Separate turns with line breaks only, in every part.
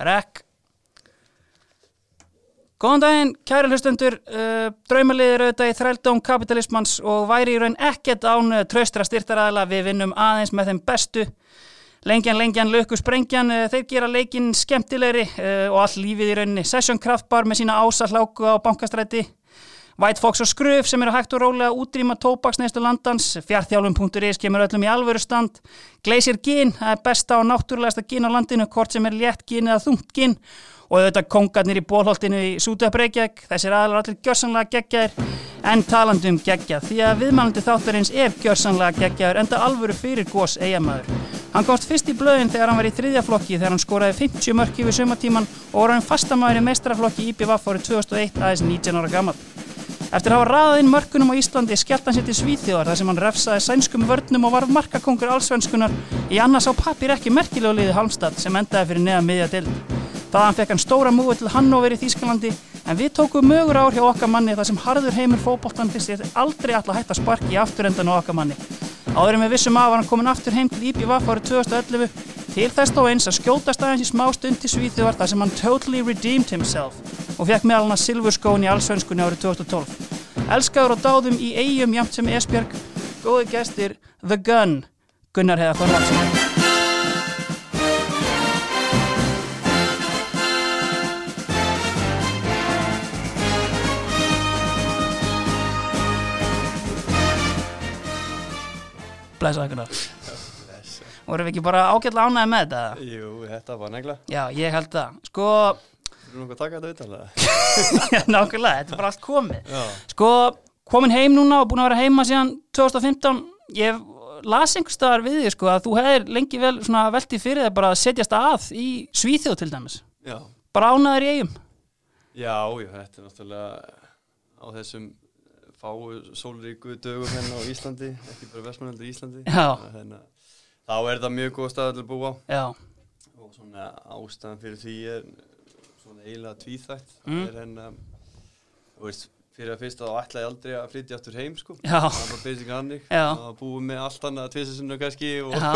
Rekk Góðan daginn, kæri hlustendur uh, Draumalið er auðvitað í þrældóm kapitalismans og væri í raun ekkert án uh, traustra styrtaræðla, við vinnum aðeins með þeim bestu Lengjan, lengjan, lökku, sprengjan, uh, þeir gera leikinn skemmtilegri uh, og allt lífið í rauninni Session Kraftbar með sína ása hláku á bankastræti White Fox og Skröf sem eru hægt og rólega að útrýma tóbaksneislu landans, fjartjálfum.is kemur öllum í alvöru stand, Glacier Gin, það er besta og náttúrulegasta gin á landinu, hvort sem er létt gin eða þungt gin og auðvitað kongarnir í bólholtinu í Sútöpreikjæk, þessir aðlar allir gjörsanlega geggjaðir, en talandi um geggjað, því að viðmælandi þáttarins er gjörsanlega geggjaður, enda alvöru fyrir gos eigamæður. Hann komst fyrst í blöðin þegar hann var í þriðja flokki þegar hann skoraði 50 mörki við sumatíman og var hann fastamæður í mestraflokki IBVF árið 2001 aðeins 19 ára gammal. Eftir að hafa raðað inn mörkunum á Íslandi skellt hann sér til Svíþjóðar þar sem hann refsaði sænskum vörnum og varf markakongur allsvenskunar í annars á pappir ekki merkilegu liði Halmstad sem endaði fyrir neða miðja dild. Þaðan fekk hann stóra múi til Hannover í Þýskalandi en við tókum mögur ár hjá okkar manni þar sem harður heimur fótboltan fyrst ég aldrei alltaf hægt að sparki í afturendan á okkar manni. Áðurum við vissum af var hann komin aftur heim til IBVF árið 2011 til þess þá eins að skjótast aðeins í smá stund til Svíþjóðar þar sem hann totally redeemed himself og fekk meðal hann að silfurskóin í allsvenskunni árið 2012. Elskaður og dáðum í eigum jæmt sem Esbjörg, góði gestir The Gun, Gunnar Heiðar Þorvaldsson. Blessaði Gunnar. Vorum við ekki bara ágætlega ánæði með þetta? eða?
Jú, þetta var negla.
Já, ég held það. Sko,
Þú erum nokkuð að taka þetta auðvitaðlega.
nákvæmlega, þetta er bara allt komið.
Já.
Sko, komin heim núna og búin að vera heima síðan 2015. Ég las einhvers staðar við þig, sko, að þú hefðir lengi vel svona veltið fyrir þig bara að setjast að í Svíþjóð til dæmis.
Já.
Bara ánaður í eigum.
Já, jú, þetta er náttúrulega á þessum fáu sólríku dögum hérna á Íslandi, ekki bara vestmennandi í Íslandi.
Já.
Þannig að hérna, þá er það mjög góð staðall að búa á
Já,
og svona ástæðan fyrir því er svona eiginlega tvíþætt.
Mm.
Það er hérna, þú veist, fyrir að fyrsta þá ætla ég aldrei að flytja aftur heim, sko.
Já.
Það er bara basic hannig.
Já.
Það búið með allt annað tvisasinnum kannski og
Já.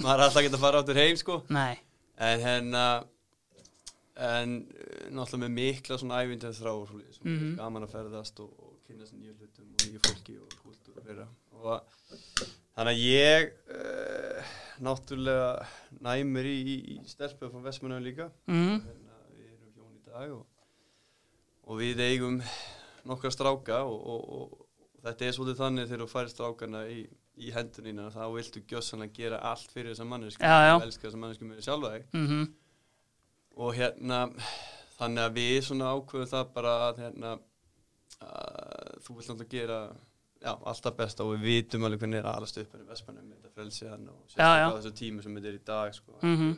maður er alltaf getað að fara aftur heim, sko.
nei,
en hérna en eh, náttúrulega með mikla svona ævindið þráur mm
Mhm.
-hmm. gaman að ferðast og, og kynna sér nýju hlutum og nýju fólki og kultúr og fleira og að- þannig að ég uh, náttúrulega næmur í, í, í stelpu frá Vestmanau líka
mm,
hérna, við erum hjón í dag og, og við eigum nokkra stráka og, og, og, þetta er svolítið þannig þegar þú færir strákana í, í hendunina þá viltu gjössanlega gera allt fyrir þessa mannesku
Já, já.
elskar þessa mannesku með sjálfa þig
mm
og hérna þannig að við svona ákveðum það bara að hérna að þú vilt náttúrulega gera já, alltaf besta og við vitum alveg hvernig er aðalast upp henni vestmennum með þetta frelsiðan og
já.
sérstaklega á þessu tími sem þetta er í dag sko.
mhm,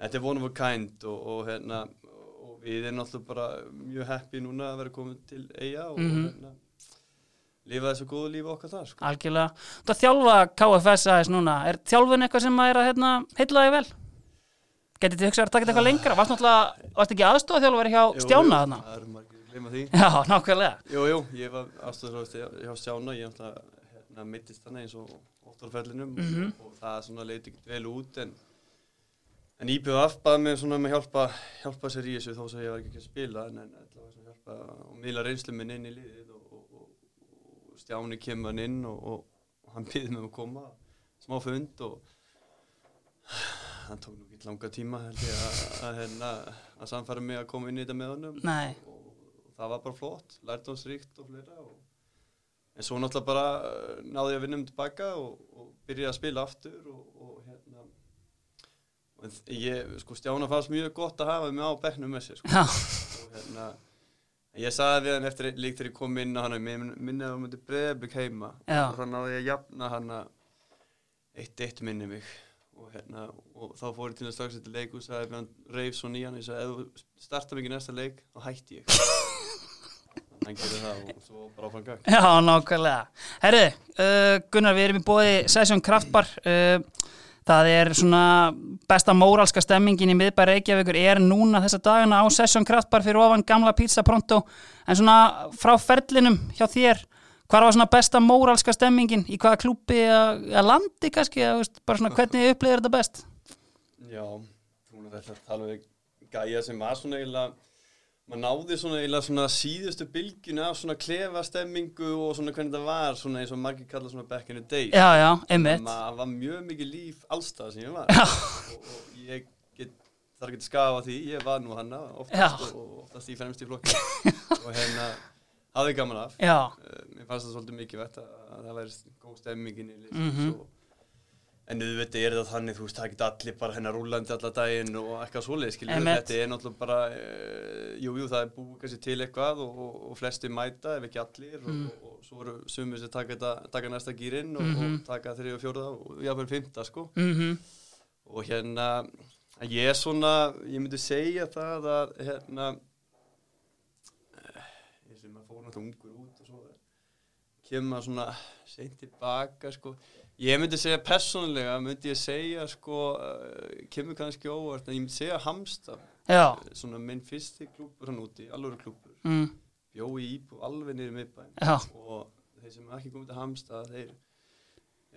þetta er one of a kind og, og hérna og við erum náttúrulega bara mjög happy núna að vera komin til eiga og
Mhm.
hérna lifa þessu góðu lífi okkar þar sko.
algjörlega. Þú að þjálfa KFS aðeins núna. Er þjálfun eitthvað sem að er að hérna, heilla þig vel? Getið þið hugsað að taka þetta eitthvað lengra? Varst náttúrulega, varst ekki aðstofa þjálfari hjá
Jú, jú,
Stjána þarna?
það eru margir að gleyma því
Já, nákvæmlega.
Jú, jú, ég var aðstofnarhóðist hjá Sjána, ég ætla hérna, mittist þannig eins og óttarfellinum mm -hmm. og það svona leit ekkert vel út en, en IPVF baði mig svona um að hjálpa, hjálpa sér í þessu þó sem ég var ekki að spila en, en allavega svona hjálpa og miðla reynslu minn inn í liðið og, og, og, og Stjáni kemur hann inn og, og, og hann býði mig um að koma smá fund og hann tók nú ekki langa tíma held ég að, að, að, að samfæra mig að koma inn í þetta með honum
Nei,
og það var bara flott, lærdómsríkt og fleira og... en svo náttúrulega bara eh, náði ég að vinna um tilbaka og, og byrjaði að spila aftur og, og hérna og en þ- ég, sko Stjána fannst mjög gott að hafa mig á bekknum með sér sko.
já,
og hérna en ég sagði við hann eftir líkt þegar ég kom inn á hann minnaði að hann myndi breyðablik heima
Já.
og þannig náði ég að jafna hann eitt eitt minni mig og hérna og þá fór ég til að strax þetta leik og sagði við hann reif svo nýjan og ég sagði ef þú starta mikið næsta leik þá hætti ég hann gerði það og svo bara áfram gang
já, nákvæmlega. Herru, uh, Gunnar, við erum í bóði Session Kraftbar. Uh, það er svona besta móralska stemmingin í miðbæri Reykjavíkur er núna þessa dagana á Session Kraftbar fyrir ofan gamla pizza pronto. En svona frá ferlinum hjá þér, hvað var svona besta móralska stemmingin? Í hvaða klúpi eða eða landi kannski? Eða, þú veist, bara svona hvernig upplýðir þetta best?
já, þú veist þetta tala við gæja sem var svona eiginlega maður náði svona eiginlega svona síðustu bylgjuna af svona klefastemmingu og svona hvernig þetta var svona eins og margir kalla svona back in the day
já, já, einmitt
maður var mjög mikið líf allstað sem ég var
Já.
og, og ég get, þarf ekki að skafa því ég var nú hanna
Já.
oftast og, og oftast í fremst í flokki og hérna hafði gaman af
já,
Eh, mér fannst það svolítið mikið vett að að það væri góð stemmingin í lið
Mhm.
og, en auðvitað er það þannig þú veist, það er ekki allir bara hennar rúlandi alla daginn og eitthvað svoleið, skiljum
Einmitt.
þetta er náttúrulega bara, eh, jú, jú, það er búið kannski til eitthvað og, og, og flesti mæta ef ekki allir
Mm.
og, og, og svo eru sumir sem taka, þetta, taka næsta gýrin og, og taka þriði og fjórða og jáfnvel fymta, sko
mhm,
og hérna ég er svona, ég myndi segja það að hérna eh, ég sem að fór náttúrulega ungur út og svo kemur maður svona seint tilbaka sko. ég myndi segja persónulega myndi ég segja sko, eh, kemur kannski óvart en ég myndi segja Hamsta
já,
svona minn fyrsti klúpur hann úti, alvöru klúpur
mm,
bjó í íbú alveg niður í miðbæn
já,
og þeir sem ekki komið til Hamsta þeir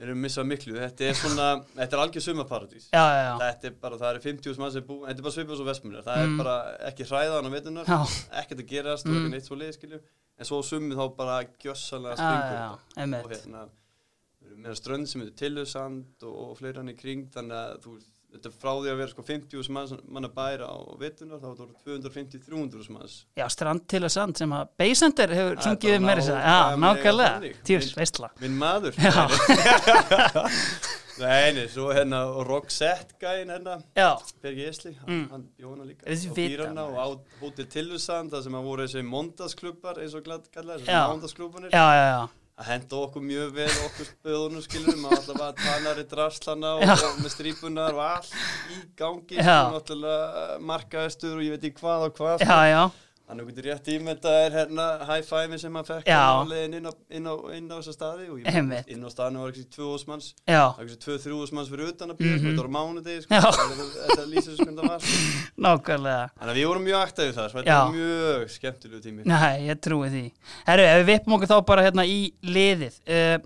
eru að missa miklu þetta er svona, þetta er algjör sumaparadís
já, já, já,
þetta er bara, það eru 50 mann sem bú þetta er bara svipað svo vestmunir, það
Mm.
er bara ekki hræðan á veitunar,
já,
ekkert að gerast og
Mm.
ekki neitt svo leið, skiljum, en svo sumið þá bara gjössalega
já,
springur
já,
þetta. og
einmitt
hérna, við erum meira strönd sem heitir Tillusand og, og fleira hann í kring þannig að þú, þetta er frá því að vera sko 50 mann, mann að bæra á veitunar þá voru 250-300 manns
já, strand til að sand sem að Beisendur hefur
Það er
sungið
bara
um meira þess að, já,
nákvæmlega
nákvæmlega
þannig.
tjús, veistla,
minn maður
Já.
Nei, nei, svo hérna og Roxette gæin hérna
já,
Bergi Esli, hann,
Mm.
hann bjó hana líka
Þessi
og
vita
býr hana og á hótel Tillusand þar sem að voru þessi mondasklubbar eins og glatt kallar, þessi
Já.
mondasklubbanir
já, já, já
að henda okkur mjög vel okkur spöðunum skilurum að alltaf að tanari draslana
Já.
og, og með strípunar og allt í gangi
Já.
sem náttúrulega markaðistur og ég veit ekki hvað og hvað sko.
Já, já,
hann okkur til rétt tíma þetta er hérna high five sem hann fekk hérna
Já.
á leiðin inn á, inn á, inn á þessa staði og ég,
Einmitt.
inn á staðinu var ekki tvö ósmanns
já,
það var ekki tvö þrjú ósmanns fyrir utan að býja
Mhm.
þetta var á mánudegi
Já.
sko, þetta þetta lýsir svo hvernig það var sko.
nákvæmlega
Þannig að við vorum mjög aktæðið þar, sko. þetta
Já.
var mjög skemmtilegu tími.
Nei, ég trúi því Herru, ef við vippum okkur þá bara hérna í liðið uh,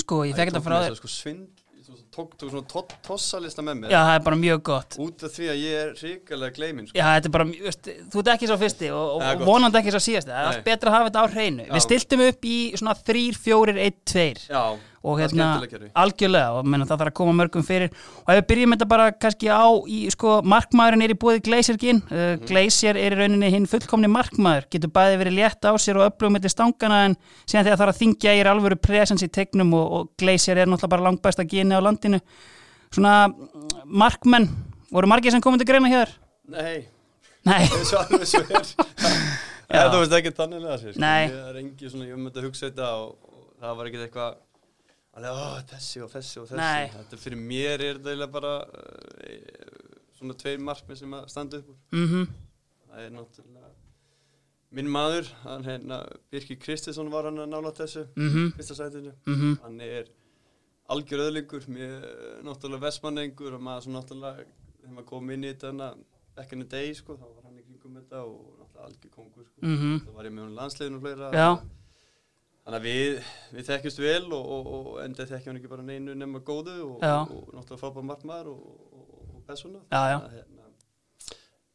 Sko, ég fekk þetta frá þér
Sko, svind, svo, tók, tók svona tot, tossalista með mér,
Já, það er bara mjög gott
út af því að ég er hrikalega gleiminn. Sko.
Já, þetta er bara, mjög- veist, þú ert ekki svo fyrsti og, og,
Það er
og
gott.
vonandi ekki svo síðasti Það er
Nei.
allt betra að hafa þetta á hreinu
Já.
Við stiltum upp í svona 3, 4, 1, 2
Já,
og
það er
hérna,
skemmtilega kerfi.
algjörlega og menna, það þarf að koma mörgum fyrir og ef við byrjum þetta bara kannski á í, sko, markmaðurinn er í búið Gleisirgin uh,
Mhm.
Gleisir er í rauninni hinn fullkomni markmaður getur bæði verið létt á sér og öflugum mitt í stangana en síðan þegar þarf að þingja er alvöru presens í tegnum og, og Gleisir er náttúrulega bara langbæsta gini á landinu svona mm, markmenn voru margir sem komum til greina hér?
Nei,
Nei,
eins og alveg svo er.
Já.
Það þú veist ekki þannig að sér.
Nei.
Ég er engi svona, ég myndi að hugsa þetta og, og það var ekkert eitthvað, alveg, ó, þessi og þessi og þessi.
Nei.
Þetta fyrir mér er þetta eiginlega bara uh, svona tveir markmið sem að standa upp úr.
mm
það er náttúrulega minn maður, hann hérna Birkir Kristinsson var hann að nála þessu
Mhm.
fyrsta sætinu,
Mhm.
hann er algjör öðlingur, mér náttúrulega vestmanningur og maður svo náttúrulega þegar maður kom inn í þetta hana back in the day sko, þá var hann í kringum þetta og náttúrulega algjör kongur sko,
Mhm.
þá var ég með hann landsliðinu og fleira
Já.
þannig að við, við þekkjumst vel og, og, og enda þekkjum hann ekki bara neinu nema góðu og,
Já.
og, náttúrulega frábær margmaður og, og, og, og persóna
Já, já.
Að, hérna,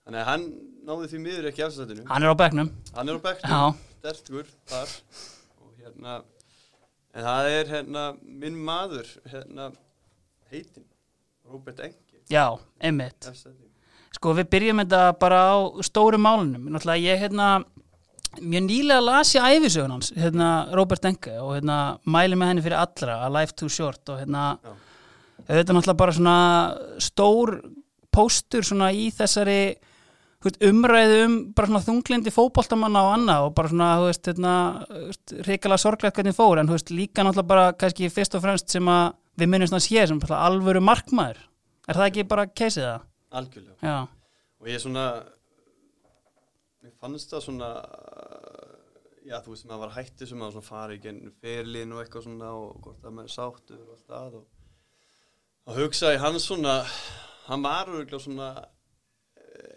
Þannig að hann náði því miður ekki afsættinu.
hann er á bekknum
Hann er á bekknum,
Já,
sterkur þar og hérna, en það er hérna minn maður, hérna heitin, Robert Engi,
já, einmitt
afsættinu.
Sko við byrjum þetta bara á stóru málunum Náttúrulega ég hérna Mjög nýlega las ég æfisögun hans hérna Robert Enke og hérna mæli með henni fyrir allra A Life Too Short og hérna
Já.
þetta er náttúrulega bara svona stór póstur svona í þessari þú veist, umræðu um bara svona þunglindi fótboltamanna og annað og bara svona þú veist, hérna, þú veist, reikala sorglegt hvernig fór en þú veist, líka náttúrulega bara kannski fyrst og fremst sem að við minnum svona sé sem bara alvöru markmaður er það ekki bara keisið það?
Algjörlega.
Já.
Og ég svona, mér fannst það svona, já þú veist, maður var hættið sem maður svona farið í gennum ferlin og eitthvað svona og hvort að maður er sáttur og allt að og þá hugsaði hann svona, hann var örgulega svona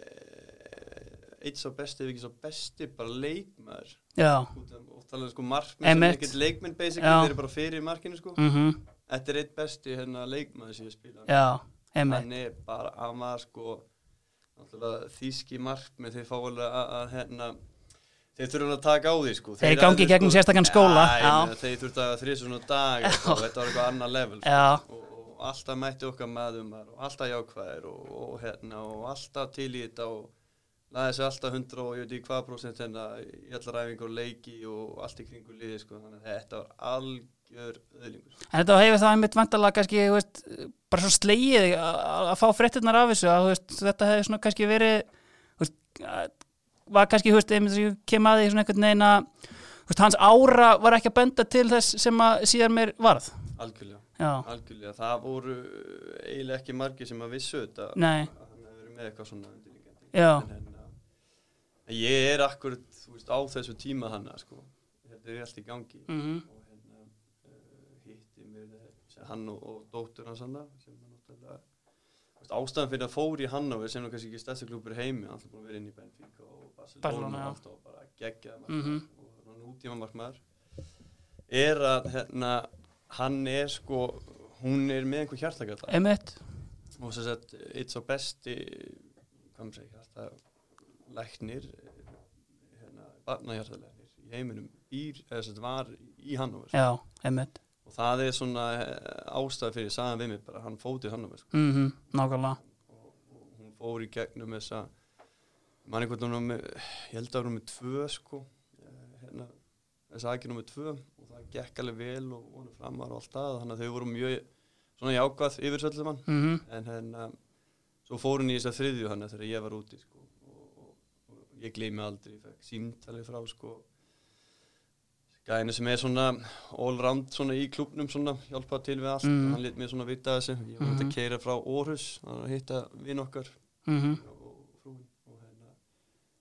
eh, eitt sá besti ef ekki sá besti bara leikmaður
Já,
út af óttalega sko markminn sem
Einmitt.
er ekkert leikminn basically,
Já.
þeir eru bara fyrir í markinu sko
mhm,
þetta er eitt besti hérna leikmaður sem ég spila
já, emmi,
hann er bara, hann var sko náttúrulega náttúrulega þýski markmið þeir fá alveg að, að hérna þeir þurfa að taka á því sko
Þeir gangi í
alveg,
gegnum sérstakan skóla,
Já, ég
já.
meina, þeir þurfa að þrið svona dag sko, og þetta var eitthvað annað level sko.
Já,
og, og alltaf mætti okkar maður maður og alltaf jákvæðir og, og hérna og alltaf til í þetta og laði þessu alltaf 100 og ég veit í hvað prósent hérna í allar æfingur og leiki og allt í kringu liði sko þannig að þetta var algjör öðlingur sko.
en þetta hefur þá einmitt vandalega kannski, þú veist, bara svo slegið að, að fá fréttirnar af þessu að, þú veist, þetta hefur svona kannski verið þú veist, að- var kannski, þú veist, einmitt sem ég kem að því svona einhvern veginn að þú veist, hans ára var ekki að benda til þess sem að síðan mér varð
algjörlega
Já,
Algjörlega, það voru eh, eiginlega ekki margir sem að vissu þetta
Nei.
að hann hefur verið með eitthvað svona undirliggjandi.
Já.
en, hérna, en ég er akkurat þú veist, á þessu tíma hann sko. þetta er allt í gangi
mm
og hérna, uh, hitti mér sem hann og, og dóttur hans hann sem er náttúrulega þú veist, ástæðan fyrir að fór í Hannover sem er nú kannski ekki stærsta klúpur heimi hann er búin að vera inn í Benfica og
Barcelona,
Barcelona
já.
og allt og bara geggja
Mhm.
og nútíma markmaður er að hérna, hann er sko hún er með einhver hjartagata
einmitt
og þess að eitt svo besti eh, hvað maður segja, alltaf læknir eh, hérna, barnahjartalæknir í heiminum býr, eða þess að var í Hannover
Já, einmitt
og það er svona eh, ástæða fyrir sagan við mig bara, hann fótið Hannover sko.
mm Nákvæmlega
og, og hún fór í gegnum þessa mann einhvern veginn var með, ég held að hún var með tvö sko, eh, hérna þess aðgjörnum með tvö og það gekk alveg vel og vonum framar og allt það þannig að þau voru mjög svona jákvæð yfir svolítið mann
mm
en hérna svo fór hún í þess að þriðju hana þegar ég var úti sko, og, og, og ég gleymi aldrei ég fekk símtalið frá sko gæðinu sem er svona all round svona í klubnum svona hjálpa til við allt,
Mhm.
hann lit mér svona vita af þessu ég var út
Mhm.
að keira frá Orhus að hitta vinn okkar
mm -hmm.
og og frúin og hérna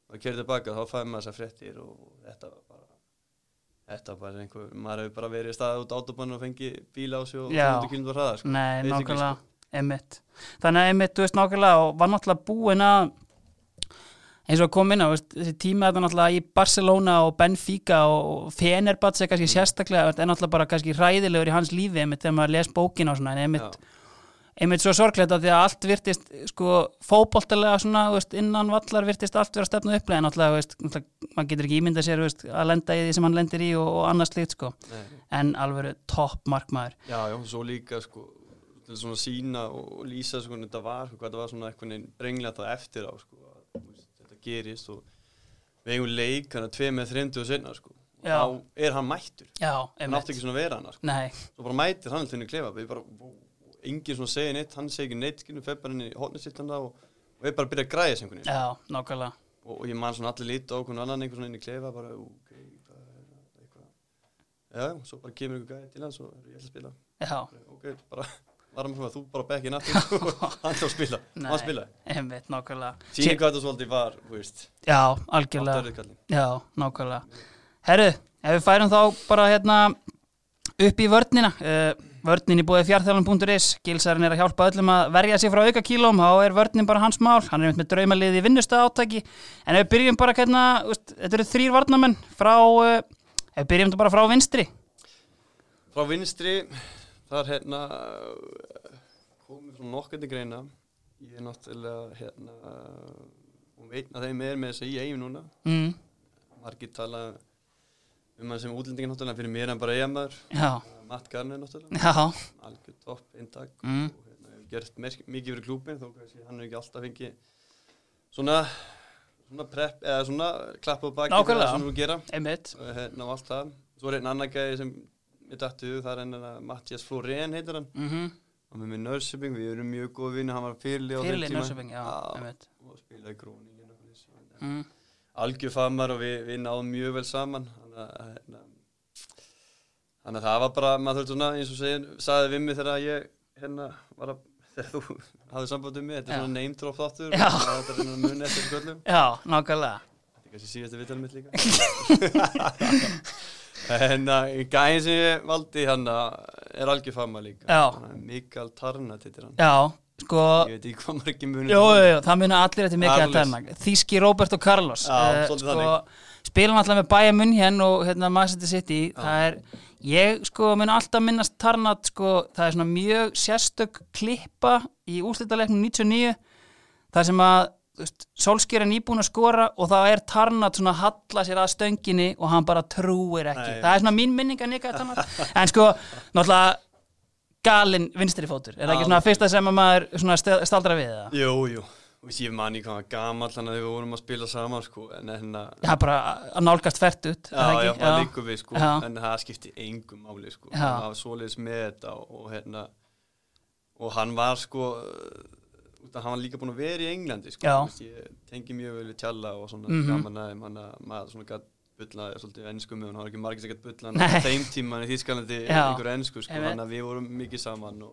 og kerði tilbaka þá fæði maður þessar fréttir og þetta var bara þetta var bara einhver, maður hefur bara verið í staða út átopann og fengi bíla á sig og
Já.
200 km hraða sko.
Nei,
Veit ekki,
nákvæmlega, einmitt Þannig að einmitt, þú veist, nákvæmlega og var náttúrulega búin að eins og að koma inn á, þú veist, þessi tíma þetta náttúrulega í Barcelona og Benfica og Fenerbahce
Mm.
kannski sérstaklega þú veist, en náttúrulega bara kannski hræðilegur í hans lífi einmitt þegar maður les bókin og svona en einmitt,
Já.
einmitt svo sorglegt að því að allt virtist sko fótboltalega svona þú veist, innan vallar virtist allt vera stefnu upplega en náttúrulega, þú veist, náttúrulega, maður getur ekki ímynda sér þú veist, að lenda í því sem hann lendir í og, og annars slíkt sko,
Nei, nei.
en alveg topp markmaður
Já, já, og svo líka sko til svona sína og, og lýsa sko hvernig þetta var, hvað þetta var svona eitthvað neginn brengla það eftir á sko að, þú veist, þetta gerist og við eigum leik hann að tvei með þreymdu og sinna sko og
Já.
þá er hann mættur,
Já,
hann átti
einmitt
ekki svona að vera hann sko.
Nei,
svo bara mætir hann til henni klefa við bara, vó, engin svona segir neitt hann segir ekki neitt, skilur fepp bara inn í hótni sitt hann og, og við bara byrja að græja sem hvernig
Já, nákvæmlega
og, og ég man svona allir lít á hvernig annan einhvern svona inn í klefa bara, ok, hvað er það, eitthvað já, já, svo bara kemur einhver gæði til hans og ég ætla að spila
Já,
ok, bara varum við að þú bara bekkin aftur og hann þá spila,
Nei.
hann spila
einmitt, nákvæmlega
síni
Sé-
hvað þetta svolítið var, þú veist
Já, algjörlega,
áttarrið kallin,
já, nákvæmlega Herru, ef við færum þá bara hérna upp í vörnina uh, Vörnin í búið fjartþjálun.is Gilsarinn er að hjálpa öllum að verja sig frá auka kílóm þá er vörnin bara hans mál, hann er einmitt með draumaliði í vinnustöð átaki, en ef við byrjum bara hérna, þú veist, þetta eru þrýr varnamenn frá, uh, ef við byrjum þetta bara frá vinstri
frá vinstri þar hérna uh, komið frá nokkandi greina ég er náttúrulega hérna uh, og veit að þeim er með þess að ég eigin núna
mm,
margir tala um hann sem útlendingin náttúrulega fyrir mér er hann bara eiga maður
Já,
Matt Garner náttúrulega,
já,
algjör topp eintak
mm,
og hérna, hefur gert merk, mikið fyrir klúbin þó kannski hann hefur ekki alltaf fengið svona, svona prep eða svona klapp á baki fyrir
Nákvæmlega.
það sem þú gera
einmitt
og hérna og allt það svo er einn annar gæði sem ég dættu það er hérna Mattias Florén heitir hann
mm -hmm.
og með mér Nörsöping, við erum mjög góð vini hann var fyrirlið á þeim
Fyrirlið
tíma
nörsöping, já, einmitt
og spilaði hérna gróningin og þessu
mm,
algjör famar og við, við náðum mjög vel saman þannig að, hérna, þannig að það var bara, maður þurfti svona eins og segir, sagði við mig þegar ég hérna var að þegar þú hafði samband um mig, þetta
Já.
er svona name drop þáttur
Já.
og þetta er svona mun eftir kvöldum
Já, nákvæmlega
þetta er kannski síðasta viðtalið mitt líka en að gæðin sem ég valdi hann uh, er algjör fama líka
Já.
Hann er Mikael Tarnat heitir hann
Já, sko
ég veit ekki hvað margir munum
Jú, jú, jú, það muna allir eftir mikið að
Carlos.
tæma Þíski Róbert og Carlos
Já,
Eh,
svolítið
sko,
þannig.
Spilum alltaf með Bayern München og hérna, Manchester City Það er, ég sko mun alltaf minnast Tarnat sko, það er svona mjög sérstök klippa í úrslitaleiknum 99 þar sem að Solskjör er nýbúin að skora og það er Tarnat svona að halla sér að stönginni og hann bara trúir ekki
Nei.
það er svona mín minning að Nika Tarnat en sko, náttúrulega galinn vinstri fótur, er það ekki
Já.
svona fyrsta sem að maður svona st- staldra við það?
Jú, jú, og ég mani hvað hann var gamall hann að við vorum að spila saman sko, en hérna,
Já, bara að nálgast fært út er
já,
það
já,
ekki?
það líkur við sko,
Já.
en það skipti engum máli sko,
Já.
hann var svoleiðis með þetta og, og hérna, og hann var sko, uh, út að hann var líka búin að vera í Englandi sko,
Já.
þú veist, ég tengi mjög vel við tjalla og svona
Mhm.
gaman aðeim, hann að maður svona gætt bullaði svolítið ennsku með hann, það var ekki margir sem gætt bullaði
Nei.
hann á þeim tíma í Þískalandi
Já.
einhver ennsku sko,
Einmitt.
hann að við vorum mikið saman og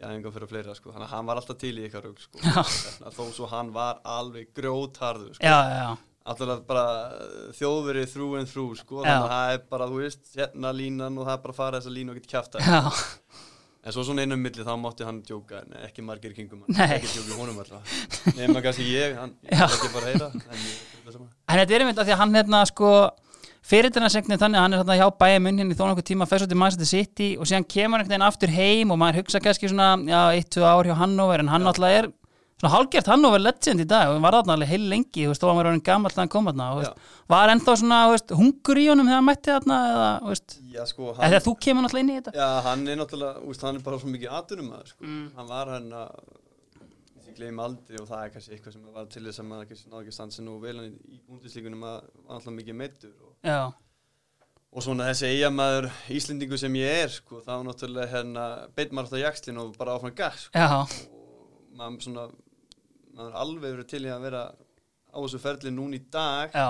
Já, einhver fyrir fleira, sko. Þannig að hann var alltaf til í eitthvað rugg, sko.
Já.
Hérna, Þó svo hann var alveg grjótharður, sko
já, já, já.
alltaf bara uh, þjóðverið through and through sko,
Já.
þannig að það er bara, þú veist, hérna línan og það er bara að fara þessa línu og geta kjafta
Já,
en svo svona einum milli þá mátti hann djóka en ekki margir í kringum
Nei.
hann, ekki djóka í honum alltaf nema kannski ég, hann, ég
Já.
er ekki bara að heyra en ég, það sama.
en þetta er einmitt að því að hann hérna sko fyrirtinarsegnir þannig að hann er hérna hjá bæjum unn hérna í þó nokkuð tíma fyrst út í Manchester City og síðan kemur einhvern veginn aftur heim og maður hugsa kannski svona, já, eitt, tvö ár hjá Hannover en hann alltaf er svona hálgert Hannover legend í dag og var þarna alveg heil lengi þú veist, þó að maður var hann gammal þegar hann kom þarna og, þú veist, var ennþá svona, þú veist, hungur í honum þegar hann mætti þarna eða, þú veist,
já, sko,
eða
hann,
þegar þú kemur alltaf inn í þetta
já, hann er náttúrulega úst, hann er bara svo mikið atunum að sko.
Mm.
hann var hann að ég gleym aldrei og það er kannski eitthvað sem var til þess að maður kannski náði ekki að standa sig nú vel hann í búndisleikunum að var alltaf mikið meittur og
Já,
og svona þessi eigamæður Íslendingu sem ég er sko, þá náttúrulega hérna beitt maður alltaf jakslinn og bara áfram gas sko.
já,
og maður svona maður er alveg verið til í að vera á þessu ferli núna í dag
já,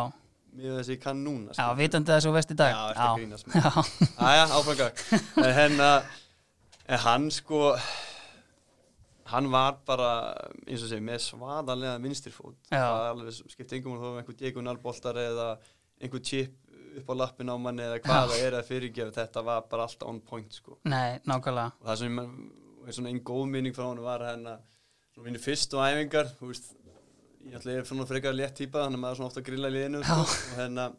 með þessi kann núna sko.
já, vitandi þessu og vest í dag
Já, ertu að grínast mér.
já,
Æja, áfram gas en hérna en hann sko hann var bara eins og segja með svaðarlega vinstrifót
Já.
það var alveg skipt engum og þó var einhver diegunarboltar eða einhver chip upp á lappin á manni eða hvað það er að fyrirgefa þetta var bara allt on point sko
nei, nákvæmlega
og það sem man, er svona einn góð minning frá hann var hérna svona mínu fyrstu æfingar þú veist, ég ætla ég er svona frekar létt típa þannig að maður er svona ofta að grilla í liðinu sko, og hérna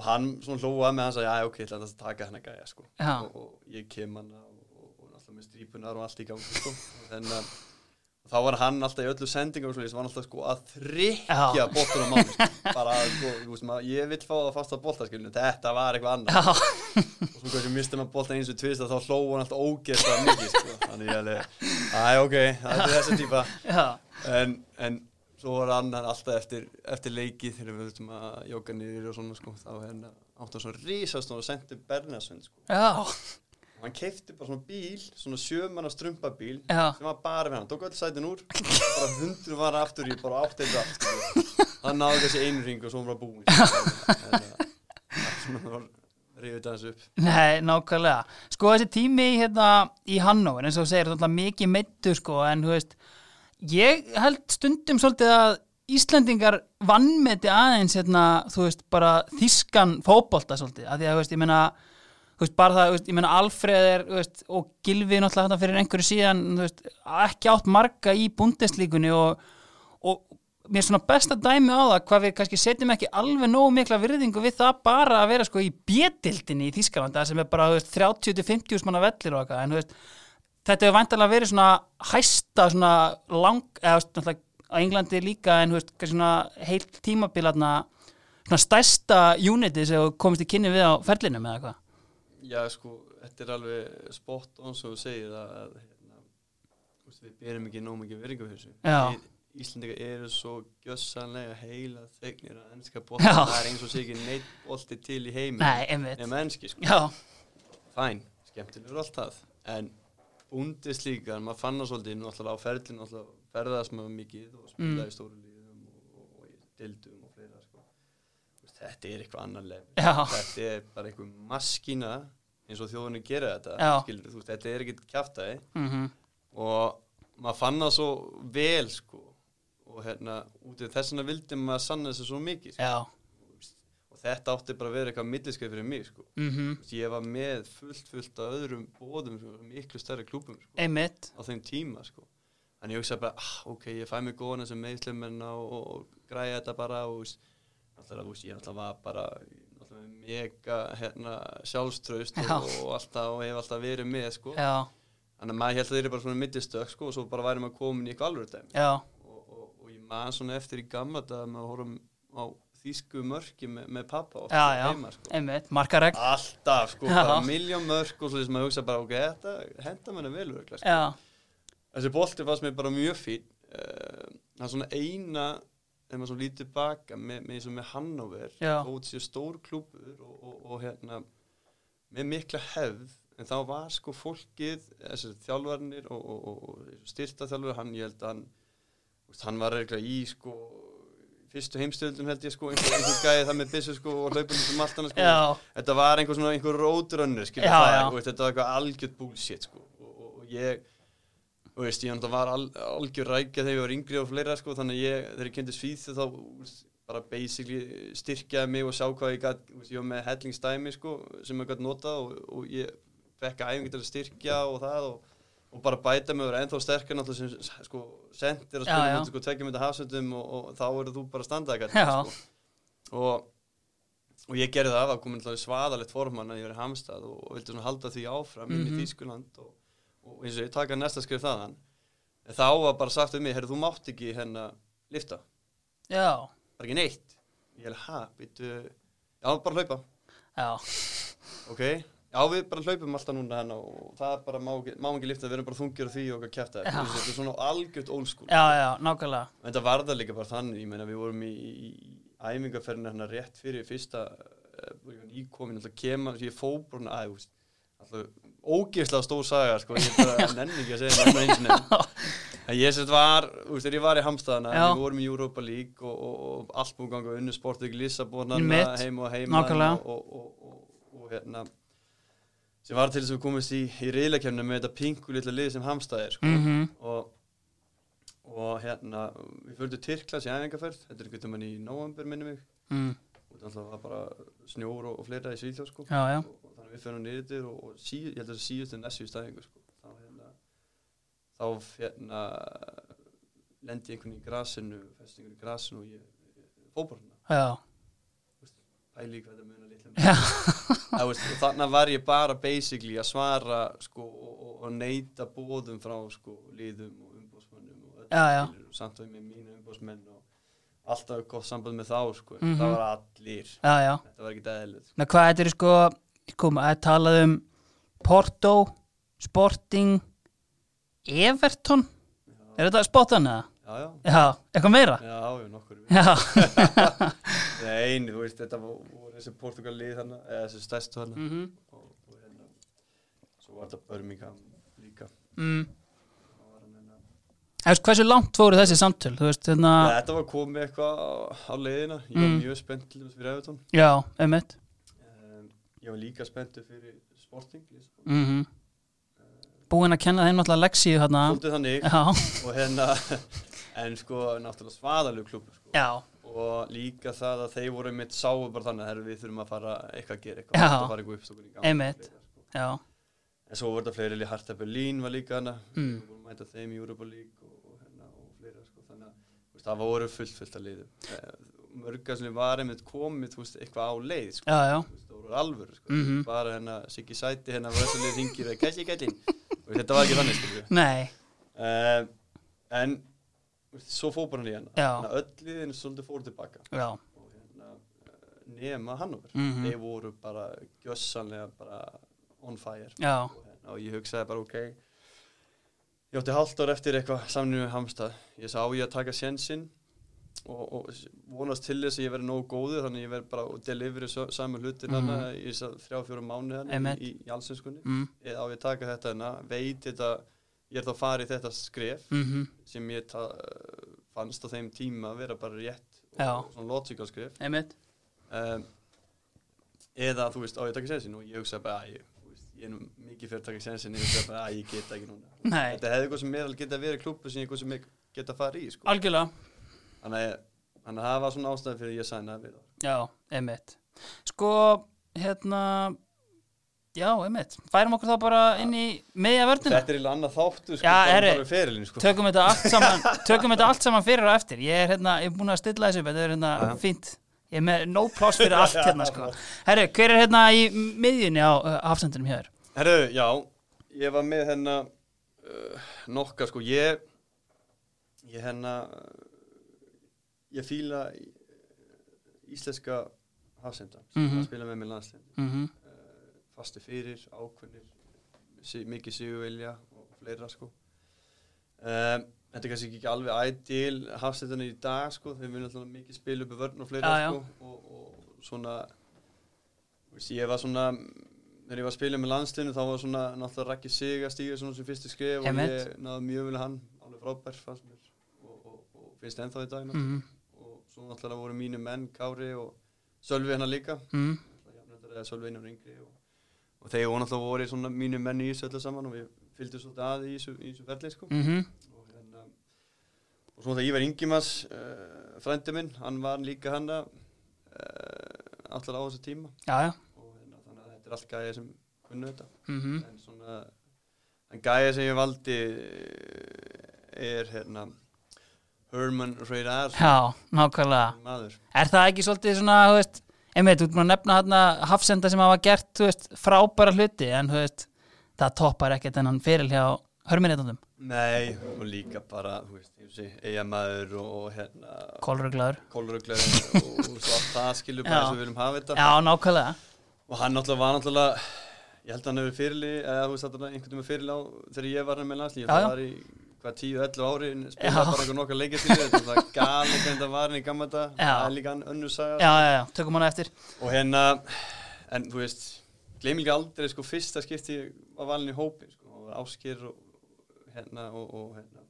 og hann svona hlóa með hann sagði, já ok, ég ætla að taka hann að gæja sko.
Já.
og, og ég kem hann og, og, og alltaf með strípunar og allt í gang sko. og hérna og þá var hann alltaf í öllu sendingum og svoleiðis, var hann alltaf sko að þrykja
Já.
boltan á mann sko. bara, sko, þú veist, maður, ég vil fá að fasta boltaskilinu þetta var eitthvað annað
Já,
og svo kannski mistið maður boltan eins og tvist þá hló hann alltaf ógeðslega mikið sko. þannig ég alveg, aðja ok það er þessi típa
já,
en, en svo var hann hann alltaf eftir, eftir leikið þegar við vildum að jóka niður og svona sko, þá hérna átti hann svona risastóra sendur Bernasund sko.
já,
og hann keifti bara svona bíl svona sjömanna strumpabíl
já
sem var bara við hann, tók öll sætin úr bara hundur var aftur í bara átt eitt allt sko. hann náði þessi einu ring og svo var búin sko. en, en, en, en, rífið þetta hans upp
Nei, nákvæmlega. Sko þessi tími í, hérna, í Hannover, eins og þú segir, þetta er mikið meittu sko, en þú veist, ég held stundum svolítið að Íslendingar vannmeti aðeins, hérna, þú veist, bara þískan fótbolta svolítið, að því að, þú veist, ég meina, þú veist, bara það, þú veist, ég meina, Alfreð er, þú veist, og Gilvi náttúrulega hérna fyrir einhverju síðan, þú veist, ekki átt marga í bundeslíkunni og, og mér er svona besta dæmi á það hvað við kannski setjum ekki alveg nógu mikla virðingu við það bara að vera sko í bjedildinni í Þískaland það sem er bara þú veist, 30-50 manna vellir og eitthvað en þú veist, þetta hefur vantarlega verið svona hæsta svona lang eða þú veist, náttúrulega á Englandi líka en þú veist, kannski svona heilt tímabilarna svona stærsta unitið sem þú komist í kynni við á ferlinum eða eitthvað
Já, sko, þetta er alveg spot on sem þú segir að að, hérna, þú veist, við berum ekki nóg mikið virðingu fyrir þessu.
Já.
Við Íslendingar eru svo gjössanlega heila þegnir að ennska
Já.
bolta. Það er eins og sé ekki neitt bolti til í heimi.
Nei, einmitt,
Nefn ennski, sko.
já,
Fæn, skemmtilegur allt það. En búndis líka, en maður fann það svolítið náttúrulega á ferlinu, náttúrulega ferðast maður mikið og spilaði
Mm.
í stóru líðum og, og, og í dildum og fleira, sko. Þú veist, Þetta er eitthvað annar level
já,
þetta er bara einhver maskína eins og þjóðunni gera þetta
Já.
skilur, veist, þetta er ekkert kjaftaði
mhm,
og maður fann það svo vel sko og hérna út af þess vegna vildi maður sanna þessu svo mikið sko.
já,
og þetta átti bara að vera eitthvað milliskeið fyrir mig sko
mhm,
Þú veist, ég var með fullt fullt af öðrum bóðum sko, miklu stærri klúpum sko,
Eh. einmitt,
á þeim tíma sko en ég hugsaði bara, ah, ok, ég fæ mig góðan þessum meðslemmenna og, og, og græja þetta bara og þú veist, náttúrulega, þú veist, ég náttúrulega var bara náttúrulega með mega hérna, sjálfströst
Já.
og, og alltaf og hef alltaf verið með sko.
já,
þannig að maður held að þeir eru bara svona mittistök sko, og svo bara væri maður komin í eitthvað alvöru dæmi
já,
og, og, og ég maður svona eftir í gamla dag að maður horfum á þýsku mörki með, með pappa og
Já, já,
heima sko.
einmitt, markaregn
alltaf sko,
Já.
bara miljón mörk og svo þess að maður hugsa bara ok, þetta henda mér vel örugglega, sko.
Já,
þessi bolti fannst mér bara mjög fín Eh, það er svona eina ef maður svona lítið baka með, með, eins og með Hannover
Já.
þótt sér stór klúpur og, og, og hérna með mikla hefð en þá var sko fólkið þessir þjálfarnir og, og, og, og styrta þjálfur hann ég held að hann þú veist, hann var eitthvað í sko fyrstu heimstöldum held ég sko einhver, einhver gæði það með byssu sko og hlaupum um allt annað sko
já,
þetta var einhver svona einhver rótrönnu skilur
Já,
það,
já.
og veist, þetta var eitthvað algjörð búlshit sko. og, og, og ég og veist, ég náttúrulega var al, algjör rækja þegar ég var yngri og fleira sko, þannig að ég, þegar ég kendi svíð þá úst, bara basically styrkjaði mig og sá hvað ég gat, úst, ég var með hellingsdæmi sko, sem ég gat notað og, og ég fekk æfingi til að styrkja og það og, og bara bæta mig og vera ennþá sterkar náttúrulega sem sko, sendir
Já,
að
já.
spila mútið sko, tvekja mynda hafsöndum og, og þá eru þú bara að standa
já,
sko og, og ég gerði það, var komin alltaf svaðalegt formann að ég verið hamstað og, og vildi svona halda því áfram inn
Mhm.
í Þýskuland og, og eins og ég taka næsta skrif þaðan en þá var bara sagt um mig, herru þú mátt ekki hérna lifta,
já,
það er ekki neitt ég hefði, ha, býttu já, bara hlaupa,
já,
ok já, við bara hlaupum alltaf núna hérna og það er bara, má, ekki- má ekki lifta, við erum bara þungir og því og okkar kæfta,
Já.
þetta er svona algjört old school
já, já, nákvæmlega
En þetta var það líka bara þannig, ég meina við vorum í, í, í æfingarferðinu hérna rétt fyrir fyrsta uh, íkomin, alltaf kema, ég fór bara svona, að, úst, alltaf ógeðslega stór saga, sko, ég bara nenni ekki að segja það eins og nefn. En ég sem sagt var, úst, þegar ég var í Hamstaðana,
Já.
við vorum í Europa League og, og, og allt búið ganga unnu sportið í Lissabona,
Einmitt.
hérna, heim og heima
Nákvæmlega.
og, og, og, og, og hérna, sem var til þess að við komumst í, í reyðlakefna með þetta pingu litla lið sem Hamstað er, sko
Mhm,
og, og hérna við fyrir til Tyrklas í æfingarferð þetta er einhvern veginn í november minni mig
mm,
og þannig að það var bara snjór og, og fleira í Svíþjóð sko.
já, já,
og, og þannig að við fyrir niður til og, og sí, ég held að það síðust en þessu í stæðingu sko. þá hérna þá hérna lendi ég einhvern veginn í grasinu festingur í grasinu og ég fóborna
já,
pæli í hvað það muna litlum
Já.
Að, veist, og þannig var ég bara basically að svara sko, og, og, og neyta bóðum frá sko, líðum og umbóðsmönnum og öllu,
Já, já.
skilurðu, og samt að ég með mína umbóðsmenn og alltaf gott samband með þá sko.
Mhm.
það var allir,
já, já
þetta var ekki dæðilegt
Ná, hvað þetta er sko, koma, að talað um Porto, Sporting, Everton Er þetta spottan eða?
sko. já, já,
Já, eitthvað meira?
já, já, nokkur
Já,
nein, þú veist, þetta vo- voru þessi portugal lið þarna, eða þessi stærstu þarna
mhm,
og, og hérna svo var þetta Birmingham líka
mm.
og var hann hérna
Eftir hversu langt fóru þessi samtöl, þú veist, hérna
Ja, þetta var komið eitthvað á, á leiðina ég var
Mm.
mjög spennt til þess fyrir Evertón
Já, einmitt
um, ég var líka spenntu fyrir Sporting Lisbon.
mm Búin að kenna þeim náttúrulega leksíu hérna
svolítið þannig
Já,
og hérna en sko náttúrulega svaðalug klubur sko.
já,
og líka það að þeir voru mitt sáu bara þannig að herru, við þurfum að fara eitthvað að gera
Já.
eitthvað að fara eitthvað uppstokkun í gang
Einmitt.
sko.
já
en svo voru þetta fleiri lið Harta Berlín var líka hana
Mm.
við vorum að mæta þeim í Europa League og, og, hérna, og fleira sko. þannig að þú veist, það voru fullt fullt að liðum Eh, mörga sem var einmitt komið þú veist, eitthvað á leið sko.
Já, já,
Þú veist, það voru alvöru sko.
Mhm.
bara hérna Siggi Sæti hérna var þessu lið ringir að gæti gæti þetta var ekki þannig skilur
nei,
uh, en þú veist, svo fór bara hann í hann
Já.
Þannig að öll liðin svolítið fóru tilbaka
já
og hérna eh, nema Hannover
Mhm.
þeir voru bara gjössanlega bara on fire
Já,
og, hérna, og ég hugsaði bara ok ég átti halvt ár eftir eitthvað samnum með Hamstað ég sá ég að taka sjensinn og, og vonast til þess að ég verði nógu góður þannig að ég verði bara að deliveri saman hlutin mm -hmm. í þess að þrjá fjórum mánu
Mhm.
hérna
Einmitt.
í, í allsinskunni
mm,
eða á ég að taka þetta hérna veit þetta ég er þá að fara í þetta skref
mm
sem ég ta, fannst á þeim tíma að vera bara rétt
Já.
og svona logical skref
einmitt
um, eða þú veist á ég að taka sensin og ég hugsa bara að ég, þú veist, ég er nú mikið fyrir að taka sensin ég hugsa bara að ég geta ekki núna
Nei.
þetta hefði eitthvað sem meðal geta verið klubbu sem ég eitthvað sem ég geta að fara í sko.
Algjörlega,
þannig að þannig að það var svona ástæði fyrir að ég sæna við það
já, einmitt Sko, hérna Já, einmitt Færum okkur þá bara inn í meðja verðina
þetta er eiginlega annað þáttu sko,
Já,
bara
herri.
bara ferilinn sko.
Tökum þetta allt saman Tökum þetta allt saman fyrir og eftir Ég er hérna, ég er búin að stilla þessu upp, Þetta er hérna fínt Ég er með no pláss fyrir allt hérna sko Herru, hver er hérna í miðjunni á uh, afsendunum hér?
Herru, já, ég var með hérna, hennar uh, nokka, sko, ég ég hennar uh, ég fíla í- íslenska hafsendan
Mhm.
að spila með mér landslein
mhm,
fastu fyrir, ákvörnir si- mikið sigurvelja og fleira sko um, þetta er kannski ekki alveg ideal hafstættan í dag sko, þeir munu alltaf mikið spil upp í vörn og fleira
Já, já.
sko og, og svona þú veist, ég var svona þegar ég var að spila með landslinu þá var svona náttúrulega Raki Sig að stíga svona sem fyrstu skrif og
Einmitt.
ég náði mjög vel að hann alveg frábær fannst mér og, og, og finnst ennþá í dag mm.
mhm,
og svo náttúrulega voru mínu menn Kári og Sölvi hennar líka
mhm,
jafnöldar eða Sölvi Einar yngri og, og þeir voru náttúrulega voru svona mínu menn í þessu öllu saman og við fylgdum svolítið að í þessu, í þessu ferli sko.
mhm,
og, hérna, og svo náttúrulega Ívar Ingimas uh, frændi minn, hann var líka hanna uh, allar á þessu tíma
já, já,
og hérna, þannig að þetta er allt gæja sem kunnu þetta
mhm,
en svona en gæja sem ég valdi eh, er hérna Herman Reidar
já, nákvæmlega.
maður
Er það ekki svolítið svona, þú veist, einmitt, þú ert maður að nefna hérna hafsenda sem hafa gert, þú veist, frábæra hluti, en þú veist, það toppar ekkert þennan fyrir hjá hörminneitandum,
Nei, og líka bara, þú veist, ég sé, eigamaður og, og hérna,
kólruglaður.
kólruglar og, og svo allt það skilur
Já.
bara eins og við viljum hafa þetta.
Já, nákvæmlega.
Og hann náttúrulega var náttúrulega, ég held að hann hefur fyrirli, eða þú veist, þarna einhvern tíma fyrirli á þegar ég var hann með landslíð,
Já, já.
það var í hvað 10-11 ári, en spilaði
Já.
bara einhver nokkar leikir til þetta, það er galið hvernig það var hann í gamla þetta,
Já.
það er líka hann önnur saga.
Já, já, já, tökum hana eftir.
Og hérna, en þú veist, gleym ekki aldrei, sko, fyrsta skipti ég var valin í hópi, sko, og áskir og hérna, og, og hérna,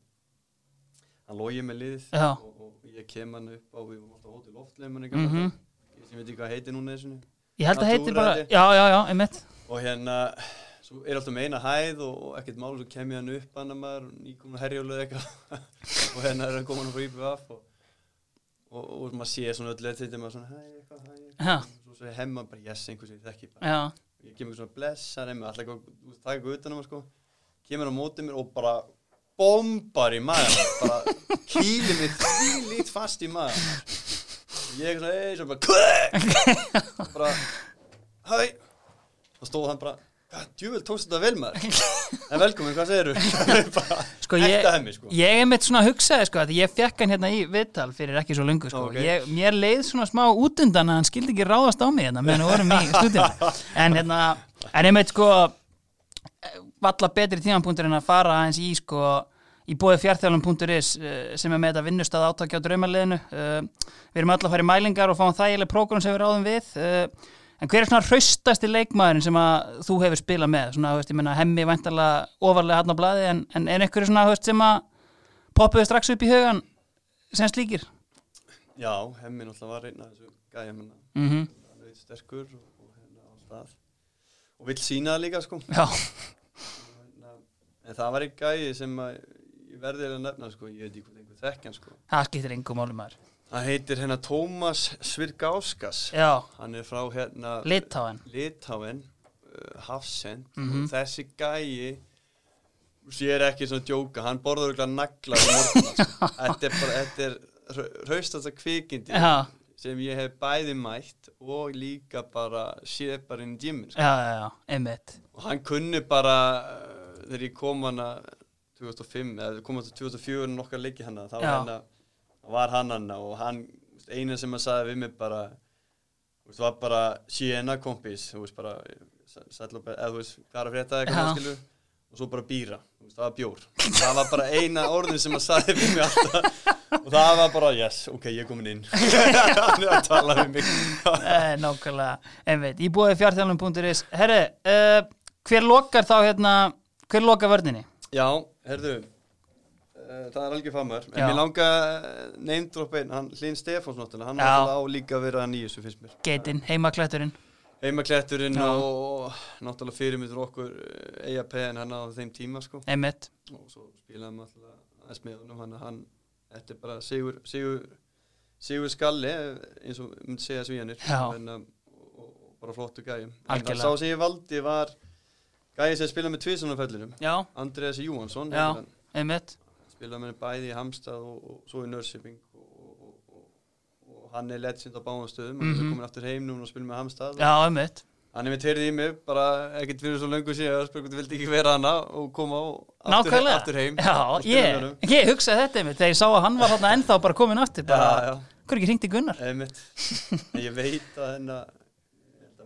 hann logið með liðið
Já.
og, og ég kem hann upp á, við varum alltaf á hótel loftleim, hann ekki,
Mm
ég sem veit ekki hvað heitir núna þessunni.
Ég held að heiti
Natúra,
bara,
held ég.
já, já, já, einmitt.
Og hérna, svo er alltaf meina hæð og, og ekkert mál, svo kem ég hann upp hann að maður, nýkomin að herjólu eitthvað, og hérna er hann komin frá IBF og, og, og, maður sé svona öll eftir þetta, maður svona, hæ, eitthvað, hæ,
Já,
svo svo hemma bara, yes, einhvers ég þekki bara.
já,
ég kemur svona blessar einmitt, alltaf eitthvað, þú veist, taka utan á maður sko kemur á móti mér og bara bombar í maður bara kýlir mig því lít fast í maður og ég svona, ei, svo bara kvæk og bara, hæ þá stóð hann bara, hvað, djúvel tókst þetta vel maður en velkomin, hvað segirðu bara,
Sko,
ekta
ég-
hemmi sko
ég einmitt svona hugsaði, sko, að ég fekk hann hérna í viðtal fyrir ekki svo lungu, sko.
Ó, ok.
Ég, mér leið svona smá útundan að hann skildi ekki ráðast á mig hérna, meðan við vorum í stúdíum. En hérna, en einmitt, sko, valla betri tímanpunktur en að fara aðeins í, sko, í bóði fjartjálum.is eh, sem er með þetta vinnustað átakja á draumaliðinu. Eh, Við erum öll að fara í mælingar og fáum þægileg prógram sem við ráðum við. Eh, En hver er svona hraustasti leikmaðurinn sem að þú hefur spilað með? Svona, þú veist, ég menna hemmi væntalega ofarlega hann á blaði en, en er einhverju svona, þú veist, sem að poppuðu strax upp í hugan sem slíkir?
já, hemmi náttúrulega var einn af þessu gæja menna,
Mm
hann veit sterkur og, og hérna á stað og vill sína það líka sko
Já,
Hérna, En það var einn gæi sem að ég verði eiginlega að nefna sko, ég veit ekki hvað einhver þekkjan sko.
það skiptir engum málum maður.
Hann heitir hérna Tómas Svirgáskas.
Já,
Hann er frá hérna
litáin.
Litáen, uh, Hafsend
Mhm.
og þessi gæi, þú sé, ég er ekki svona að djóka, hann borður eitthvað nagla í morgun. sko. þetta er bara, þetta er hraustasta kvikindi
Já,
sem ég hef bæði mætt og líka bara séð bara inn í gymmin. Sko.
já, já, já, einmitt.
og hann kunni bara uh, þegar ég kom hana 2005 eða kom hana 2004 nokkar leiki hana þá
Já.
var hana, var hann hana og hann, þú veist, eina sem hann sagði við mig bara þú veist, var bara síðan að kompis þú veist bara sæ- sæll og be- eða þú veist hvað er að frétta eða
Já.
hvað skilur og svo bara býra, þú veist, það var bjór það var bara eina orðin sem hann sagði við mig alltaf og það var bara yes, ok, ég er komin inn hann er að tala við mig
Eh, Nákvæmlega, einmitt, í bóði fjartjálum.is. Herri, uh, hver lokar þá hérna, hver lokar vörninni?
Já, herðu uh, það er algjör famar en
Já.
mér langa neymdropp einn hann Hlinn Stefáns náttúrulega, hann
Já.
náttúrulega á líka að vera hann í þessu finnst mér
Geitin, heimaklætturinn.
heimakletturinn
Já.
og, og náttúrulega fyrirmyndur okkur EAP en hann á þeim tíma sko
Einmitt,
og svo spilaðum alltaf aðeins með honum hann, hann þetta er bara sigur sigur, sigur skalli eh, eins og myndi segja svíjanir
Já.
en, um, og, og bara flottu gæjum
Algjörlega.
sá sem ég valdi var gæjum sem spilaði með tvisunarfellinum
já,
Andreas Júhansson
Já.
heitir hann.
einmitt.
spilaði með henni bæði í Hamstað og, og svo í Nörsiping og, og, og, og, og hann er legend á báðum stöðum mm
Mhm.
hann er komin aftur heim núna og spilaði með Hamstað
Já, einmitt.
hann er með tverið í mig, bara ekkert fyrir svo löngu síðan, spurgum þú vildi ekki vera hana og koma á aftur,
Nákvæmlega.
aftur heim og
Já,
spila með
ég,
honum.
ég hugsaði þetta einmitt þegar ég sá að hann var þarna ennþá bara komin aftur
Já,
bara,
já.
hver ekki hringdi í Gunnar?
Einmitt. En ég veit að henn að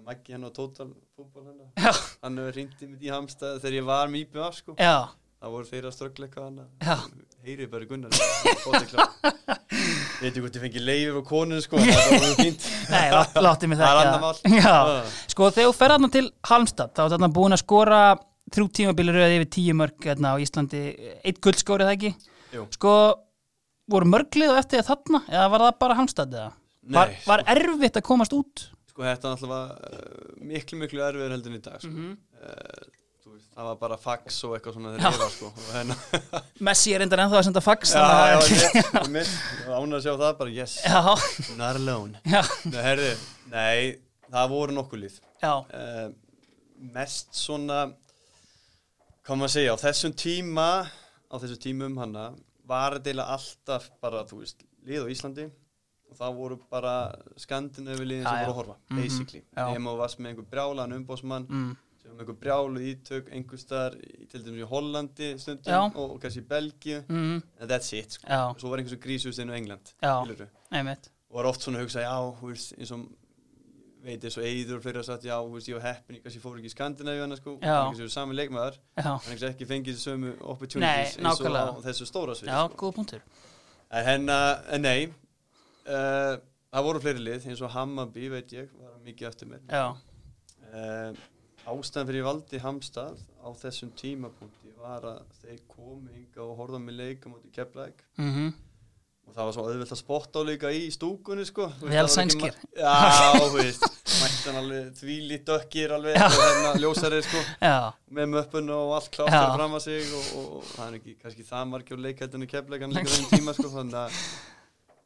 Maggi henn og Total fútbol henn
Já,
hann hefur ringt í mitt í hamstað þegar ég var með íbjöð af sko
já,
það voru þeir að ströggla eitthvað hann
já,
heyrið bara í Gunnar fótiklað veit ekki hvort ég fengi leifir og konun sko en það voru fínt Ah,
nei, lá- láttu mig
Það er
það
annað
ekki
mál.
að-
Já.
Já, sko þegar þú ferð þarna til Halmstad þá er þarna búin að skora þrjú tímabili rauði yfir tíu mörg hérna á Íslandi, eitt guldskórið það ekki
Jú.
sko, voru mörglið eftir þér þarna eða var það bara Halmstad eða?
Nei,
Var, var erfitt að komast út?
sko þetta er alltaf uh, miklu miklu erfiður heldur en í dag sko. mm veist, það var bara fax og eitthvað svona þegar ég var sko og henn
Messi er reyndar ennþá að senda fax
já,
þannig
já, ég mitt án að sjá það bara yes,
að-
not alone
já, já,
Nei, herði, nei, það voru nokkuð líð
já,
uh, mest svona hvað maður að segja, á þessum tíma á þessum tímum hana var þetta eiginlega alltaf bara, þú veist lið á Íslandi og það voru bara skandinavi liðin sem
Já, já.
voru að horfa basically,
Já.
nema þú varst með einhver brjálan umbósmann,
mm,
sem var með einhver brjálu ítök einhver staðar, í- til dæmis í Hollandi stundum
Já.
og, og kannski í Belgíu
mm,
and that's it, sko.
já,
svo var einhver sem grísust inn á England,
Já.
skilurðu
einmitt
og var oft svona að hugsa, já, þú veist, eins og veit eins og Eidur og fleiri að sagt, já, þú veist, ég var heppin, ég kannski fór ekki í Skandinavíu annars, sko,
Já.
þannig sem sami leikmaður,
já,
þannig sem ekki fengið sömu
Nei,
opportunities eins og á
nákvæmlega.
þessu stóra svið,
já, góð punktur
sko. En henn að, en nei, uh, það voru fleiri lið, eins og Hammarby, veit ég, var mikið eftir mér.
já,
Uh, ástæðan fyrir ég valdi Hamstað á þessum tímapunkti var að þeir komu hinga og horfða með leikum út í Keflæk
mhm,
og það var svo auðvelt að spotta á líka í stúkunni sko Þú
Vel
veist, það var ekki
sænskir.
ma- Já, þú veist, mættan alveg þvíli dökkir alveg og hérna ljósarir sko
já,
með möppuna og allt klátt
Já.
fyrir fram að sig og, og, og það er ekki kannski það margjör leikættinu kefleikan líka þenni tíma sko þannig að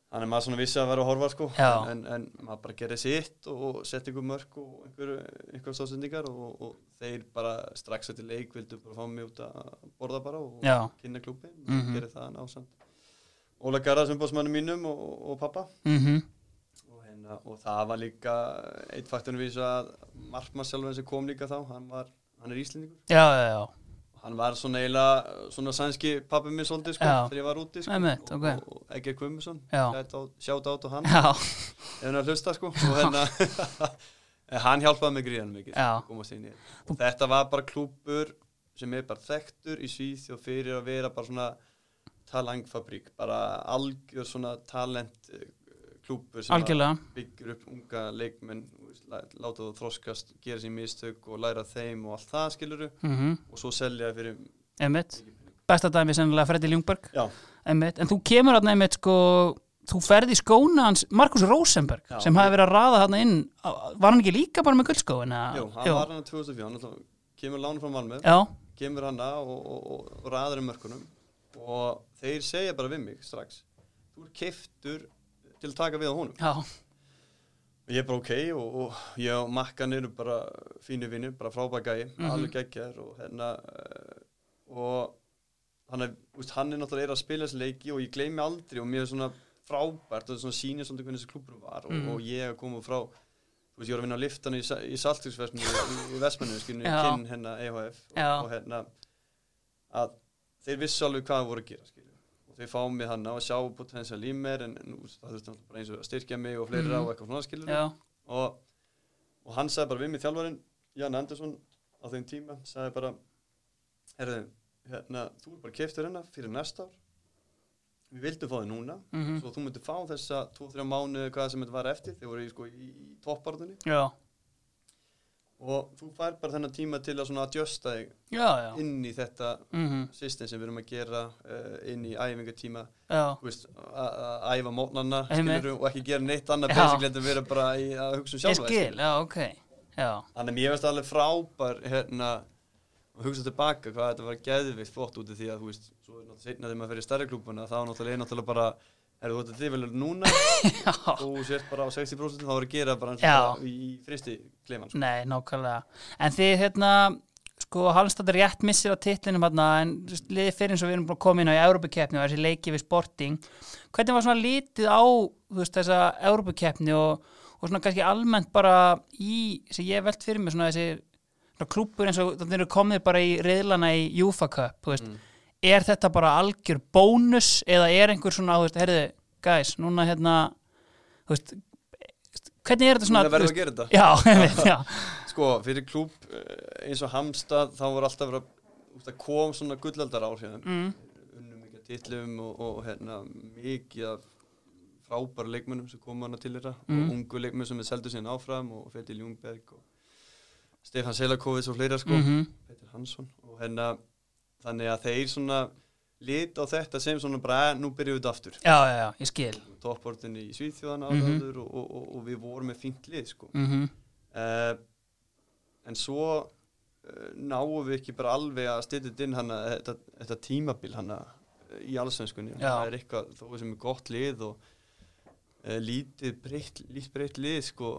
þannig að maður svona vissi að vera að horfa sko
Já.
en, en maður bara gerði sitt og, og setti ykkur mörk og einhver, einhver stóðsendingar og, og þeir bara strax eftir leik vildu bara fá mig út að borða bara og
Já.
kynna klúbin og
Mhm.
gerði það násamt Óla Garðars umbóðsmannum mínum og, og- og pappa
mhm
og, hérna, og það var líka eitt faktorinn við þessu að Markmann sjálfur sem kom líka þá hann, var, hann er íslendingur
já, já, já,
hann var svona eiginlega svona sænski pappi minn svolítið sko
Já.
þegar ég var úti sko
Einmitt, ok.
og, og Egger Kvömmusson
Já.
sjátt át og hann
já,
ef hann er að hlusta sko og henn en hann hjálpaði mig gríðan mikið sko,
Já.
að komast inn í þetta. og þetta var bara klúpur sem er bara þekktur í Svíð og fyrir að vera bara svona talangfabrík, bara algjör svona talent eh, klúpur sem að
algjörlega
byggir upp unga leikmenn þú veist, lá- láta þú þroskast, gera sér mistök og læra af þeim og allt það skiluru
mhm,
og svo selja fyrir
einmitt besta dæmi sennilega Freddy Ljungberg
Já,
einmitt, en þú kemur hann einmitt sko þú ferði í skóna hans Markus Rosenberg
Já.
sem hafi verið að raða hann inn á- var hann ekki líka bara með guldskóin? eða?
jú, hann var hérna hann 2004, hann alltaf kemur lánu frá Malmö,
já,
kemur hann og, og, og, og raður um mörkunum og þeir segja bara við mig strax þú er keiftur til að taka við á honum
já,
og ég er bara ok og, og ég og makkan eru bara fínu vinnu, bara frábækagi
Mhm.
alveg geggjar og hérna uh, og hann er, úst, hann er náttúrulega er að spila þessi leiki og ég gleymi aldrei og mér er svona frábært og svona sýnir svona hvernig þessi klúburum var og,
Mhm.
og ég að koma frá þú veist, ég var að vinna á liftanu í, Sa- í Saltvíksvesminu í, í Vestmannu, skilni,
Já.
kinn hérna EHF og,
Já.
og hérna að þeir vissu alveg hvað það voru að gera skilju. og þeir fá mig hann á að sjá potensial í mér en, en úst, það þurfti náttúrulega bara eins og að styrkja mig og fleira
Mhm.
og eitthvað svona skilur
já,
og, og hann sagði bara við mig þjálfarinn, Jan Andersson á þeim tíma, sagði bara herðu, hérna, þú er bara keiftur hérna fyrir næsta ár við vildum fá þig núna
mhm,
svo þú myndir fá þessa 2-3 mánuði hvað sem þetta var eftir, þeir voru í, sko, í, í topparðunni
já,
og þú fær bara þennan tíma til að svona adjusta þig
já, já
inn í þetta
mhm,
system sem við erum að gera uh, inn í æfingatíma
já,
þú veist, að að æfa mótnanna
Einmitt.
skilurðu, og ekki gera neitt annað
Já.
basically en að vera bara í, að hugsa um
ég
sjálfa þig,
skil, já, ok já,
Þannig að mér finnst það alveg frábær hérna og hugsa tilbaka hvað þetta var geðvikt flott út af því að þú veist, svo er náttúrulega seinna þegar maður fer í stærri klúbuna þá er náttúrulega, er náttúrulega bara er þú þetta þið vel núna
já
og sért bara á 60% þá voru að gera bara eins og
Já.
bara í í fristi kleman sko.
Nei, nákvæmlega. En þið, hérna, sko, Hallstad er rétt missir á titlinum hérna, en þú veist, liðið fyrir eins og við erum búin að koma inn á í Európukeppni og þessi leiki við Sporting. Hvernig var svona lítið á, þú veist, þessa Európukeppni og, og svona kannski almennt bara í, sem ég hef velt fyrir mér svona þessi svona klúppur eins og þannig eru komið bara í reyðlana í Júfa Cup, þú veist
Mm.
er þetta bara algjör bónus eða er einhver svona, þú veist, herði guys, núna hérna þú veist, hvernig er þetta svona
Núna verðum við að gera þetta.
Já, einmitt, já,
Sko, fyrir klúb eins og Hamstað þá var alltaf verið að þú veist, það kom svona gullaldar ár hérna mm. unnum mikið af titlum og, og hérna, mikið af frábæra leikmönnum sem komu hana til þeirra og ungu leikmönnum sem við seldu síðan áfram og Fetil Ljungberg og Stefan Selakovits og fleira sko
Mhm.
Petur Hansson og hérna þannig að þeir svona lit á þetta sem svona bara "Eh, nú byrjuðu þetta aftur
já, já, já, ég skil
topportinni í Svíþjóðan áður og, og, og, og við vorum með fínt lið sko
mm
uh, en svo uh, náum við ekki bara alveg að styrja inn hana, þetta, þetta tímabil hana eh, í allsvenskunni
Já.
það er eitthvað þó sem er gott lið og uh, lítið breytt, lítið breytt lið sko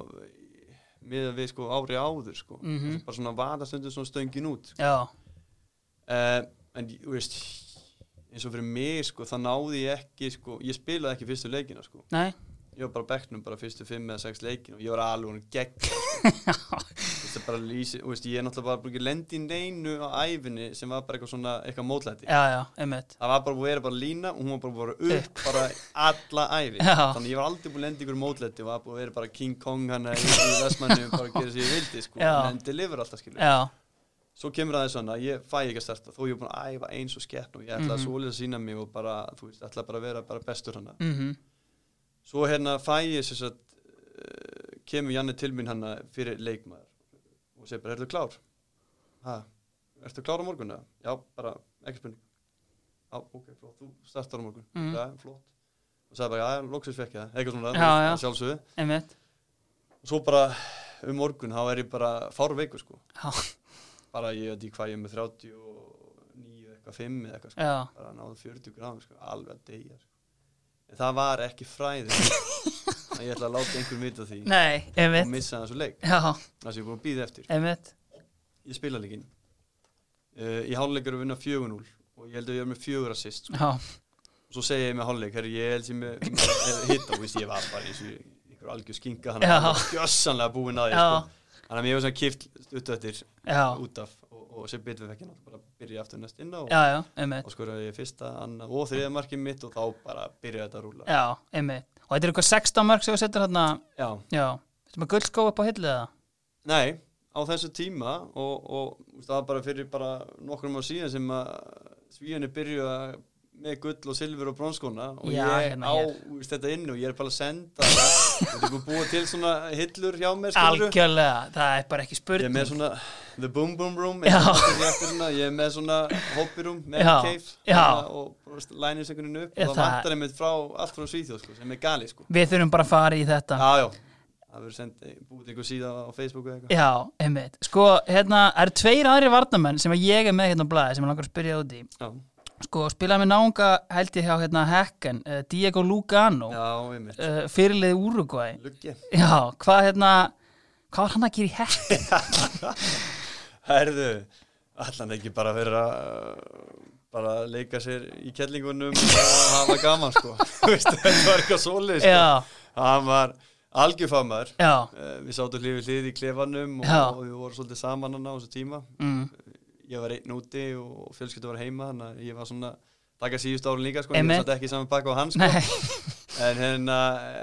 með við sko ári áður sko
Mhm.
bara svona vaðastundum svona stöngin út
Já,
uh, en þú veist eins og fyrir mig sko það náði ég ekki sko, ég spilaði ekki fyrstu leikina sko
nei,
ég var bara á bekknum bara fyrstu fimm eða sex leikin og ég var alveg hún gegn veist, bara lýsi, þú veist, ég er náttúrulega bara búin ekki lendi í neinu á æfinni sem var bara eitthvað svona eitthvað mótlæti
já, já, einmitt
það var bara búin að vera bara lína og hún var bara búin að vera upp bara alla æfi
Já.
þannig ég var aldrei búin að lendi ykkur mótlæti og var búin að vera bara King Kong hana í, í Vestmannu bara að gera sér ég vildi sko,
Já.
en deliver alltaf skilur
Já,
svo kemur aðeins svona, ég fæ ekki að starta þó ég er búin að æfa eins og skeppn og ég
Mhm.
ætla að svolítið að sína mig og bara, þú veist, ætla bara að vera bara bestur hana
mhm,
svo hérna fæ ég sem sagt uh, kemur Janni til mín hana fyrir leikmaður og segir bara, ertu klár? Ha, ertu klár á morgun? eða?" Já, bara, ekki spurning Já, ok, flott, þú startar á morgun
Mhm.
Já, flott og sagði bara, já, loksins fekk ég það, eitthvað svona
Já, já.
sjálfsögðu
einmitt
og svo bara um morgun, þá er ég bara fárveikur sko,
Já,
bara ég veit í hvað ég er með 39 eitthvað 5 eða eitthvað sko,
já,
bara náðu 40 gráðum sko, alveg að deyja sko. en það var ekki fræði að ég ætla að láta einhver vita því
nei,
og
einmitt
missa þessu leik
Já,
það sem ég er búin að býða eftir
einmitt
ég spila leikinn uh, í hálfleik er að vinna 4-0 og ég held að ég er með 4 assist sko.
Já,
og svo segja ég með hálfleik herri, ég held sem ég með hitta og veist, ég var bara eins og ykkur algjör skinka hann
Já.
var gjössanlega búin að ég
Já.
sko. þannig að ég var svona kift út eftir
já,
út af og, og sem betur við ekki bara byrja ég aftur næst inn á og,
já, já, einmitt
og skoraði ég fyrsta, annað og þriða markið mitt og þá bara byrjaði þetta að rúla
Já, einmitt. Og þetta er eitthvað 16 mörg sem þú setur hérna,
Já.
já, þetta er með gullskó upp á hillið það.
Nei, á þessu tíma og, og þú veist, það var bara fyrir bara nokkrum á síðan sem að svíðanir byrjuða með gull og silfur og bronskona og
Já,
ég
hérna
á
hér.
þú veist, þetta inn og ég er bara að senda það og þú búið til svona hillur hjá mér skilurðu.
Algjörlega, það er bara ekki
ég
spurning.
er með svona the boom boom room
Já.
eins og þetta er ég eftir svona, ég er með svona hobby room með
Já,
cave
já.
hérna, og lænir einhvern veginn
Ég
upp og það
það-
vantar einmitt frá allt frá Svíþjóð sko, sem er gali sko
Við þurfum bara að fara í þetta.
já, já, það verður sendið búið einhver síða á Facebook eða eitthvað
Já, einmitt. Sko, hérna, það eru tveir aðri varnamenn sem að ég er með hérna á blæði sem ég langar að spyrja út í.
já,
Sko, spilaði með náunga held ég hjá hérna Hekken, uh, Diego Lugano, uh,
já, einmitt,
fyrirlið Uruguay.
lukki
Já, hvað hérna, hvað var hann að gera í Hekken?
Herðu, allan ekki bara fyrir að uh, bara leika sér í kellingunum og hafa gaman sko Veistu, þetta var eitthvað svoleið sko.
já,
hann var algjörfamar
já,
við sátum hlifið hlið í klefanum og,
Já.
og við vorum svolítið saman hann á þessu tíma
mm,
ég var einn úti og fjölskyldu var heima þannig að ég var svona taka síðust árun líka sko, ég
Einmitt.
var samt ekki í saman pakka á hann sko.
nei,
en, hérna,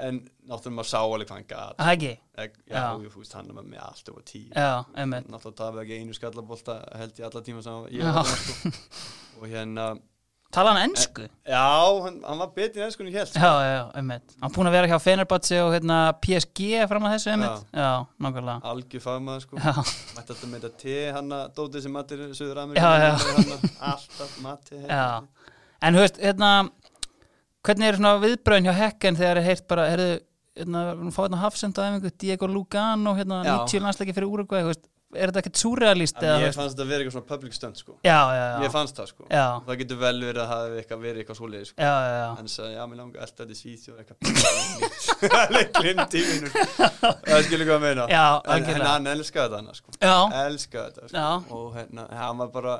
en náttúrulega maður sá alveg hvað hann gat
það ekki,
já,
Já.
Jú, fúst, hann var með allt over tíu
já, einmitt,
náttúrulega tafi ekki einu skallabolta held ég alla tíma sem hann- ég
Já.
var þarna, sko. og hérna
tala hann ennsku?
já, hann, hann var betri en ennskunni hélt sko.
Já, já, já, einmitt. Hann búin að vera hjá Fenerbahce og hérna, PSG fram að þessu, einmitt. Já, nákvæmlega.
algjör fagmaður sko
Já,
mætti alltaf með þetta te hann að dótið sem matir Suður
Já, já.
Ameríku alltaf mati
já. En, þú veist, hérna, hvernig eru svona viðbröðin hjá Hekken þegar er heyrt bara, heyrðu, hérna, við erum að fá hérna Hafsend á efingu, Diego Lugano, hérna,
Já.
90 landsleiki fyrir Úrugvæði, þú veist, er þetta ekkert súrealíst eða, þú
ég
veist?
fannst þetta vera eitthvað svona public stunt sko
Já, já, já,
ég fannst það sko
já,
það getur vel verið að hafa eitthvað verið eitthvað svoleiði sko
já, já, já.
hann sagði, já, mér langar alltaf þetta í Svíþjóð eitthvað glimt tíminu það skilur hvað að meina
Já,
en, en
algjörlega.
hann elskaði þetta annars sko
Já,
elska þetta
Já.
sko. og hérna, hann var bara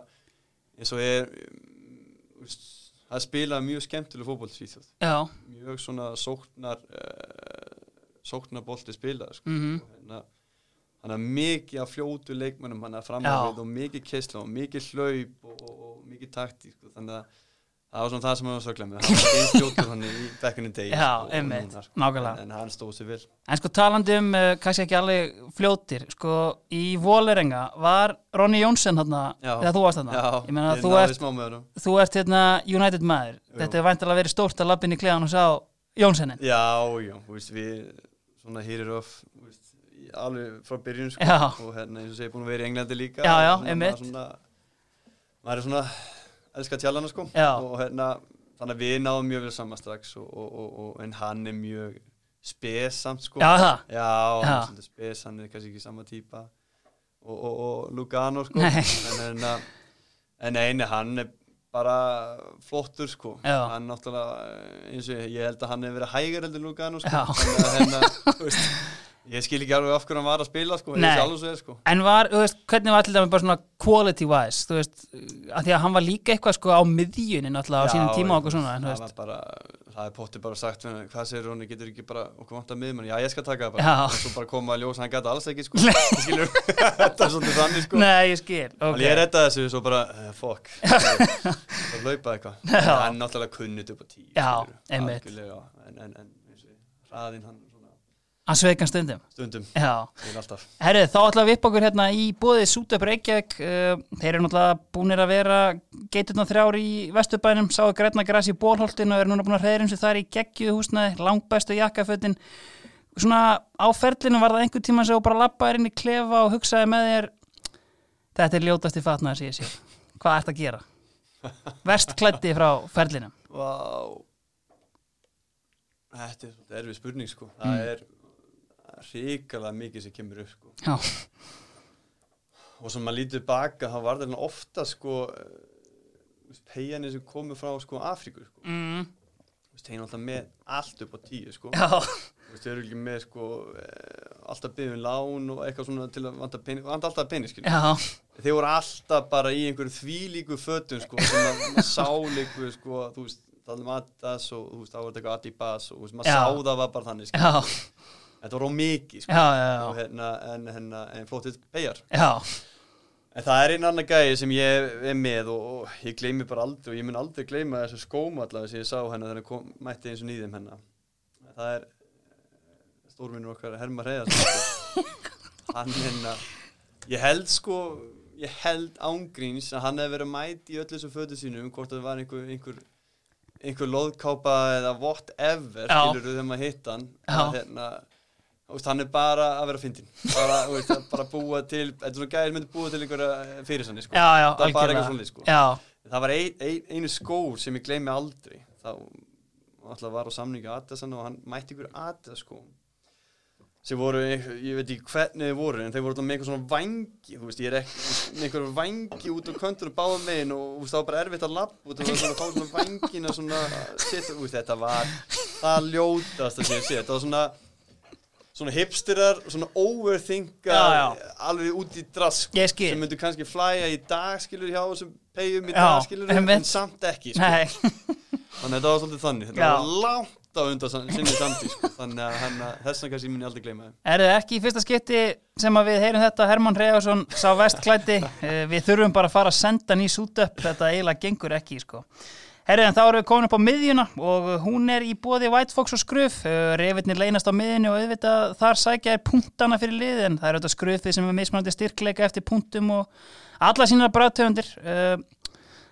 eins og er að spila mjög skemmtileg fótboll í Svíþjóð
já,
mjög svona sóknar uh, sóknarbolti spilað sko.
Mhm.
Og hérna, hann er mikið af fljótu leikmönnum hann er
Já.
framhæfið og mikið kessla og mikið hlaup og, og, og mikið taktík sko. þannig að það var svona það sem hann var söglað með hann var einn fljótur hann í bekkunum degi
Já,
og
einmitt,
núna, sko.
nákvæmlega.
en, en hann stóð sér vel
En sko talandi um, uh, kannski ekki alveg fljótir, sko í Vólerenga var Ronny Jónsson þarna,
Já.
eða þú varst þarna.
Já,
ég meina
ég
þú
náði
ert,
smá með honum.
þú ert hérna United maður. Þetta er væntalega verið stórt að labbin í kleðan og sá Jónssonin.
Já, já, þú veist, við svona hýrir of, þú veist, í- alveg frá byrjun, sko,
Já.
og hérna, eins og segja, búin að vera í Englandi líka.
Já, já,
og svona,
einmitt.
maður Svona, maður er svona, elskar tjallana, sko,
Já.
og hérna, þannig að við náðum mjög vel saman strax, og, og, og, og, en hann er mjög spesamt, sko.
Já, það.
Já, hann
Já.
er svolítið spes, hann er kannski ekki sama típa, og, og, og Lugano, sko,
Nei.
en hérna, en eini, hann er bara flottur sko
Já.
hann náttúrulega eh, eins og ég, ég held að hann hefur verið hægur heldur Lugano sko
Já.
Þannig að hérna, þú veist, ég skil ekki alveg af hverju hann var að spila sko,
Nei.
ég sjálf svo er sko
En var, þú veist, hvernig var til dæmi bara svona quality wise, þú veist, að því að hann var líka eitthvað sko á miðjunni náttúrulega á sínum tíma og eitthvað svona, en þú
það
veist,
var bara, það er potti bara sagt við hann, hvað segir hún, getur ekki bara okkur vant að miðmann, já ég skal taka það bara
Já.
og svo bara koma að ljósa, hann gæti alls ekki sko skilur, þetta er svolítið þannig sko
nei, ég skil,
okay.
ok,
ég redda þessu svo bara, uh, fuck það laupa eitthvað
Já.
hann náttúrulega kunnit upp á tíu
Já,
skilurðu,
einmitt.
algjörlega. en, en, en, eins og ég, hraðinn hann svona
hann sveikan stundum,
stundum
já.
Ég er alltaf.
Herru, þá ætlaðum við upp okkur hérna í bóðið Sútöp Reykjavík. Uh, þeir eru náttúrulega búnir að vera geiturna þrjár í Vesturbænum, sáu grætna græs í bólholtinu og eru núna búin að hreyðrum sig þar í geggjuðu húsnaði, langbæstu jakkafötin. Svona á ferlinu var það einhver tíma sem þú bara lappaði inn í klefa og hugsaði með þér þetta er ljótasti fatnaður sem ég sé. Hvað ert að gera? Verst klætti frá ferlinum.
Vá. Þetta er svolítið erfið spurning sko. Það
Mm.
er ríkala mikið sem kemur upp sko.
Já,
Og sem maður lítið baka, þá var það ofta sko peianir sem komu frá sko Afríku sko.
mm.
Þú veist, þeir eru alltaf með allt upp á tíu sko.
Já.
Þú veist, þeir eru ekki með sko eh, alltaf byggðum lán og eitthvað svona til að vanda pening, vanda alltaf pening skilja.
Já.
Þeir voru alltaf bara í einhverju þvílíku fötum sko, sem að maður sá líku sko, þú veist, það var Adidas og þú veist, það var eitthvað Adibas og þú veist, maður
Já.
sá það var bara þannig, sko.
Já.
þetta var á mikið sko.
Já,
og
já, já.
hérna, en, hérna, en flóttið pegar
Já,
en það er einn annar gæði sem ég er með og, og ég gleymi bara aldrei og ég mun aldrei gleyma þessu skóm allavega sem ég sá hennar þegar hann kom, mætti eins og nýðum hennar það er stórvinnur okkar Herma Reyðars sko. hann hérna ég held sko ég held ángríns að hann hefði verið mætt í öllu þessu fötu sínum hvort það var einhver, einhver einhver loðkápa eða whatever
Já.
skilur þegar maður hitt hann
Já.
að, hérna, þú veist, hann er bara að vera fyndin bara, þú veist, að bara búa til þetta er svona gæðir myndi búa til einhverja fyrirsanni sko.
já, já,
það er bara eitthvað svona sko.
Já,
það var ein, ein, einu skór sem ég gleymi aldrei þá alltaf var á samningu Adasan og hann mætti ykkur Adas sko sem voru, ég ég veit ekki hvernig þeir voru en þeir voru alltaf með einhver svona vangi þú veist, ég er ekki, með einhver vangi út á köntunum báðum megin og þú veist, það var bara erfitt að lappa og það var svona að fá svona vangina svona, shit, þú veist, þetta var það ljótast að sé, sé, þetta var svona svona hipsterar, svona overthinkar
Já,
alveg út í drask
Ég skil.
sem myndu kannski flæja í dag skilur hjá þessum peyjum í
Já,
dag skilur
einmitt.
en samt ekki sko.
nei,
þannig að þetta var svolítið þannig þetta
Já.
var langt á undan sam- sinni samtíð sko. þannig að hana, þessan kannski minn ég aldrei gleyma þeim
er það ekki í fyrsta skipti sem að við heyrum þetta Hermann Reyðarsson sá vestklæti Eh, við þurfum bara að fara að senda hann í sútöpp þetta eiginlega gengur ekki sko. Herri, en þá erum við komin upp á miðjuna og hún er í bóði White Fox og Skruf reyfirnir leynast á miðjunni og auðvitað þar sækja er punktana fyrir liðið en það er auðvitað Skrufið sem er mismunandi styrkleika eftir punktum og alla sína bræðtöfundir Eh,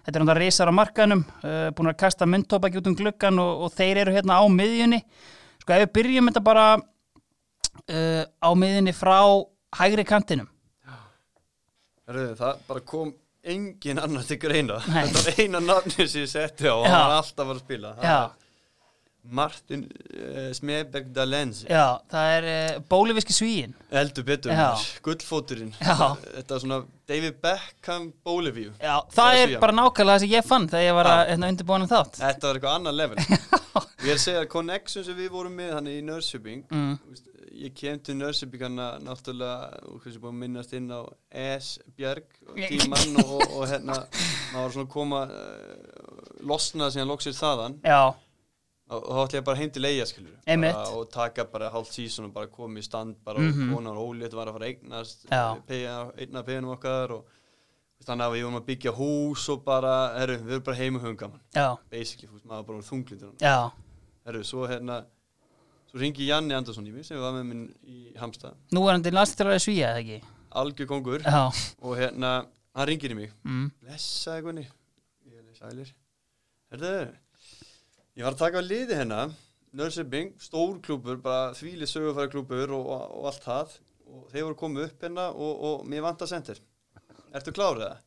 Þetta er náttúrulega reysar á markaðnum, uh, búin að kasta myndtóbaki út um gluggan og, og þeir eru hérna á miðjunni. Sko ef við byrjum þetta bara uh, á miðjunni frá hægri kantinum.
Rauði, það bara kom engin annar til greina
Nei.
þetta var eina nafni sem ég setti á og
Já.
hann var alltaf að fara að spila Það
Já,
var Martin uh, Smeberg Dalensi
já, það er uh, bóliviski svíin.
eldur betur,
Já.
maður. gullfóturinn
Já.
þetta er svona David Beckham Bolivíu
Já, það,
Það er
er
svíjan.
bara nákvæmlega það sem ég fann þegar ég var að hérna, undirbúin um þátt.
Þetta var eitthvað annað level Ég er að segja að connection sem við vorum með hann í Nörsubing
Mm.
Ég kem til Nörsubing hann náttúrulega og hversu búin að minnast inn á S. Björg og
Ég-
tímann og, og, eh, og hérna maður var svona að koma uh, losna síðan loksir þaðan
Já,
og og þá ætla ég bara heim til eiga skilur
Einmitt.
og taka bara hálf sísun og bara koma í stand bara
Mhm.
og konar ólétt var að fara að eignast eh,
Já.
peyja- einna peginum okkar og þannig að við vorum að byggja hús og bara, herru, við erum bara heim og höfum gaman
já,
basically, þú veist, maður bara þunglindur
já,
herru, svo hérna svo ringi Janni Andersson í mig sem var með minn í Hamsta,
nú er hann til landstælar að svíja eða ekki
algjör kongur
já,
og hérna, hann ringir í mig
mm.
blessaði Gunni ég er sælir Herðu, ég var að taka á liði hérna Nörsebing, stór klúpur bara þvíli sögufæra klúpur og, og, og allt það og þeir voru komið upp hérna og, og mér vantar sendir Ertu klárið það?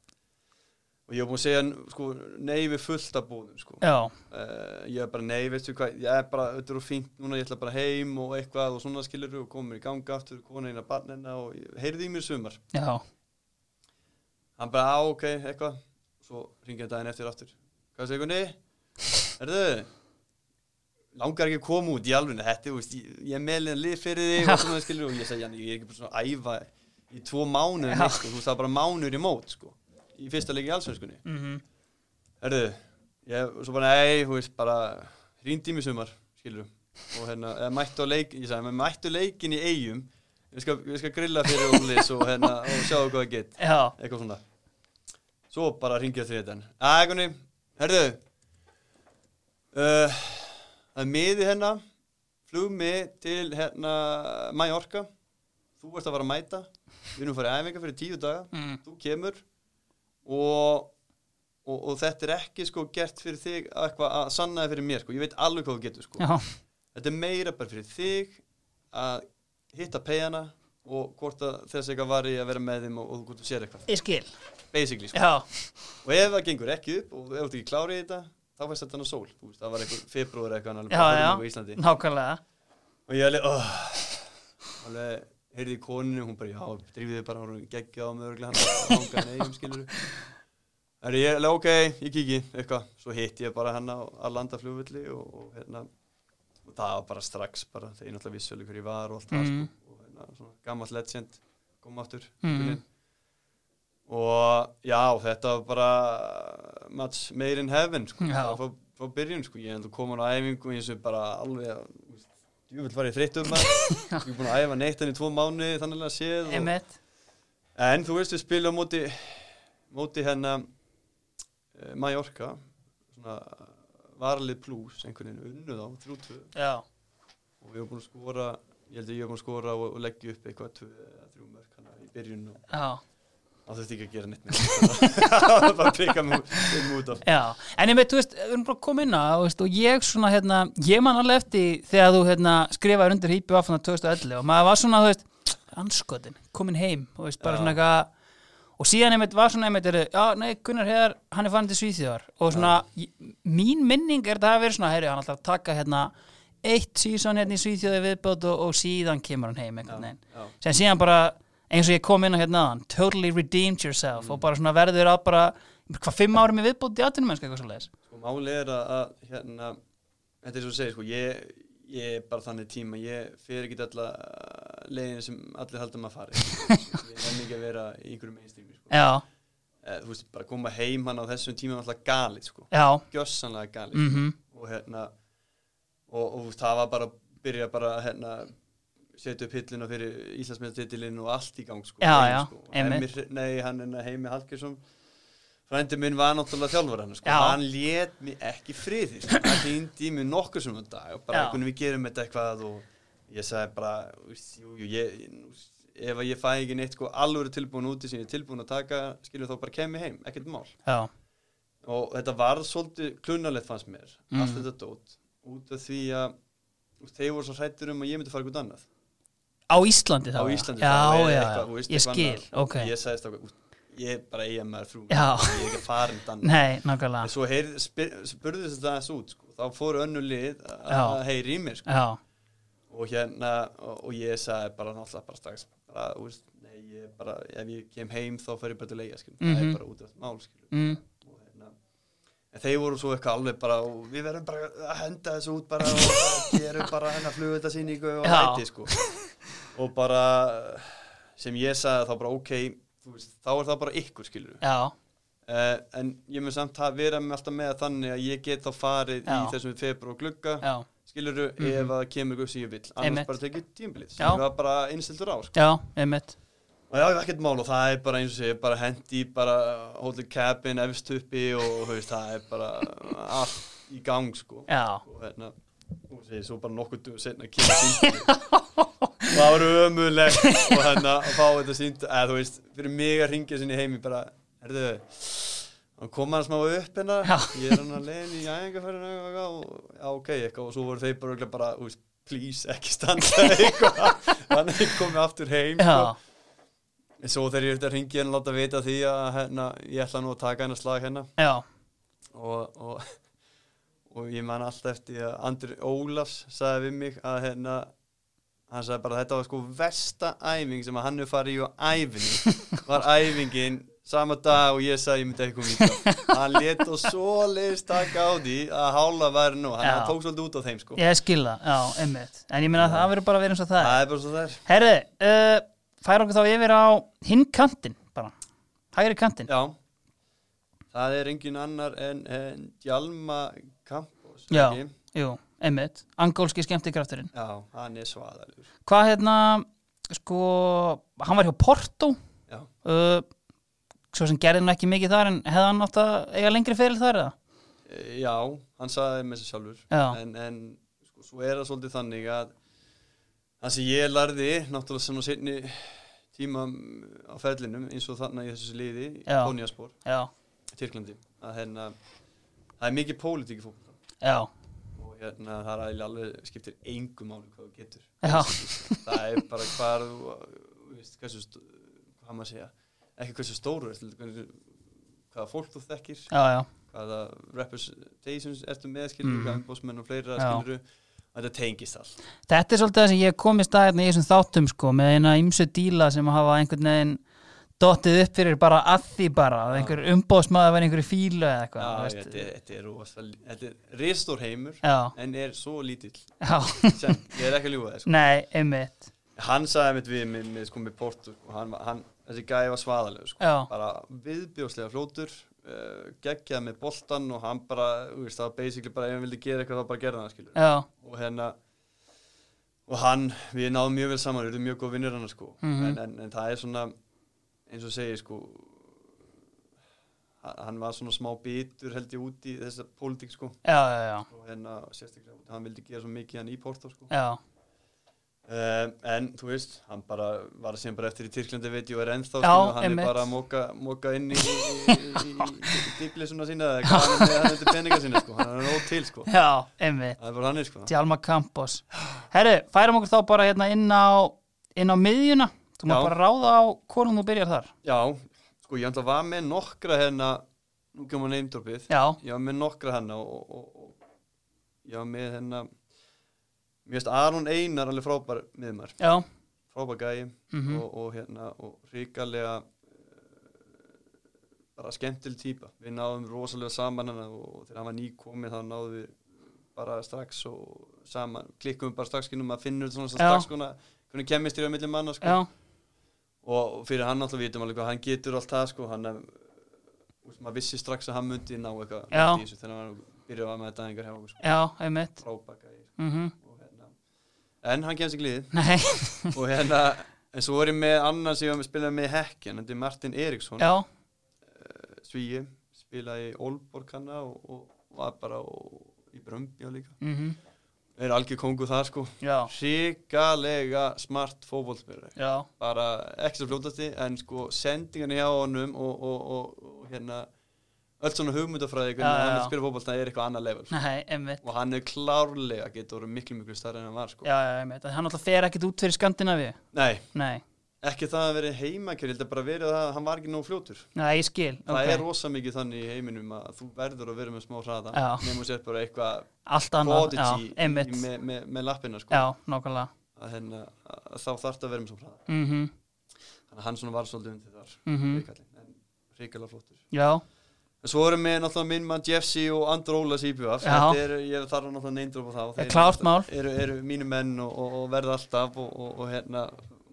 Og ég var búin að segja sko, nei við fullt af búðum sko.
já,
uh, ég er bara nei, veistu hvað ég er bara, þetta eru fínt núna, ég ætla bara heim og eitthvað og svona skilur og komur í ganga aftur kona eina barnina og ég- heyrði í mér í sumar
já,
hann bara, á, ok, eitthvað svo ringi hann daginn eftir aftur hvað segir Gunni? Erðu, langar ekki að koma út í alveg þetta, þú veist, ég, ég meðlega lið fyrir þig og svona skilur og ég segi, Janni, ég er ekki bara svona að æfa í tvo mánuði,
Já.
neitt, sko, þú veist, það er bara mánuður í mót, sko í fyrsta leik í allsvenskunni
mm
Erðu, ég, svo bara, nei, þú veist, bara hrýndi í mig sumar, skilur og hérna, eða mættu á leik, ég sagði, "Menn mættu leikin í eigum ég skal, ég skal grilla fyrir Ólis og hérna, og sjáðu hvað það get
já,
eitthvað svona svo bara ringja þriðan Agunni, herðu uh, það er miði hérna flugmi til hérna Mallorca þú ert að fara að mæta við erum að fara í æfinga fyrir tíu daga
mm.
þú kemur og, og, og þetta er ekki sko gert fyrir þig eitthvað að sanna það fyrir mér sko, ég veit alveg hvað þú getur sko
já,
þetta er meira bara fyrir þig að hitta peyjana og hvort að þess eitthvað var í að vera með þeim og, og hvort þú sér eitthvað
ég skil
basically sko.
já,
og ef það gengur ekki upp og ef þú ert ekki klárið í þetta þá fæst þetta hann á sól Þú veist, það var eitthvað februar eitthvað hann alveg
Já,
bara
já.
hörmungur í Íslandi
nákvæmlega
og ég alveg oh, alveg heyrði í koninu hún bara já drífið þið bara hún geggja á mig örugglega, hann hanga neyjum skilur Það er ég alveg ok, ég kíki, eitthvað, svo hitti ég bara hann á að landa flugvölli og, og hérna, og það var bara strax bara, þegar ég náttúrulega vissu alveg hver ég var og allt það,
Mm.
sko, og hérna, svona gammalt legend kom aftur,
Mm.
gullinn. og já, þetta var bara much made in heaven, sko,
Já.
frá, frá byrjun, sko, ég endur komin á æfingu eins og bara alveg, að, þú veist, djúvill var ég þreytt um maður, ég er búin að æfa neitt hann í tvo mánu, þannig að séð, og,
einmitt,
En þú veist, við spilum á móti, móti hérna uh, Mallorca, svona varalið plus, einhvern veginn unnuð á, 3-2
já,
og við erum búin að skora, ég held að ég er búin að skora og, og leggja upp eitthvað 2 eða 3 mörk hana í byrjun og
já
það þurfti ekki að gera neitt með það bara pika mig út- mig út af.
Já, en ég veit, þú veist, við erum bara að koma inn á það, þú veist, og ég svona, hérna, ég man alveg eftir þegar þú hérna, skrifaði undir hýpi vafna 2011 og maður var svona, þú veist, anskotin, komin heim, þú veist, bara
Já.
svona eitthvað og síðan einmitt var svona einmitt, er, já, nei, Gunnar Heðar, hann er farin til Svíþjóðar og svona, ég, mín minning er það að vera svona, heyri, hann ætlar að taka hérna eitt síðan hérna í Svíþjóði viðbót og, og síðan kemur hann heim einhvern veginn
Já,
sem síðan bara eins og ég kom inn á hérna aðan totally redeemed yourself
Mm.
og bara svona verður að bara hvað fimm árum ég viðbúti aðtunum mennska eitthvað svo leiðis
sko málið er að, að hérna, þetta er svo að segja, sko, ég, ég er bara þannig tíma, ég fer ekki alla leiðin sem allir halda maður að fara. ég er mikið að vera í einhverju mainstreami, sko.
já,
eh, þú veist, bara koma heim hann á þessum tíma var alltaf galið, sko,
já,
gjössanlega galið
mhm
og hérna og, og þú veist, það var bara, byrja bara hérna, setja upp hillina fyrir Íslandsmeðatitilinn og allt í gang sko,
Já,
heim,
já,
sko.
einmitt.
Hemmi, Hre- nei, hann hérna heimi Hallgjörsson frændi minn var náttúrulega þjálfur hann sko.
Já.
hann lét mig ekki friði sko. hann hýndi í mig nokkuð sem dag og bara
Já.
hvernig við gerum þetta eitthvað og ég sagði bara þú veist, jú, jú, ég, nú- ef að ég fæ ekki neitt sko, alvöru tilbúin úti sem ég er tilbúin að taka skilur þá bara kemi heim, ekkert mál
já,
og þetta varð svolítið klunarlegt fannst mér
Mm.
allt þetta dót út af því að þú veist, þeir voru svo hrættir um að ég myndi fara eitthvað annað
á Íslandi þá
á
já.
Íslandi
já,
þá
já,
er
já,
eitthvað, þú veist,
ég
eitthvað
skil,
annað.
ok
ég sagðist okkur, út, ég er bara eiga maður frú
Já.
ég er ekki að fara eitthvað annað
nei, nákvæmlega
en svo heyr, spyr, spurði þess að þessu út sko. þá fóru önnu lið
Já.
að heyri í mér sko.
já,
og hérna og, og ég sagði bara náttúrulega bara strax bara, þú veist, nei, ég bara, ef ég kem heim þá fer ég bara til leiga skilur. það
Mhm.
er bara út af þetta mál skilur
mm,
og hérna en þeir voru svo eitthvað alveg bara og við verðum bara að henda þessu út bara og bara gerum bara hennar flugvöldasýningu og
Já.
hætti sko og bara sem ég sagði þá bara ok þú veist, þá er það bara ykkur skilur
já,
Uh, en ég mun samt að vera með alltaf með þannig að ég get þá farið í
Já.
þessum februar og glugga
já, Mhm.
skiluru ef að kemur upp sem ég vil annars
Einmitt.
bara tekið tímbilið
Já.
það er bara einsildur ár
já, einmitt
og já, það er ekkert mál og það er bara eins og sé bara hendi, bara holdið cabin efst uppi og þú veist, það er bara allt í gang sko
já,
og hérna og segir svo bara nokkuð duð setna að kemur síndi og það var ömulegt og hérna að fá þetta sínd eða þú veist, fyrir mig að ringja sinni heimi bara, herðu hann kom hann smá upp hérna
Já.
ég er hann að leiðin í æfingarferðinu og eitthvað og já, ok, eitthvað og svo voru þeir bara örugglega bara, þú veist, please, ekki standa eitthvað, þannig komið aftur heim
já,
sko. en svo þegar ég er þetta að ringja hann láta vita því að hérna, ég ætla nú að taka hennar slag hérna
já,
og, og, og ég man alltaf eftir að Andri Ólafs sagði við mig að hérna hann sagði bara að þetta var sko versta æfing sem að hann hefur farið í á æfinni var æfingin sama dag og ég sagði ég myndi ekki koma í það hann let og svoleiðis taka á því að hála væri nú, hann
Já.
hann tók svolítið út á þeim sko
ég skilða, já, einmitt en ég meina að það verður bara að vera eins og það er.
það er bara svo þær
herri, uh, færa okkur þá yfir á hinn kantinn bara, hægri kantinn
já það er engin annar en, en Djalma Campos
Já.
ekki?
jú, einmitt, angólski skemmtikrafturinn
já, hann er svaðalur
hvað hérna, sko hann var hjá Porto
já
uh, svo sem gerði hann ekki mikið þar en hefði hann átt að eiga lengri fyrir þar eða?
Eh, Já, hann sagði með sér sjálfur
Já.
en, en sko, svo er það svolítið þannig að það sem ég larði náttúrulega sem á seinni tíma á ferlinum eins og þannig í þessu liði í
Já.
Konjaspor,
já,
Tyrklandi að hérna, það er mikið pólitík í fólk
já,
og hérna það er eiginlega alveg skiptir engu máli hvað þú getur
Já.
það er bara hvað þú þú veist, hversu, stó- hvað maður segja ekki hversu stóru er, hvaða fólk þú þekkir
já, já
hvaða representations ertu með
Mhm.
skilur, mm. hvaða umbósmenn og fleira
Já.
skilur þetta tengist allt
Þetta er svolítið það sem ég komist að hérna í þessum þáttum sko, með eina ymsu díla sem hafa einhvern veginn dottið upp fyrir bara að því bara, að einhver umbóðsmaður var einhverju fílu eða
Já,
eitthvað þú
þetta, er- þetta er rosa, þetta er ristór heimur
Já,
en er svo lítill
já,
sem, ég er ekki að ljúga það sko.
nei, einmitt
hann sagði mitt við með, með, sko, með portu sko. hann, var- hann, þessi gæði var svaðaleg sko.
Já.
bara viðbjóðslega flótur uh, geggjað með boltan og hann bara, þú veist, það var basically bara ef hann vildi gera eitthvað þá bara gerði hann skilur
Já,
og hérna og hann, við náðum mjög vel saman við erum mjög góð vinnir hann sko
Mhm.
en, en, en það er svona eins og segir sko ha- hann var svona smá bitur held ég út í þessa pólitík sko
já, já, já,
og hérna sérstaklega út, hann vildi gera svo mikið hann í Porto sko
já,
um, en þú veist, hann bara var sem bara eftir í Tyrklandi veit ég og er ennþá
Já,
skilur, hann
einmitt.
er bara að móka, móka inn í, í, í, í, í dýblisuna sína eða hvað hann er með hann eftir peninga sína sko hann er nóg til sko,
já, einmitt
það er bara hann sko
Tjálma Campos Herru, færum okkur þá bara hérna inn á inn á miðjuna, þú
Já.
maður bara ráða á hvorum þú byrjar þar
Já, sko ég ætla að var með nokkra hérna, nú kemur neymdorpið
Já,
ég var með nokkra hérna og, og, og ég var með hérna mér finnst Aron Einar alveg frábær með maður,
já,
frábær gæi
mhm,
og, og hérna, og ríkalega bara skemmtileg típa, við náðum rosalega saman hérna og þegar hann var nýkomið þá náðum við bara strax og saman, klikkum við bara strax kynum að finnum svona
Já.
strax svona, hvernig kemist á milli manna sko
já,
og fyrir hann alltaf vitum alveg hvað hann getur allt það sko, hann er úst, maður vissi strax að hann myndi ná eitthvað
Já.
rétt í þessu þegar hann byrjaði að með þetta einhver hjá okkur sko,
já, einmitt
frábaka í
mhm,
og hérna en hann kemst í glíð
Nei,
og hérna, en svo er ég með annan sem ég var með spilaði með hekken, þetta er Martin Eriksson
já,
Svíi, spilaði í Olborg hana og, og var bara og, í Brömbjá líka,
mhm,
er algjör kongu þar sko
já
ríkalega smart fótbollspilari
Já,
bara ekki svo fljótasti en sko sendingan hjá honum og, og, og, og hérna öll svona hugmyndafræði hvernig
Já, já,
hann er
já.
að spila fótbolta er eitthvað annað level sko.
nei, einmitt
og hann er klárlega getur verið miklu miklu starri en hann var sko
Já, já, einmitt, En hann alltaf fer ekkert út fyrir Skandinavíu
nei,
Nei,
ekki það að verið heimakjör ég held að bara verið það að hann var ekki nóg fljótur
nei, ég skil
það
ok.
er rosa mikið þannig í heiminum að þú verður að vera með smá hraða
Já.
nefnum sér bara eitthvað
Allt annað,
prodigy
já, einmitt
í- með, með, með lappina sko
Já, nákvæmlega
að hérna, að þá þarf að vera með smá hraða
mm
þannig að hann svona var svolítið undir þar
Mhm.
ríkallinn, en ríkala flottur
Já,
En Svo erum við náttúrulega minn mann Jeffsy og Andra Ólas IPF
Já.
Þetta eru, ég þarf náttúrulega neindróp á þá
Það er klárt mál.
eru, eru mínu menn og, og, og verða alltaf og, og, og hérna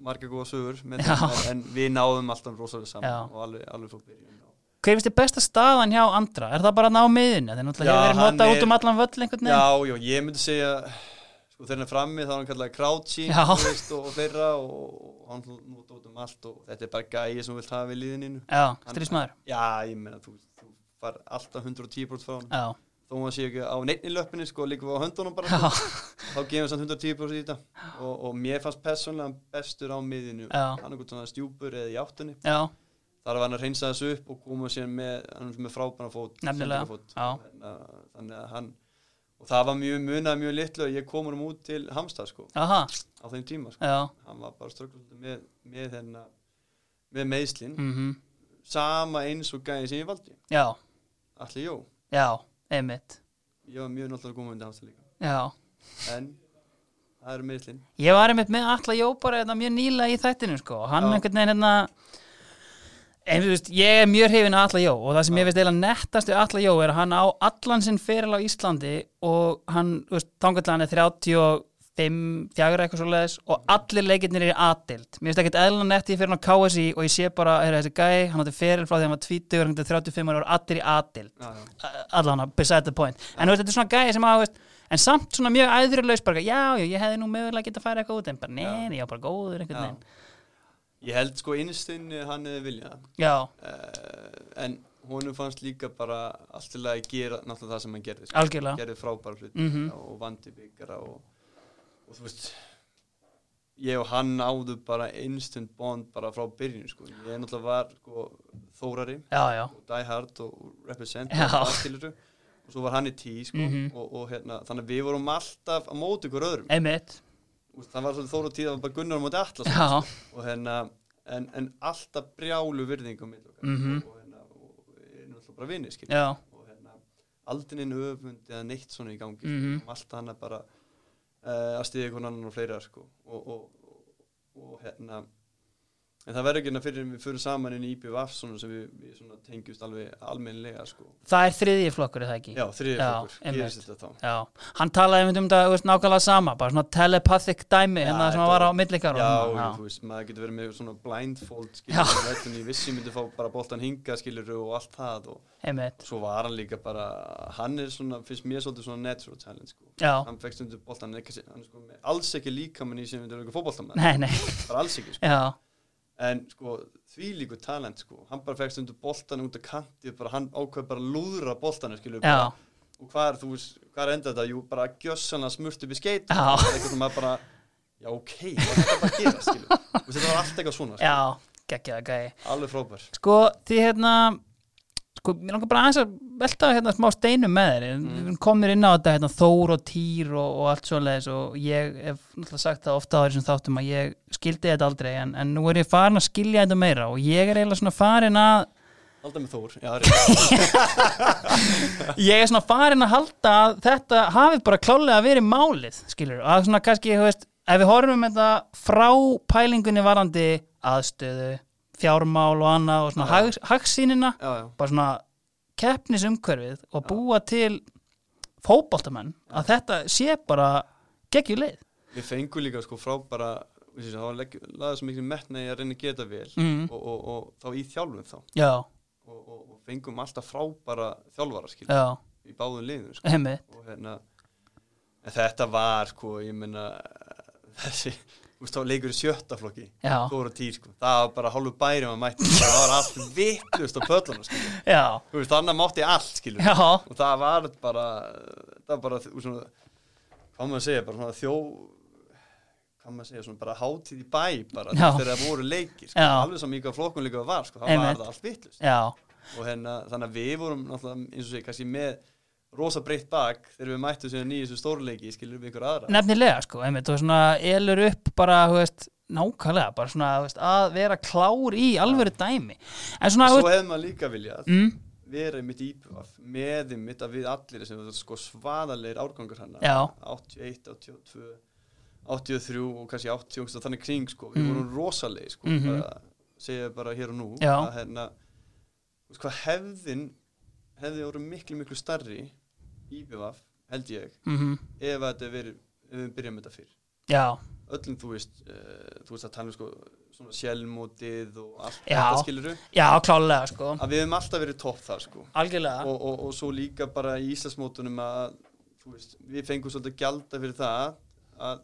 marga góða sögur með
Já.
þeim, en, en við náðum alltaf rosalega saman
Já.
og alveg, alveg frá byrjun og,
Hver finnst þið besta staðan hjá Andra? Er það bara að ná miðinu? Það er
Já,
náttúrulega hefur verið
hann
notað
er-
út um allan völl einhvern veginn.
Já, já, ég myndi segja sko þegar hann er frammi þá er hann kallar Crouchy
Já.
þú veist, og, og fleira og, og hann nút út um allt og þetta er bara gæi sem vilt hafa í liðininu
Já, strísmaður.
Já, ég meina, þú, þú far alltaf 110% frá hann
Já,
þó hann sé ekki á neittni löppinni sko, líka á höndunum bara
já,
sko, þá gefum við samt 110% í þetta og, og mér fannst persónlega hann bestur á miðinu
Já.
hann er svona stjúpur eða í áttunni
já,
þar var hann að reynsa þessu upp og koma sér með hann er með frábæna fót
Nefnilega,
sentrafót.
já.
Þannig að- þannig að hann og það var mjög munað mjög litlu að ég kom hann út til Hamstað sko
aha,
á þeim tíma sko
já,
hann var bara strögglundi með, með hérna með meðslin
mhm,
sama eins og gæði sem ég valdi
já,
allir jó
já, einmitt,
ég var mjög náttúrulega góð myndi Hamstað líka
já.
en það eru meðslin
Ég var einmitt með Alla Jó bara þetta mjög nýla í þættinu sko. Hann
Já.
einhvern veginn hérna En þú veist, ég er mjög hrifin að Alla Jó og það sem ég veist eiginlega nettast við Alla Jó er að hann á allan sinn feril á Íslandi og hann, þú veist, þangatlega hann er 35, 4 eitthvað svo leiðis og allir leikirnir eru aðdild Mér veist ekkert eðlan netti fyrir hann á KSI og ég sé bara, heyrðu þessi gæi, hann átti feril frá því að hann var 20 hann átti 35 ára og allir í aðdild
já, já.
allan að beside the point en þú veist, þetta er svona gæði sem að þú veist, en samt svona mjög æðurlaus bara já, já, ég hefði nú mögulega getað að færa eitthvað út en bara neini, já, bara góður einhvern
Já.
veginn
ég held sko innstinni hann hefði viljað
já,
uh, en honum fannst líka bara allt til að gera náttúrulega það sem hann gerði
Algjörlega.
gerði frábæra hluti
Mhm.
og vandi byggjara og, og þú veist ég og hann náðu bara instant bond bara frá byrjun sko. ég náttúrulega var sko, þórari
já, já,
og die hard og represent
Já.
og, það skilurðu. og svo var hann í tí sko,
Mhm.
og, og hérna, þannig að við vorum alltaf að móti ykkur öðrum
einmitt
Þú veist, það var svolítið þóra tíð að bara Gunnar á móti allas
já,
og hérna en, en alltaf brjálu virðingum
Mhm.
og, og hérna og er náttúrulega bara vinni skilja
já,
og hérna aldrei neinn öfund eða neitt svona í gangi
Mhm.
sko, alltaf hann að bara uh, að stiðja einhvern annan og fleira sko og, og, og, og hérna en það verður ekki hérna fyrir en við fyrir saman inn í IBVF svona sem við, við svona tengjumst alveg almennilega sko
það er þriðji flokkur er það ekki
já þriðið
Já,
fólkur,
einmitt.
gerist þetta þá
Já. hann talaði einmitt um þetta, þú veist, nákvæmlega sama bara svona telepathic dæmi,
Já,
hérna sem
þetta
var á
var-
millikar
Já,
já,
þú veist, maður getur verið með svona blindfold
Já.
skilur, vettun, ég vissi ég myndi fá bara boltan hinga skilur og allt það og
einmitt
svo var hann líka bara hann er svona, finnst mér svolítið svona natural talent sko.
já,
hann fekk stundu boltan hann er kannski- hann er sko, með alls ekki líkamann í sem við erum fótboltamenn,
nei, nei,
bara alls ekki sko.
já,
en sko, því líku talent sko. hann bara fekk stundu boltan út af kanti bara, hann ákveð bara að lúðra boltan skilur,
já,
bara, og hvað er þú veist, hvað er enda þetta jú, bara gjössan að smurt upp í skeit
Já.
eitthvað sem maður bara já ok, hvað er þetta bara að gera skilur og þetta var allt eitthvað svona, sko.
já geggjaða gæði
alveg frábær
Sko, því hérna sko, mér langar bara aðeins að velta hérna smá steinum með þér mm. komir inn á þetta hérna, þór og týr og, og allt svoleiðis og ég hef náttúrulega sagt það ofta á þessum þáttum að ég skildi þetta aldrei en, en nú er ég farin að skilja þetta meira og ég er eiginlega svona farin að
alltaf með Þór, já, rétt.
ég er svona farin að halda að þetta hafi bara klálega verið málið skilur, að svona kannski, þú veist ef við horfum þetta frá pælingunni varandi aðstöðu fjármál og annað og svona
Já.
hag, hagsýnina
já, já,
bara svona keppnisumhverfið og búa til fótboltamenn að þetta sé bara geggjuleið
við fengum líka sko frábæra þú veist, þá legg- lagði svo miklu metna í að reyna að geta vel
mm.
og, og, og þá í þjálfun þá og,
já,
og, og fengum alltaf frábæra þjálfara skil
já,
í báðum liðum sko.
heimi
og hérna en þetta var sko, ég meina þessi, þú veist þá leikur í sjötta flokki
já,
Þóra týr sko, það var bara hálfu bæri maður mætti, það var allt vittlust á pöllunum sko,
já,
þú veist þannig mátti allt skilur
já
og það var bara það var bara þú- svona, hvað maður að segja, bara svona þjó hvað maður að segja, svona bara hátíð í bæ bara
Já.
þegar það voru leikir sko,
Já.
alveg saman líka flokkun líka var sko, það
Einmitt.
var það allt vitlust
já,
og hérna, þannig að við vorum náttúrulega eins og segja, kannski með rosa breytt bak þegar við mættum sér nýjum þessu stórleiki skilur við ykkur aðra
nefnilega sko heimi, þú svona elur upp bara, þú veist nákvæmlega, bara svona þú veist, að vera klár í alvöru dæmi en svona, þú
svo
veist
hefðum maður líka viljað
mm,
vera einmitt íbjöf með einmitt að við allir sem þetta sko svaðalegir árgangur hana
Já.
81, 82 83 og kannski 80 og þannig kring sko, við
Mm.
vorum rosalegi sko,
Mhm.
bara, segja bara hér og nú
Já.
að hérna þú veist hvað hefðin hefði voru miklu miklu starri íbjöf held ég
mm
ef að þetta verið, ef við byrjum með þetta fyrr
mhm, já,
öllum þú veist, uh, þú veist að tala um sko svona sjálfmótið og allt
Já.
þetta skilur
Já, klálega, sko,
að við hefum alltaf verið topp þar sko
algjörlega
og, og, og svo líka bara í Íslandsmótunum að þú veist, við fengum svolítið gjalda fyrir það að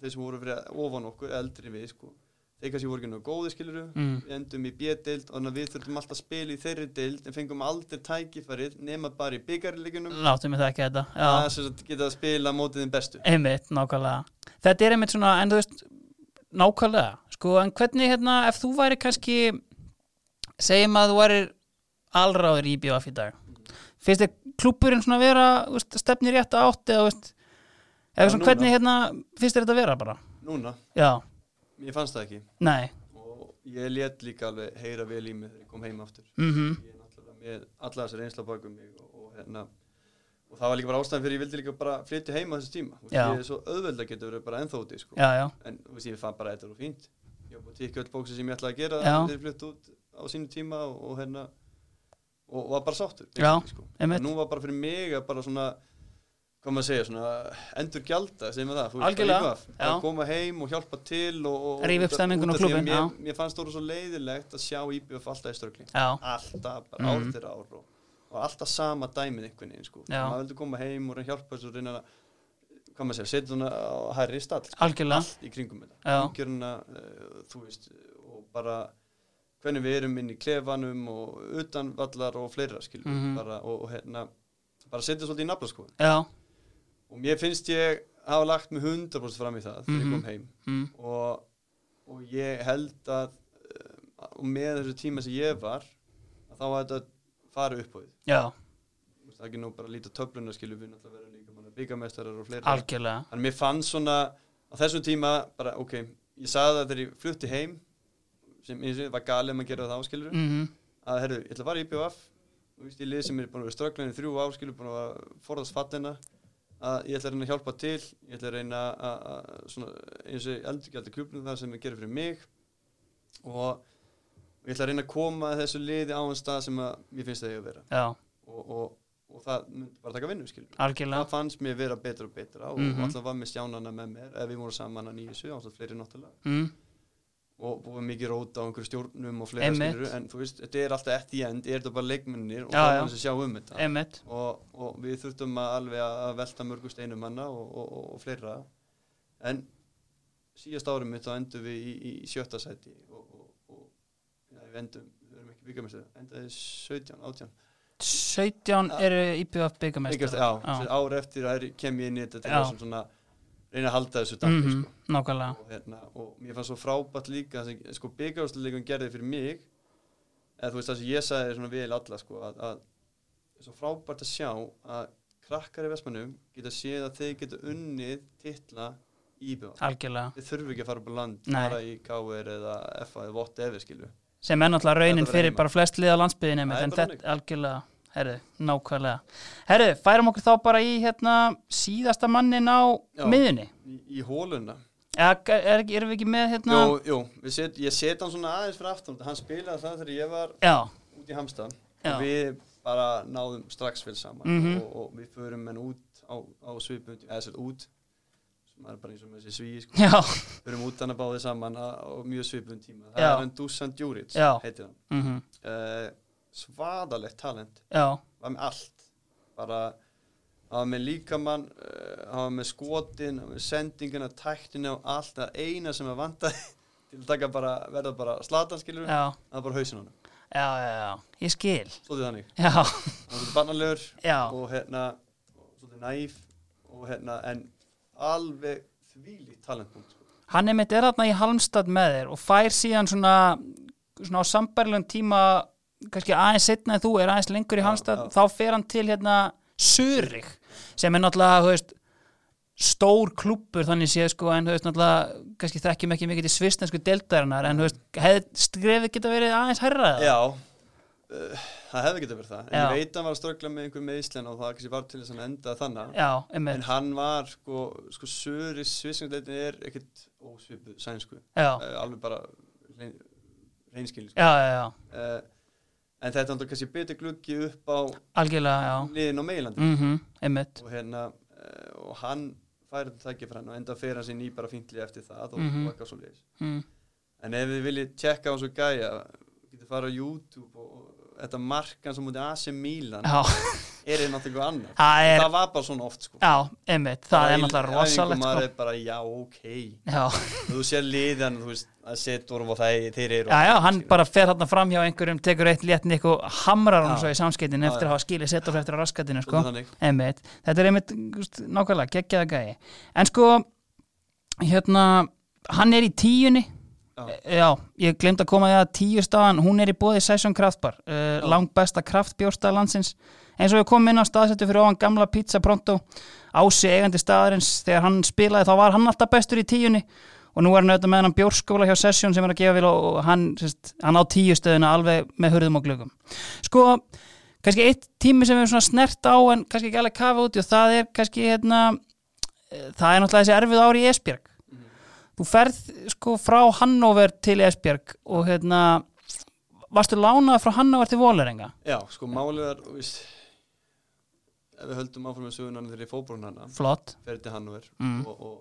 þeir sem voru fyrir ofan okkur eldri en við sko þeir kannski voru ekki nú góði skiluru
Mm.
við endum í B-deild og þannig að við þurfum alltaf að spila í þeirri deild en fengum aldrei tækifærið nema bara í byggarleikunum
Láttu mig það ekki þetta Mm. Já,
að sem sagt geta að spila mótið þeim bestu
Einmitt, nákvæmlega. Þetta er einmitt svona, en þú veist, nákvæmlega. Sko, en hvernig hérna, ef þú væri kannski, segjum að þú væri allráður í BFF í dag. Finnst þér klúpurinn svona vera, þú veist, stefni rétt að átti eða, þú veist,
Já,
eða svona
núna.
hvernig hérna, finnst þér þetta vera bara?
núna,
Já,
ég fannst það ekki
nei,
og ég let líka alveg heyra vel í mig þegar ég kom heim aftur
mhm,
ég er náttúrulega með alla þessar reynsla bakum mig og, og hérna og það var líka bara ástæðan fyrir ég vildi líka bara flytja heima þessu tíma og
Já.
ég er svo auðveld að geta verið bara ennþá úti sko.
já, já,
en þú veist, ég fann bara að þetta er fínt ég var búin að tikka öll bóksi sem ég ætlaði að gera
Já.
þegar ég flytti út á sínu tíma og, og hérna og, og var bara sáttur
Já,
basically, sko.
einmitt.
og nú var bara fyrir mig að bara svona hvað maður að segja, svona endur gjalda segjum við það, þú veist,
Algjörlega,
bara IVF, bara
já.
koma heim og hjálpa til og, og
Rífa upp
út af-
stemminguna
út af
og
því að
klúbbinn,
mér,
já.
mér fannst það svo leiðilegt að sjá IBF alltaf í ströggli
já,
alltaf, bara
Mhm.
ár fyrir ár og, og alltaf sama dæmið einhvern veginn sko.
Já.
maður vildi koma heim og reyna að hjálpa þessu og reyna að, hvað maður segja, setja hana á hærri stall sko.
algjörlega,
allt í kringum þetta
Já.
umgjörna, uh, þú veist og bara hvernig við erum inn í klefanum og utan vallar og fleira skilur mm
Mhm.
bara, og, og hérna, bara setja svolítið í nafla sko.
já,
og mér finnst ég hafa lagt mig 100% fram í það þegar ég
Mhm.
kom heim
mm,
og, og ég held að um, og með þessu tíma sem ég var að þá var þetta fara upp á því
já,
Þú veist, það er ekki nú bara að líta á töfluna skilur við náttúrulega verðum líka manna byggamestrar og fleira
algjörlega,
þannig að mér fannst svona á þessum tíma bara ok, ég sagði það þegar ég flutti heim sem eins og ég var galið um að gera það áskilur
mhm,
að herru, ég ætla að fara í IPVF og víst, ég lið sem er búin að vera strögglaðin í þrjú ár skilur búin að forðast fallina að ég ætla að reyna að hjálpa til ég ætla að reyna að, að svona, eins og eldurgjaldar klubnum það sem ég gerir fyrir mig og ég ætla að reyna að koma þessu liði á en stað sem að mér finnst það eiga að vera
já,
og, og, og það myndi bara taka vinnu skilur
algjörlega,
það fannst mér vera betra og betra og mm
Mhm.
-hmm. alltaf var mér stjánana með mér ef við vorum saman að nýju sjö, alltaf fleiri náttúrulega
mhm,
og búið mikið róta á einhverju stjórnum og fleira
Einmitt.
skilur en þú veist, þetta er alltaf eftir í end er þetta bara leikmennir og
Já,
það
já.
er hans að sjá um þetta
einmitt,
og, og við þurftum að alveg að velta mörgu steinum hana og, og, og, og fleira en síðast árum mitt þá endum við í, í, í sjötta sæti og, og, og ja, við endum, við erum ekki byggamestri endaði 17, 18
17 eru IPF byggamestur,
Byggjast, já, já. ár eftir að kem ég inn í þetta til
Já.
þessum svona reyna að halda þessu dampi
mhm,
sko.
nákvæmlega,
og, hérna, og mér fannst svo frábært líka það sem sko, byggjárstuleikum gerði fyrir mig eða þú veist það sem ég sagði svona vel alla sko, að, að svo frábært að sjá að krakkar í Vestmannum geta séð að þeir geta unnið titla íbjöð
algjörlega.
þeir þurfu ekki að fara upp á land
Nei.
fara í KR eða FA eða vott efi skilu
sem er náttúrulega raunin
Þetta verður
fyrir
heima.
bara flest lið á landsbyðinni
Það er
en
bara
þetta er algjörlega, herru, nákvæmlega herru, færum okkur þá bara í hérna, síðasta mannin á
Já.
miðunni
í, í hóluna
eða er, ekki- erum við ekki með hérna
jú, jú, við set, ég set hann svona aðeins fyrir aftan hann spilaði það þegar ég var
já,
út í Hamsta
Já.
og við bara náðum strax vel saman
Mhm.
og, og við förum henn út á, á svipum, eða sér út sem er bara eins og með þessi svíi sko.
já,
förum út hann að báði saman að, á mjög svipum tíma það
Já.
er hann Dusan Djuric
Já.
heitir hann
mm
uh, svaðalegt talent
já,
var með allt bara hann var með líkamann, uh, hann var með skotin hann var með sendingina, tæktina og allt það eina sem að vanta til að taka bara, verða bara slatanskilur það
já,
var bara hausinn á hann,
já, já, já ég skil,
stóðið þannig
já,
hann var svolítið barnalegur
já
og hérna og svolítið næf og hérna en alveg þvílíkt talentpunkt sko.
hann er mitt er þarna í Halmstad með þér og fær síðan svona, svona á sambarlegum tíma kannski aðeins setna en þú er aðeins lengur í
Já,
Halmstad
já.
þá fer hann til hérna Surik sem er náttúrulega þú veist, stór klúppur þannig séð sko en þú veist náttúrulega kannski þekkjum ekki mikið í svistensku deildarinnar en þú veist hefði skrefið geta verið aðeins herra eða?
Já uh, það hefði getið verið það en
Já.
ég veit að hann var að ströggla með einhver meðislen og það kannski var til þess að hann enda þannig
já,
en
einmitt,
hann var sko, sko söri svisingleitin er ekkert ósvipuð sænsku
já,
uh, alveg bara reyn, reynskil sko.
já, já, já
uh, en þetta er alltaf kannski betur gluggi upp á
algjörlega, já
liðin á meilandi
mhm, einmitt,
og hérna uh, og hann færi þetta tækifræðin og enda fyrir hans í ný bara fíntli eftir það og,
Mhm.
og eitthvað svo leiðis
Mm.
en ef þið viljið tjekka á þessu gæja getur farið á YouTube og, og þetta markan sem mútið AC Milan
Já,
er hérna einhvern veginn annar
það er,
það var bara svona oft sko
já, einmitt, það er
í-
náttúrulega
æfingum
rosalegt
maður
sko.
er bara já ok
Já,
og þú sér liðan þú veist að setur og það þeir eru
já, já, hann bara fer þarna fram hjá einhverjum, tekur eitt léttnik og hamrar hann
Já.
svo í samskeitin
Já,
eftir
já.
að hafa skilið sett og eftir að raskatinu sko.
Svolítið þannig.
einmitt, þetta er einmitt just, nákvæmlega, geggjaða gæi en sko, hérna hann er í tíunni
Já.
E- já ég glemt að koma því að tíu staðan hún er í bóði Session Kraftbar uh,
Já.
langbesta kraftbjórstað landsins eins og við komum inn á staðsettu fyrir ofan gamla pizza pronto ási eigandi staðarins þegar hann spilaði þá var hann alltaf bestur í tíunni og nú er hann auðvitað með hann bjórskóla hjá Session sem er að gefa vil og og hann, sérst, hann á tíu stöðuna alveg með hurðum og glöggum sko, kannski eitt tími sem við erum svona snert á en kannski ekki alveg kafa út í og það er kannski hérna eh, það er náttúrulega þessi erfið ári í Esbjörg þú ferð sko frá Hannover til Esbjörg og hérna varstu lánað frá Hannover til Vólerenga
já sko málið er þú veist, ef við höldum áfram með sögunan þegar ég fóbrun hana
flott
ferði til Hannover
Mm.
og, og,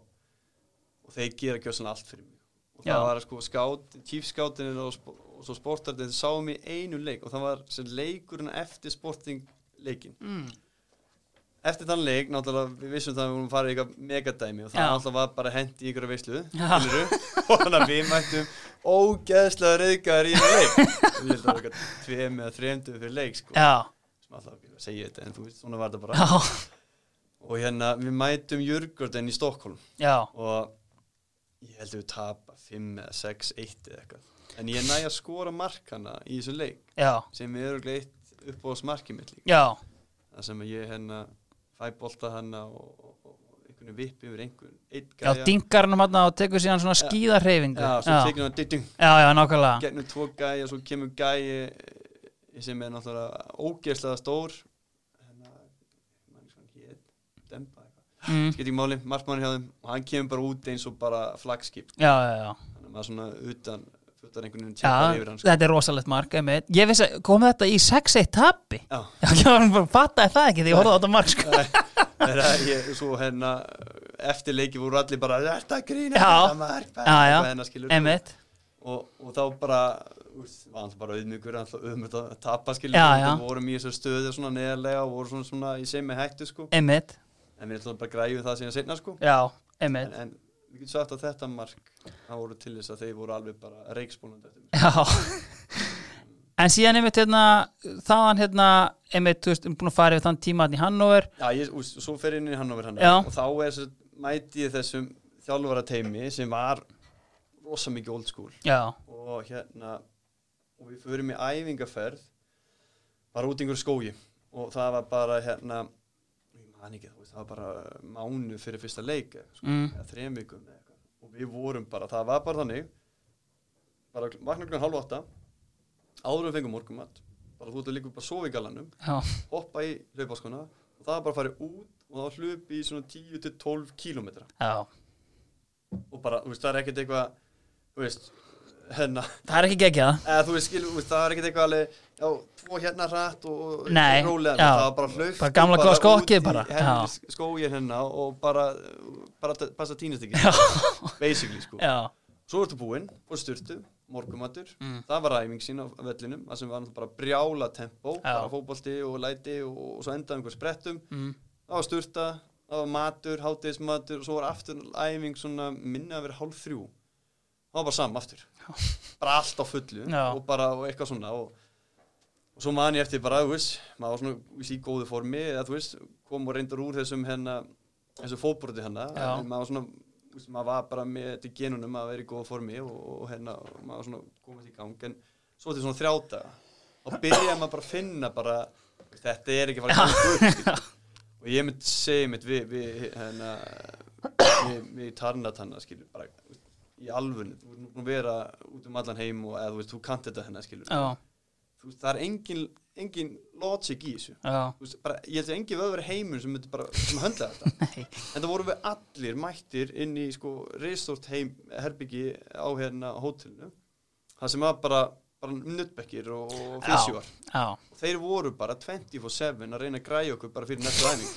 og þeir gera gjössan allt fyrir mig og
Já.
það var sko skát, tífskátinir og, sp- og svo sportarnir sáum í einu leik og það var sem leikurinn eftir sporting leikin
mm.
eftir þann leik, náttúrulega við vissum það að við vorum farið í eitthvað megadæmi og það
Já.
náttúrulega var bara hent í ykkur að veislu
Já.
skilurðu? og þannig að við mættum ógeðslega reyðgæðar í einu leik við heldum að við eitthvað tveim eða þreimdu fyrir leik sko,
já,
sem alltaf ekki að segja þetta en þú veist, svona var þetta bara
já,
og hérna, við mætum Jörgurden í Stokkólm
já
og ég held að við tapa 5 eða 6, 1 eða eitthvað en ég næ að skora markana í þessum leik
já,
sem er örugglega eitt upp á smarkið mitt líka
já,
það sem að ég hérna fæ bolta hana og, og, og, og einhvern vipp yfir einhvern einn
já dingar hann um hann og tekur síðan svona skíðarhreyfingu
já, svo
já,
tekur hann ditting
já, já, nákvæmlega
gegnum tvo gæja, svo kemur gæja sem er náttúrulega ógeðslega stór hérna, mann sem hér dempa eitthvað,
mm.
skilt ekki máli, markmann hjá þeim og hann kemur bara út eins og bara flagskip
já, já, já
þannig að maður svona utan fötar einhvern veginn tjekkar
Já,
yfir hann sko.
þetta er rosalegt mark einmitt. ég vissi, kom þetta í 6-1 tappi
já,
já, ég var bara fattaði það ekki því ég horfði á þetta mark sko.
þegar ég, svo hérna eftir leiki voru allir bara þetta grína,
Já.
þetta mark
Já, já.
hennar skilur
einmitt,
og, og þá bara úst, var hann bara auðmyggur, hann alltaf auðmyggt að tapa skilja,
Já, já.
við vorum í þessu stöðu svona neðarlega og voru svona, svona í semi hættu sko.
einmitt
en við ætlum bara að græju það síðan setna sko.
já,
en,
einmitt
en við getum sagt að þetta mark það voru til þess að þeir voru alveg bara reikspólandi eftir mig
Já En síðan einmitt hérna þaðan hérna einmitt, þú veist, um búin að fara yfir þann tíma hann í Hannover
Já, ég, úst, svo fer ég inn í Hannover hann
Já.
og þá er þess mæti ég þessum þjálfara teimi sem var rosa mikið old school
Já,
og hérna og við förum í æfingaferð bara út í einhverju skógi og það var bara hérna ég man ekki, þú veist, það var bara mánu fyrir fyrsta leik sko,
Mm.
eða þrem vikum eða eitthvað. og við vorum bara, það var bara þannig bara kl- vakna klukkan hálf átta áður en við fengum morgumat bara þú ert að líka bara sofa í galanum
já,
hoppa í hlaupaskona og það var bara að fara út og það hlupi í svona 10-12 kílómetra
já
og bara, þú veist, það er ekkert eitthvað þú veist, hérna
Það er ekki geggjað
eða þú veist, skilur, þú veist, það er ekkert eitthvað alveg já, tvo hérna hrætt og og
Nei,
rólega,
já.
það var bara hlauft
Bara gamla góða skokkið bara, já.
skóið hérna og bara, bara t- passa tínast ekki
Já,
basically, sko,
já,
svo ertu búinn og styrtu, morgumatur
Mm.
það var æfing sín á vellinum, það sem var náttúrulega bara brjála tempo,
Já.
bara fótbolti og læti og, og svo endaði einhver sprettum
mm.
það var styrta, það var matur hátegismatur og svo var aftur æfing svona minna að vera hálf þrjú það var bara saman aftur bara allt á fullu
Já.
og bara og eitthvað svona og, og svo man ég eftir bara, þú veist maður var svona þú veist, í góðu formi eða þú veist, kom og reyndar úr þessum hérna þessu fótbroti hérna
Já.
en maður var svona þú veist, maður var bara með þetta í genunum að vera í góðu formi og, og hérna, og maður var svona komast í gang en svo til svona þrjáta og byrjaði maður bara að finna bara þetta er ekki að fara að ganga upp skilur. og ég mynd segja mitt við, við hérna við, við tarnat hann skilur bara þú veist, í alvunni, þú er nú að vera út um allan heim og eða þú veist, þú kant þetta hennar skilur
já,
þú veist, það er engin, engin logic í þessu
já
Þú veist, bara, ég held að engin vöður heimur sem myndi bara sem höndla þetta
Nei.
en það voru við allir mættir inn í sko resort heim herbyggi á hérna hótelinu það sem var bara, bara nuttbekkir og, og
Já.
fysjúar
Já,
og þeir voru bara 24-7 að reyna að græja okkur bara fyrir næstu æfingu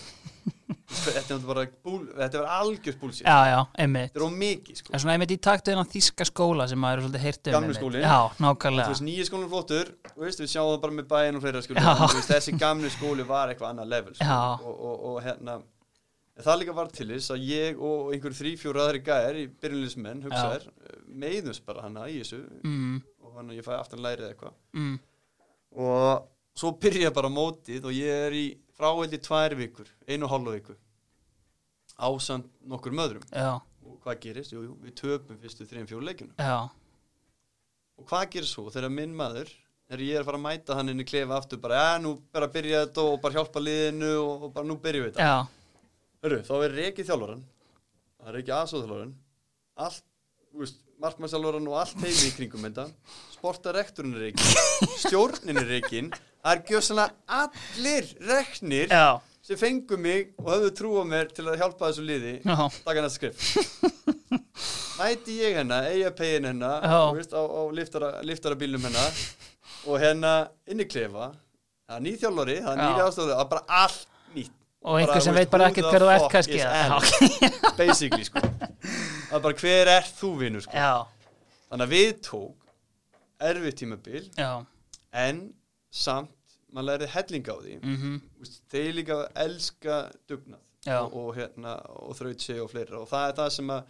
þetta er náttúrulega bara búl, þetta er algjör búlsýr
já, já, einmitt
þetta er of mikið
Það
sko.
er svona einmitt í taktu innan þíska skóla sem maður er svolítið heyrt um
Gamli
einmitt.
skólinn.
Já,
þú veist,
nákvæmlega
nýja skólinn er flottur og veist, við sjáum það bara með bæinn og fleira skóli
Já.
veist, þessi gamli skóli var eitthvað annað level sko.
Já.
og, og, og hérna en það líka var til þess að ég og einhver þrý, fjóra aðri gæðir í byrjunlýsmenn hugsaðir, meiðumst bara hana í þessu
mm,
og hann ég fæ aftan lærið eitthvað
mm,
og svo byrja bara mótið og ég er í fráveldi tvær vikur, einu og hálfu viku ásamt nokkur möðrum
Já,
og hvað gerist? Jú, jú, við töpum fyrstu þrejum fjóru leikjunum
já,
og hvað gerist svo þegar minn maður þegar ég er að fara að mæta hann inn í klefa aftur bara, ja, nú bara byrja þetta og bara hjálpa liðinu og, og bara nú byrjum við þetta
já
Hörru, þá er reikið þjálfaran það er ekki aðsóðþjálfaran allt, þú veist, markmannsþjálfaran og allt heimi í kringum þetta sportarekturinn er reikin stjórnin er reikin það er gjössanlega allir reknir
Já,
sem fengu mig og höfðu trú á mér til að hjálpa þessu liði
já,
taka næsta skrif mæti ég hennar, eiga pegin hennar
Já.
þú veist, á, á liftara, liftara bílnum hennar og hennar inn í klefa það er nýþjálfari, það er
Já.
nýri aðstofið það er bara allt nýtt
og einhver sem veit bara ekkert hver þú ert kannski eða-
er basically sko það er bara hver er þú vinur sko
Já,
þannig að við tók erfið tímabil
já,
en samt maður lærði helling á því
mhm,
Úst, þeir líka elska dugnað
Já.
og, og, hérna, og þraut sig og fleira og það er það sem að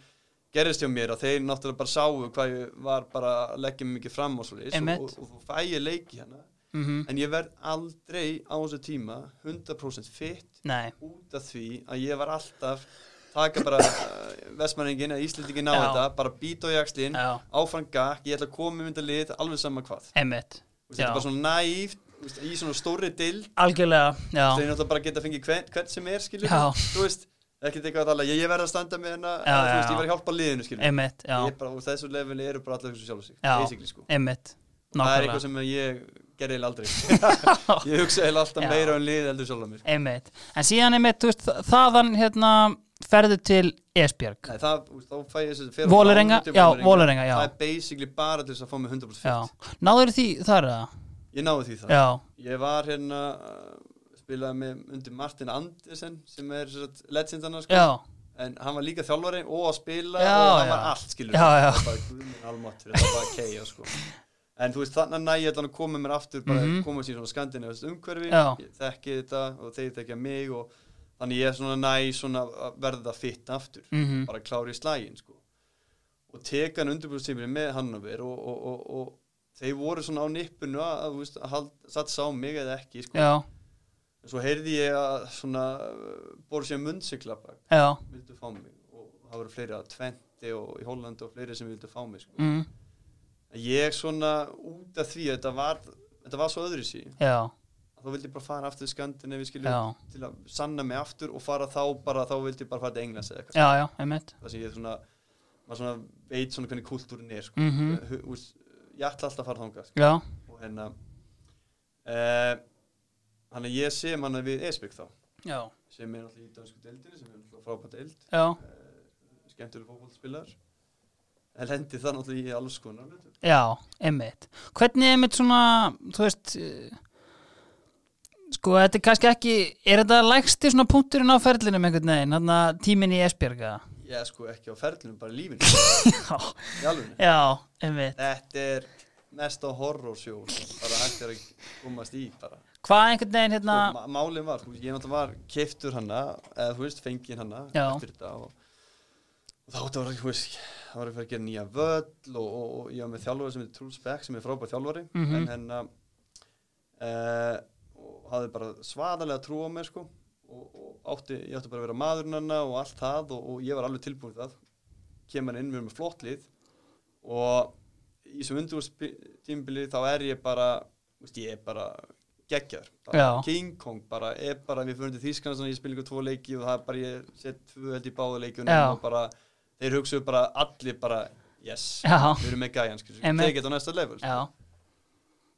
gerist hjá mér að þeir náttúrulega bara sáu hvað ég var bara að leggja mig mikið fram og svo
Einmitt.
og, og, og þú fæ ég leiki hérna
mhm,
en ég verð aldrei á þessu tíma 100% fitt
nei
út af því að ég var alltaf taka bara uh, vestmanningin eða íslendingin á
Já.
þetta, bara býta á jakslinn
Já,
áfram gakk, ég ætla að koma um þetta lið alveg sama hvað,
einmitt
Þú veist, þetta
Já.
er bara svona næft þú veist, í svona stóri dild
Algjörlega, já,
þeir náttúrulega bara geta að fengið hvern, hvern sem er skilur,
Já.
þú veist, ekkert eitthvað að tala ég, ég verð að standa með hérna,
Já,
eða, þú
já,
veist, ég
já.
verð að hjálpa liðinu skilur,
einmitt, já,
ég bara, og þessu leveli eru bara allar þessu sjálf sig,
Já.
basically sko
einmitt
það er
Nákvæmlega,
eitthvað sem ég gerði eiginlega aldrei ég hugsa eiginlega alltaf
Já.
meira um lið heldur sjálf að mér,
einmitt En síðan einmitt, þú veist, þaðan hérna ferðu til Esbjörg
Nei, það, þú veist, þá fæ ég þessu
Vólurenga, já, Vólurenga, já,
það er basically bara til þess að fá mig 100%
já.
fit
Náður því þar eða?
ég náði því það
Já,
Ég var hérna uh, spilaði með undir Martin Andersen sem er satt, legendana sko.
já,
en hann var líka þjálfari og að spila
Já,
og hann var
já.
allt skilur
Já, já.
bara guðminn almáttur þetta var keia sko en þú veist þannig að næja þannig að koma mér aftur bara
Mhm.
koma sér svona skandinavist umhverfi
Já.
ég þekki þetta og þeir þekki mig og þannig ég er svona næ svona að verða fitt aftur
mhm,
bara klári í slægin sko. og teka hann undirbúrstímið með Hannover og, og, og, og þeir voru svona á nippinu að, að, þú veist, að hald, satt sá mig eða ekki sko.
já,
svo heyrði ég að svona uh, Borussia Mönchengladbach
já,
vildu fá mig og það voru fleiri að Tventi og í Hollandi og fleiri sem vildu fá mig sko.
mhm,
ég svona út af því að þetta var, þetta var svo öðru sí
já,
þá vildi ég bara fara aftur í Skandinavi
já,
skiljum til að sanna mig aftur og fara þá bara þá vildi ég bara fara til Englands eða eitthvað sko.
já, já, einmitt
það sem ég svona, maður svona veit svona hvernig kultúrin er sko. mm
Mhm.
ég ætla alltaf að fara þangað sko.
Já,
og hérna eh, hann að ég sem hann að við E Esbjörg þá
já,
sem er alltaf í dansku deildinni sem er alltaf frábært deild
já,
skemmtileg fókvóldspilar en hendi það náttúrulega í alls konar hlutum.
já, einmitt Hvernig einmitt svona, þú veist eh, Sko, þetta er kannski ekki Er þetta lægsti svona punkturinn á ferlinum einhvern veginn, þannig að tíminn í Esbjörg eða?
ég sko ekki á ferlinu, bara í lífinu
Já,
í alveg
já, einmitt
þetta er mesta horrorsjó sem bara hægt er að komast í bara
Hvað einhvern veginn hérna
sko, ma- málið var, sko, ég náttúrulega var keiftur hana, eða þú veist, fengið hana
Já.
eftir þetta og, og þá þetta var, þú veist, það var að fara að gera nýja völl og, og, og ég var með þjálfari sem er Truls Beck sem er frábær þjálfari
Mhm.
en henn að og hafði bara svaðalega trú á mér sko og, og átti, ég átti bara að vera maðurinn hana og allt það og, og ég var alveg tilbúin í það kem hann inn við erum með flott lið og í þessum undurúrstímbili þá er ég bara þú veist, ég er bara geggjar
Já.
King Kong bara er bara við fyrir til Þískan og ég spil ykkur tvo leiki og það er bara ég set tvö held í báða
Já.
leikunum og bara þeir hugsaðu bara allir bara yes,
Já.
við erum með gæjan skilur við,
Einmitt.
tekið þetta á næsta level
Já,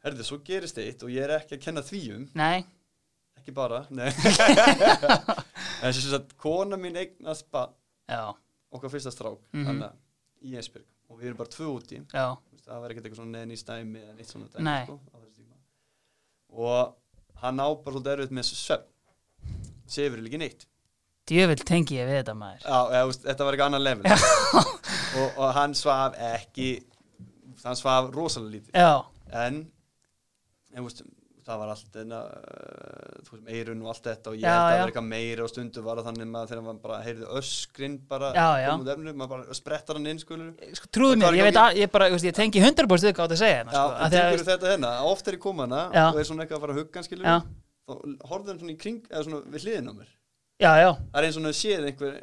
herði, svo gerist eitt og ég er ekki að kenna því um
nei,
ekki bara, nei en sem sagt, kona mín eignast bara
já,
okkar fyrsta strák
Mhm.
þannig að í Einsbyrg og við erum bara tvö úti
já
Þú veist, það var ekkert eitthvað svona neðin í stæmi eða neitt svona dæmi,
Nei.
sko, á þessu tíma. og hann á bara svolítið erfitt með svefn sefur ekki neitt
djöfell tengi ég við þetta maður
Já, eða, þú veist, þetta var eitthvað annað level og, og hann svaf ekki hann svaf rosalega lítið
Já,
en, en úst, það var allt enna, þú veist, eirun og allt þetta og ég
Já,
held að það
já.
var eitthvað meira og stundu var það þannig maður þegar maður bara heyrði öskrin bara
Já, já.
kom út efninu, maður bara sprettar hann inn skulur
sko, trúðu mér, ég veit að ég, bara, ég, veist, ég tengi 100% við hvað það segja
Já,
hérna,
en
sko,
tekur
að,
þetta hérna, oft er ég kom hana
Já.
og er svona eitthvað að fara að hugga hann skilur
Já.
og horfður hann svona í kring eða svona við hliðin á mér
já, já,
það er eins og hann séð einhver,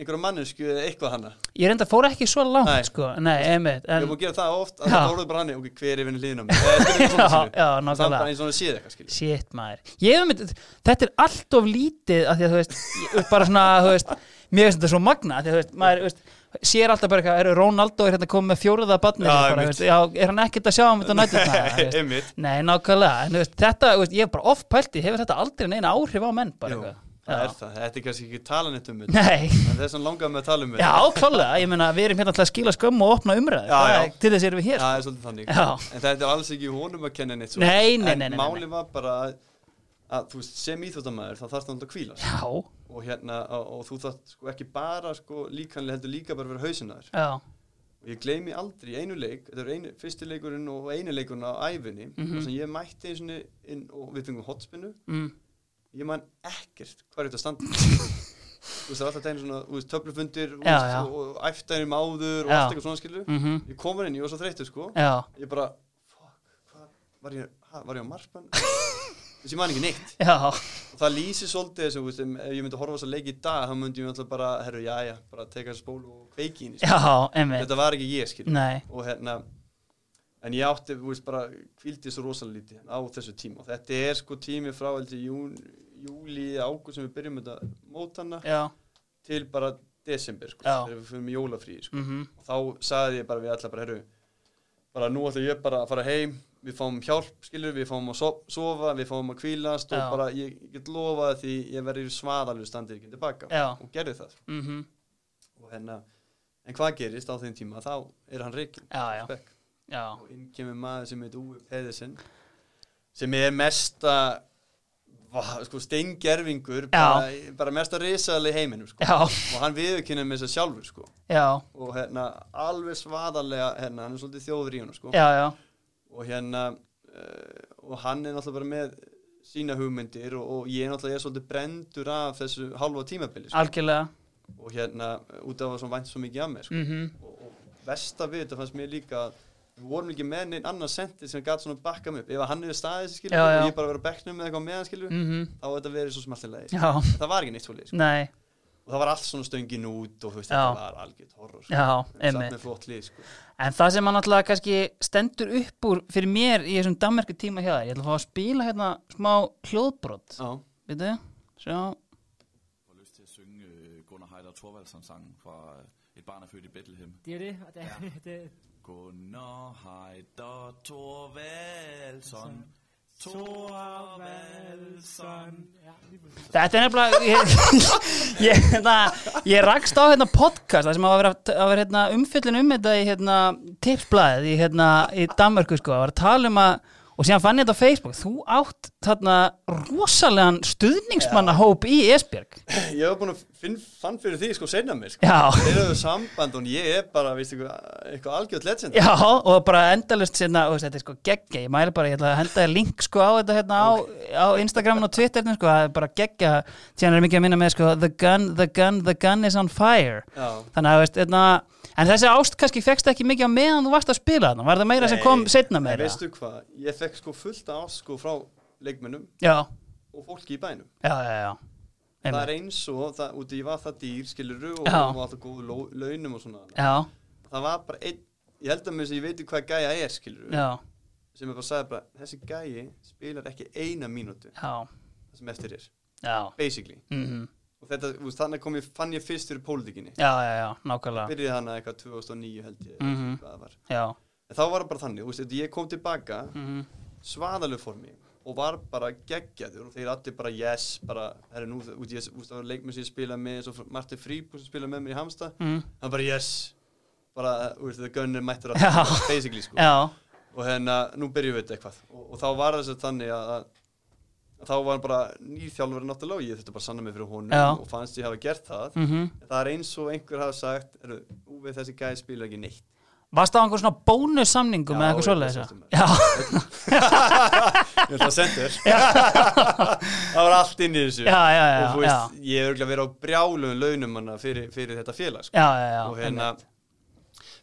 einhverja mannesku eða eitthvað hana
ég reynda fór ekki svo langt
Nei.
sko, nei, einmitt
Ég
en,
má gera það oft að
Já.
það orðið bara hann ok, hver er vinni liðin á mig Eða, skilur við svona
Já, já,
skilur. Það er
nákvæmlega.
bara eins og hann séð eitthvað skilur
Shit maður ég, hef einmitt- Þetta er allt of lítið af því að þú veist, ég, bara svona þú veist, mér finnst þetta svo magna af því að þú veist, maður þú veist, sér alltaf bara eitthvað, eru Ronaldo er hérna komið með fjóruða barni
Já,
bara, þú
einmitt.
veist, já, er hann ekkert að sjá um þetta nættið
Einmitt.
Nei, nákvæmlega en, þú veist, þetta, þú veist, ég er bara oft pælti hefur þetta aldrei neina áhrif á menn bara
Jú,
eitthvað. Já.
það er það, þetta er kannski ekki talan eitt um þetta
Nei,
en þess að langaði með að tala um
já,
þetta
klálega ég meina, við erum hérna alltaf að skila skömmu og opna umræðu
Já,
Það
já.
er- til þess erum við hér
það er svolítið þannig
Já.
en þetta er alls ekki honum að kenna neitt svo.
Nei, nei, nei, nei,
en
nei.
máli var bara að, að þú veist, sem íþjóttamæður þá þarfst hann að kvíla sig.
Já,
og, hérna, og, og þú þarft sko ekki bara sko, líkanlega heldur líka bara að vera hausinaður
já,
og ég gleymi aldrei í einu leik þetta er einu, fyrsti leikurinn og einu leikurinn á æfinni mm
Mhm.
sem ég mætti einu sinni inn og við fengum hotspinnu
mm,
ég man ekkert hvað er þetta að standa þú veist það er alltaf tegni svona þú veist, töflufundir þú
Já,
veist,
já.
og æftæðum áður og
Já.
allt eitthvað svona skilu
mm
ég komur inn, ég var svo þreytur sko
já,
ég bara, fuck, hvað var ég, ha, var ég á marfan þess ég man ekki neitt
já
og það lýsir svolítið þessu, þú veist, em- ef ég myndi horfa á þess að leik í dag þá myndi ég alltaf bara, herru, já, já, bara teka þessu spólu og kveiki inn í sko.
Já, einmitt,
þetta var ekki ég skil
nei
og hérna en ég átti, þú veist, bara kvildi svo rosalega lítið á þessu tíma og þetta er sko tími frá heldur jún, júli, ágúst sem við byrjum þetta mótana
Já,
til bara desember sko,
Já.
þegar við fyrir með jólafrí sko.
mhm
og þá sagði ég bara við alla bara, heru, bara nú ætla ég bara að fara heim við fáum hjálp, skilur, við fáum að so- sofa við fáum að hvílast
Já.
og bara ég ég get lofað því ég verður svaðalur standið ekki tilbaka
Já.
og gerði það
mm
og hérna, en hvað gerist á þeim tíma þá er hann reikin
Já, já.
Spekk
Já,
og inn kemur maður sem heit Úi Pedersen sem er mesta va, sko, steingerfingur bara, bara mesta risaðalega í heiminum sko.
já,
og hann viðurkynna með þess að sjálfur sko.
já,
og hérna alveg svaðalega hérna, hann er svolítið þjóður í hann sko.
já, já,
og hérna uh, og hann er náttúrulega bara með sína hugmyndir og, og ég er náttúrulega ég er svolítið brendur af þessu halva tímabili sko.
algjörlega
og hérna uh, út af að svona vænt svo mikið af mér sko.
mm
og, og versta við þetta fannst mér líka að við vorum ekki með neinn annan sendið sem gæti svona bakka mig upp ef að hann hefur staðið skilur
Já, já.
og ég bara verið að bekknum með eitthvað meðan skilur þá hefði þetta verið svo smaltilega
Mhm. Já,
það var ekki neitt svolítið sko.
nei,
og það var allt svona stöngin út og þú veist
Já.
þetta var algjört horror sko.
já,
satt
einmitt
með flott lið sko.
En það sem hann alltaf kannski stendur upp úr fyrir mér í þessum damerku tíma hjá þér Ég ætla að fá að spila hérna smá hljóðbrot
Já.
Veitu, sjá
får lyst til at synge øh, Gunnar Heider Thorvaldsson sangen fra øh, Et barn er født i Bethlehem.
Det er jo det, og det, ja. det
Gunnar Heider Thorvaldsson. Thorvaldsson.
ja, lige præcis.
Þetta er nefnilega ég, ég, hérna, ég rakst á hérna podcast það sem að vera, að vera hérna, umfyllin um þetta í hérna, tipsblæðið í, hérna, í Danmörku sko, að vera að tala um að og síðan fann ég þetta á Facebook þú átt þarna rosalegan stuðningsmannahóp í Esbjörg
ég hef búin að finn, fann fyrir því sko senna mér sko.
Já.
þeir eru samband og ég er bara veistu, eitthvað, eitthvað algjört legend
Já, og bara endalust sinna, og þetta er sko geggja, ég mæli bara, ég ætla að henda þér link sko á þetta hérna á, á Instagramin og Twitterinu sko, það er bara geggja, síðan er mikið að minna með sko, the gun, the gun, the gun is on fire.
Já.
Þannig að, veist, hérna, en þessi ást kannski fegst ekki mikið á meðan þú varst að spila þarna, var það meira sem kom setna
En
meira?
veistu hvað, ég fekk sko fullt af ást sko frá leikmennum
Já,
og fólki í bænum
já, já, já.
það
Einmitt.
er eins og, það, út í ég var það dýr skiluru og
Já.
hún var alltaf góðu ló- launum og svona,
Já,
það var bara einn ég held að mér sem ég veit hvað gæja er skiluru
já,
sem ég bara sagði bara, þessi gæji spilar ekki eina mínútu
já,
það sem eftir er,
já,
basically
mhm,
og þetta, þú veist, þannig kom ég, fann ég fyrst fyrir pólitíkinni,
já, já, já, nákvæmlega,
byrjaði hana eitthvað 2009 held ég,
Mhm.
hvað það var
já,
en þá var það bara þannig, þú veist, ég kom tilbaka
mhm,
svaðalegu formi og var bara geggjaður og þeir allir bara yes bara, herri nú, þú veist, ég- þú veist, það var leikmenn sem ég spilaði með eins og Martin Fríbú sem spilaði með mér í Hamsta
mhm,
hann bara yes bara, þú veist, það gönnir mættur
Já.
að basically sko
já,
og hérna, nú byrjum við þetta eitthvað og, og þá var þess að þannig að, að þá var hann bara nýþjálfur náttúrulega og ég þurfti bara að sanna mig fyrir honum
Já.
og fannst ég hafa gert það
mm
En það er eins og einhver hafa sagt Úvið þessi gæði spila ekki neitt
Varst það á einhver svona bónussamningum
Já,
eða eitthvað
ég var
svoleiðis?
sextán
Já,
Ég ætla að senda þér Það var allt inn í þessu
já, já, já,
Og þú
já,
veist, ég er örugglega verið á brjálum launum hana fyrir, fyrir þetta félag sko.
já, já, já,
Og hérna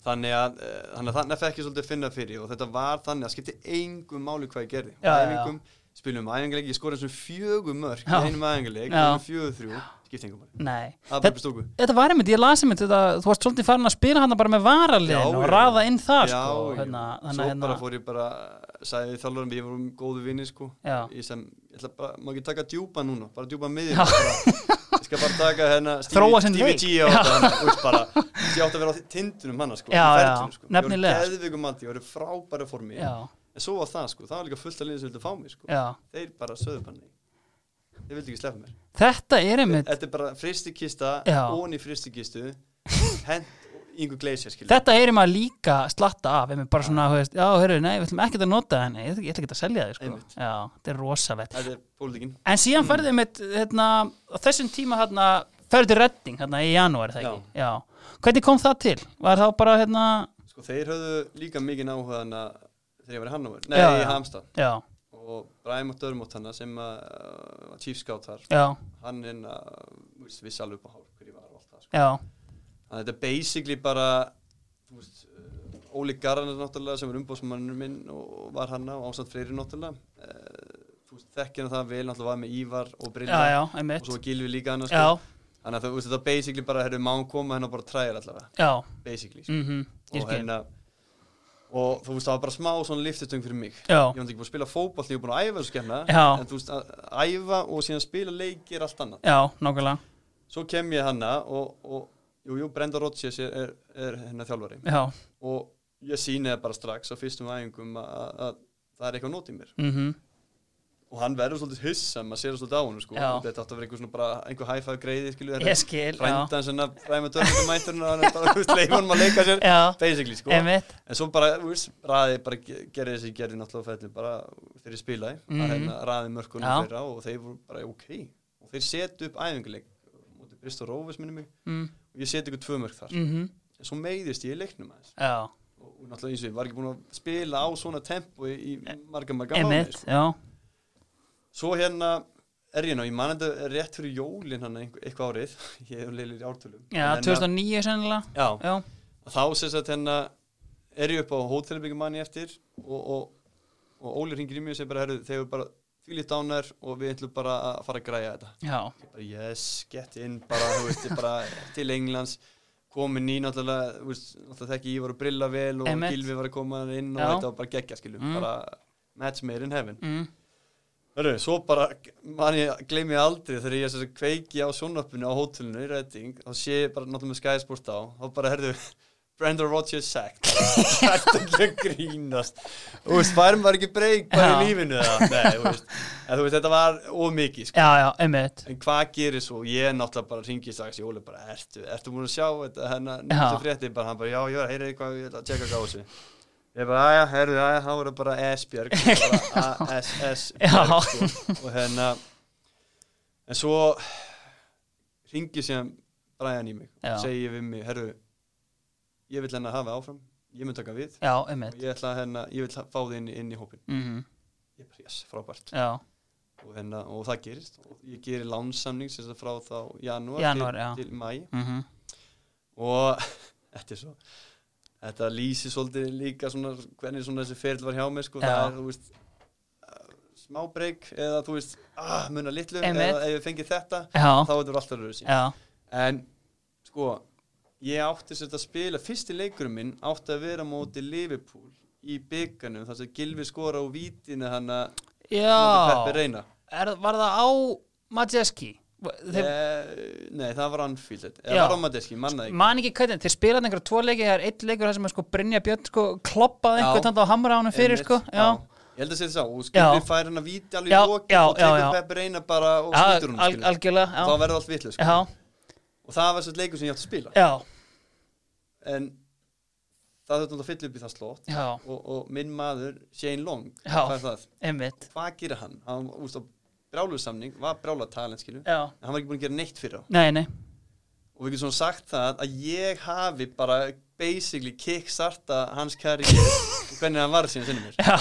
Þannig að, eh, þannig að þannig að fekk ég svolítið finna fyrir og þetta var þannig að skipti engum máli hvað ég gerði
Já, já, já.
Æfingum, spilum æfingarleik, ég skora þessum fjögum mörk
Já.
í einum æfingarleik,
Já.
fjögur þrjú skipti engum máli,
Nei,
það er
Þetta-
bara upp í stúku
þetta var einmitt, ég lasi einmitt þetta, þú varst svolítið farin að spila hana bara með varaliðin
Já,
og
já.
raða inn það
Já,
sko,
já.
hérna,
svo
þannig að
bara
hérna,
fór ég bara sagði þjálfurum við vorum góðu vini sko
Já.
ég sem, ég ætla bara, má ekki taka djúpa núna bara djúpa miðjum bara, ég skal bara taka hérna
Þróa sinn leik.
G á þetta hann, þú veist bara ég átti að vera á tindunum hann sko,
Já,
í
já,
ferlinum, sko.
nefnilega.
ég voru geðvikum mati, ég voru í frábæra formi
já,
en svo var það sko, það var líka fullt að liða sem vildi fá mig sko
já,
þeir bara söðu bara nei þeir vildi ekki slefa mér
þetta er einmitt,
þetta er bara fristikista,
Já.
ón í fristikistu hent yngur gleisja skilur
þetta er einmitt líka slatta af, einmitt bara svona, þú veist, já, hörru, nei, við ætlum ekkert að nota henni, ég ætla ekki- ég ætla ekki að selja þið, sko,
Einmitt.
já, þetta er rosavett.
þetta er pólitíkin
En síðan færðið mitt, hérna, á þessum tíma, hérna, færðið til redding, hérna, í janúar, það ekki? Já. Hvernig kom það til? Var þá bara, hérna,
Sko þeir höfðu líka mikið náhugaðan að þegar ég var í Hannover, nei
Já,
í
já.
Hamstad
já,
og Bræm og Dörmótt hana sem að uh, var chief scout þar,
já,
hann er að viss, viss alveg upp á hár hver ég var og allt það sko.
já,
Þannig að þetta er basically bara þú veist, uh, Óli Garðan náttúrulega sem er umbóðsmannur minn og var hanna og ásand fleiri náttúrulega uh, þú veist, þekkir hann það vel náttúrulega var með Ívar og
já,
Brynja
já,
og
einmitt,
svo var Gilvi líka hann sko.
já,
þannig að það, þú veist, þetta er basically bara, herru, má hann koma hennar bara træðir allavega,
já,
basically sko.
mhm, ég
og,
skil,
hérna, og þú veist það var bara smá svona liftistöng fyrir mig
já,
ég var ekki búin að spila fótball, ég var búin að æfa þessu skemmna
Já.
en þú veist að æfa og síðan spila leiki er allt annað
já, nákvæmlega,
svo kem ég hanna og, og jú, jú, Brenda Rodgers er, er, er hennar þjálfari
já,
og ég síni það bara strax á fyrstum æfingum að, að- að það er eitthvað nót í mér
mhm,
og hann verður svolítið hissa, maður sér það svolítið á hann sko.
Já.
þetta átt að vera einhver svona bara einhver hæfæð greiði skilju,
ég skil, já,
frændan sem að ræma dörfum mæturinn og hann er bara, þú veist, leifunum að leika sér
já,
basically, sko
einmitt,
En svo bara, þú veist, raði bara ge- gerði þessi gerði náttúrulega fællin bara þegar ég spilaði, mm
Mhm.
-hmm. hérna, raði mörkunum
Já.
þeirra og þeir voru bara ok og þeir setu upp æfinguleik mútið Bristol Rovers minni mig
mm,
og ég seti ykkur tvö mörk þar,
mhm,
en svo meiðist ég í leiknum aðeins
já,
og, og náttúrulega eins og ég var ekki búin að spila á svona tempo í, í marga marga mánuði,
Eh, einmitt,
sko.
já,
Svo hérna er ég ná, ég man þetta rétt fyrir jólin hann eitthvað árið, ég er leilir í ártölum
já,
En hérna-
2009 sennilega,
Já,
já,
að þá sem sagt hérna er ég upp á hótelbyggum manni eftir og, og, og Óli ringir í mig og segir bara herru, þeir eru bara þvílíkt ánær og við ætlum bara að fara að græja þetta
já,
ég bara yes, get in bara, þú veist, ég bara til Englands komin í náttúrulega, þú veist, náttúrulega þekki ég var að brilla vel og
Einmitt.
Gilvi var að koma inn og
Já.
þetta var bara geggja skilju,
Mm.
bara match made in heaven
mhm,
Hörru, svo bara, man ég, gleymi ég aldrei þegar ég sem sagt kveiki á sjónvarpinu á hótelinu í Redding, þá sé ég bara náttúrulega með Sky Sports á, þá bara, herðu, Brenda Rogers sagt, þetta er ekki að grínast, þú veist, væri maður ekki breyk bara í
Já.
lífinu það, nei, þú veist, en þú veist, þetta var ómikið, sko,
já, já, einmitt,
en hvað gerir svo, ég náttúrulega bara ringi strax, Jóli bara, ertu, ertu búin að sjá þetta, hennar,
Já.
nýttu frétti, bara, hann bara, já, já, heyrðu eitthvað, ég ætla að tjekka á þessu, ég bara, aðja, heyrðu, aðja, þá er það bara S-Björg, bara A-S-S,
já,
og hérna en svo ringi síðan Brian í mig
Já.
og segi við mig, herru ég vil hennar hafa áfram, ég mun taka við
já,
og
einmitt,
ég ætla hennar, ég vil ha- fá þið inn, í- inn í hópin
mhm,
ég bara, yes, frábært
já,
og, hennar, og það gerist, og ég gerir lánsamning sem sagt frá þá janúar,
Janúar, já.
til, til mæ
mhm,
og þetta er svo þetta lýsi svolítið líka svona, hvernig svona þessi feril var hjá mér sko, það
Já.
er, þú veist uh, smá breyk eða þú veist, ah, muna litlu
Einmitt.
eða ef ég fengið þetta,
já,
þá er þetta alltaf röðsí
já,
en sko ég átti sér að spila, fyrsti leikurum minn átti að vera á móti Liverpool í bygganum, þar sem Gilvi skora á vítinu hana Peppi
já,
Reyna
er, var það á Majeski þeir
eh, nei, það var Anfield eða
Já.
var á Madeski, mannaði ekki
man ekki hvernig, þeir spilaði einhverja tvo leiki það er eitt leikur þar sem er sko Brynja Björn sko kloppaði
Já.
einhvern tann á hamra á hann fyrir
Einmitt,
sko, já,
Ég held að segja það, og
Já.
skilur fær hann að víti alveg
Já,
í lokin
já,
og tekur
já, já.
Peppi Reyna bara og
já
snýtur hún
al, algjörlega
og þá
já,
verður allt vitlega
já,
sko. og það var sér leikur sem ég átti að spila
já,
en það þurfti náttúrulega að fylla upp í það slott
já,
og, og minn maður Shane Long
Já.
hvað er það?
einmitt
hvað gerir hann? hann úst, á brjálu samning, var brjála talent skilu,
já,
en hann var ekki búin að gera neitt fyrir á
nei, nei
og við getum svona sagt það að ég hafi bara basically kickstarta hans karriér og hvernig hann var síðan sinni mér
já,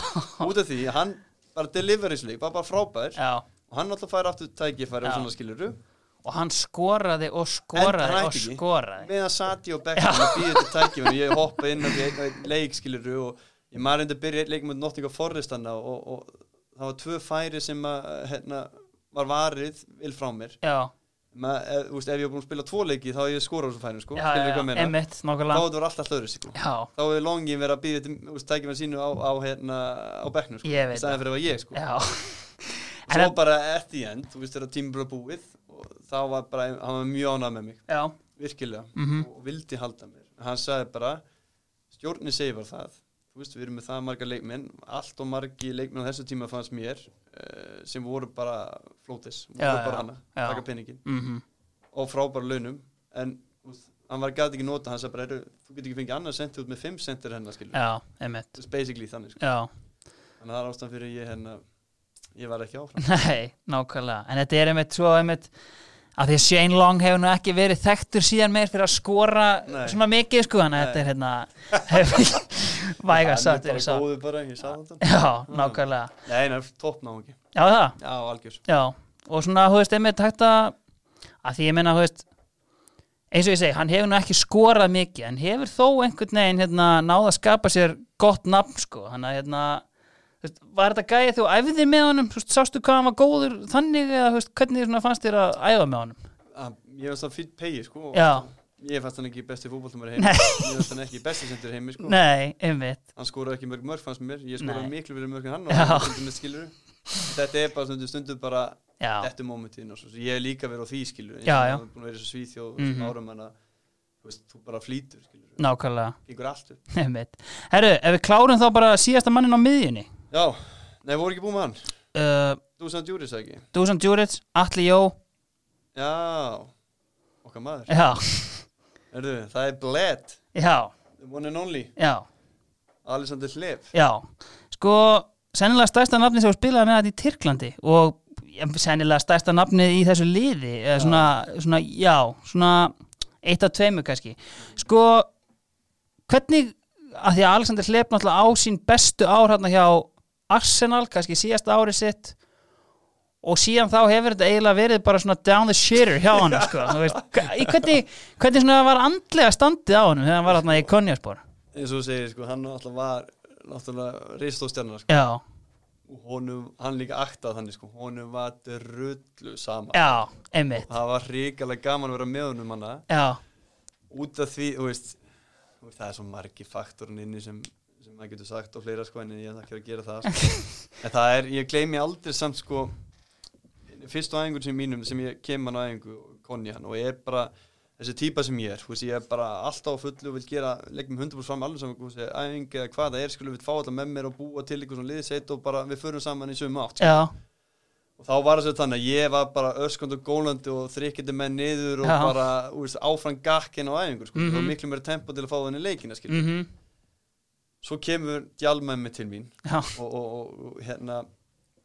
út af því að hann bara delivery slík, bara, bara frábær
já,
og hann alltaf fær aftur tækifæri
Já.
og svona skiluru
og hann skoraði og
En
skoraði
hann
og
ætti ekki.
skoraði
meðan sat ég á bekknum og býði þetta tækifæri og ég hoppa inn og ég einn leik skiluru og ég maður reyndi að byrja einn leik með Nottingham Forest hann og, og, og það var tvö færi sem að, hérna, var varið vil frá mér
já,
Ma, ef, þú veist, ef ég var búin að spila tvo leiki þá hef ég skorað á þessu færinu sko,
já,
skilurðu
já,
hvað ég meina?
emitt,
þá
nokkulega
þetta var alltaf öðru sko.
já,
þá hefur longin verið að býða þetta tækifæri sínu á, á, hérna, á bekknum sko.
Ég veit
staðan fyrir að vera ég sko.
já
og svo bara at the end, þú veist þetta tímur að búið og þá var bara, hann var mjög ánað með mig
já,
virkilega
Mhm.
og, og vildi halda mér en hann sagði bara, stjórnin segir bara það þú veist, við erum með það marga leikmenn allt og margi leikmenn á þessu tíma fannst mér uh, sem voru bara flótis, voru
Já,
bara
já,
hana
já.
taka peningin
mhm,
og frábæra launum en þú veist, hann var gæti ekki nota hann sagði bara, "Heyrðu, þú getur ekki fengið annað sentið út með 5 sentir hennar skilur
já, emitt
It's basically þannig sko.
já,
þannig að það er ástæðan fyrir ég hérna ég var ekki áfram
nei, nákvæmlega en þetta er einmitt svo einmitt að því að Shane Long hefur nú ekki verið þekktur síðan meir fyrir að skora
Nei.
svona mikið sko, þannig að
Nei.
þetta er hérna hefur væga
Hann
satt
er
fyrir
bara
satt
góður bara, ég sagði þetta
já, nákvæmlega,
nei, hann er toppnáðungi,
já það
já, algjörs
Já, og svona, þú veist, einmitt hægt að að því ég meina, þú veist eins og ég segi, hann hefur nú ekki skorað mikið en hefur þó einhvern veginn hérna, náð að skapa sér gott nafn sko, hann að hérna þú veist, var þetta gæði þú æfðir með honum þú veist, sástu hvað hann var góður þannig eða þú veist, hvernig svona fannst þér að æfa með honum
Hann- Ah, ég fannst það fýtt pegi sko og
Já,
ég fannst hann ekki besti fútboltumar heimi ég fannst hann ekki besti sendir heimi sko
nei, einmitt
hann skoraði ekki mörg mörg fannst mér ég skoraði
Nei.
miklu fyrir mörg en hann
Já.
og hann stundum með skilur þetta er bara stundum stundum bara
Já,
þetta momentin og svo ég hef líka verið á því skilur
Já, já.
búin að vera svo svíþjóð og
Mhm. Mm.
-hmm. árum en að þú veist, þú bara flýtur skilur
nákvæmlega,
gengur allt upp
einmitt Herru, ef við klárum þá bara síðasta mannin á miðjunni
já nei, voru ekki búin með hann
uh,
þú sem djúris ekki
Dusan Djuric, Atli Jó
já okkar maður
Já,
Erðu, það er Bled
já,
the one and only
já
Alexander Hlef
Já, sko sennilega stærsta nafni sem þú spilaði með þetta í Tyrklandi og ja, sennilega stærsta nafnið í þessu liði eða svona, svona, já, svona eitt af tveimur kannski sko, hvernig að því að Alexander Hlep náttúrulega á sín bestu ár hérna hjá Arsenal, kannski síðasta ári sitt og síðan þá hefur þetta eiginlega verið bara svona down the shitter hjá hann sko, þú veist, í hvernig, hvernig svona var andlega standið á hann þegar hann var hérna í Konjaspor
eins og þú segir sko hann náttúrulega var náttúrulega ristóstjarnar sko
Já,
og honum, hann líka aktað þannig sko honum var drullu sama
já, einmitt
það var hrikalega gaman að vera með honum hana
Já,
út af því, þú veist þú veist, það er svo margi faktorinn inni sem sem maður getur sagt og fleira sko en ég ætla ekki að gera það sko. en það er, ég gleymi aldrei samt sko fyrstu æfingun sem mínum sem ég kem hann á æfingu og konni hann og ég er bara þessi típa sem ég er, þú veist, ég er bara alltaf á fullu og vil gera, leggjum 100% fram alveg saman, þú veist, æfing eða hvað það er, skulum við fá alltaf með mér og búa til eitthvað svona liðseitt og bara við förum saman í sömu átt, sko
já,
og þá var þessu þannig að ég var bara öskund og gólandi og þrykkjandi menn niður og
Já.
bara úst, áfram gakkin á æfingu sko.
Mhm.
og miklu meira tempo til að fá þenni leikina skilur.
mhm,
svo kemur djalmæmi til mín
já,
og, og, og, og hérna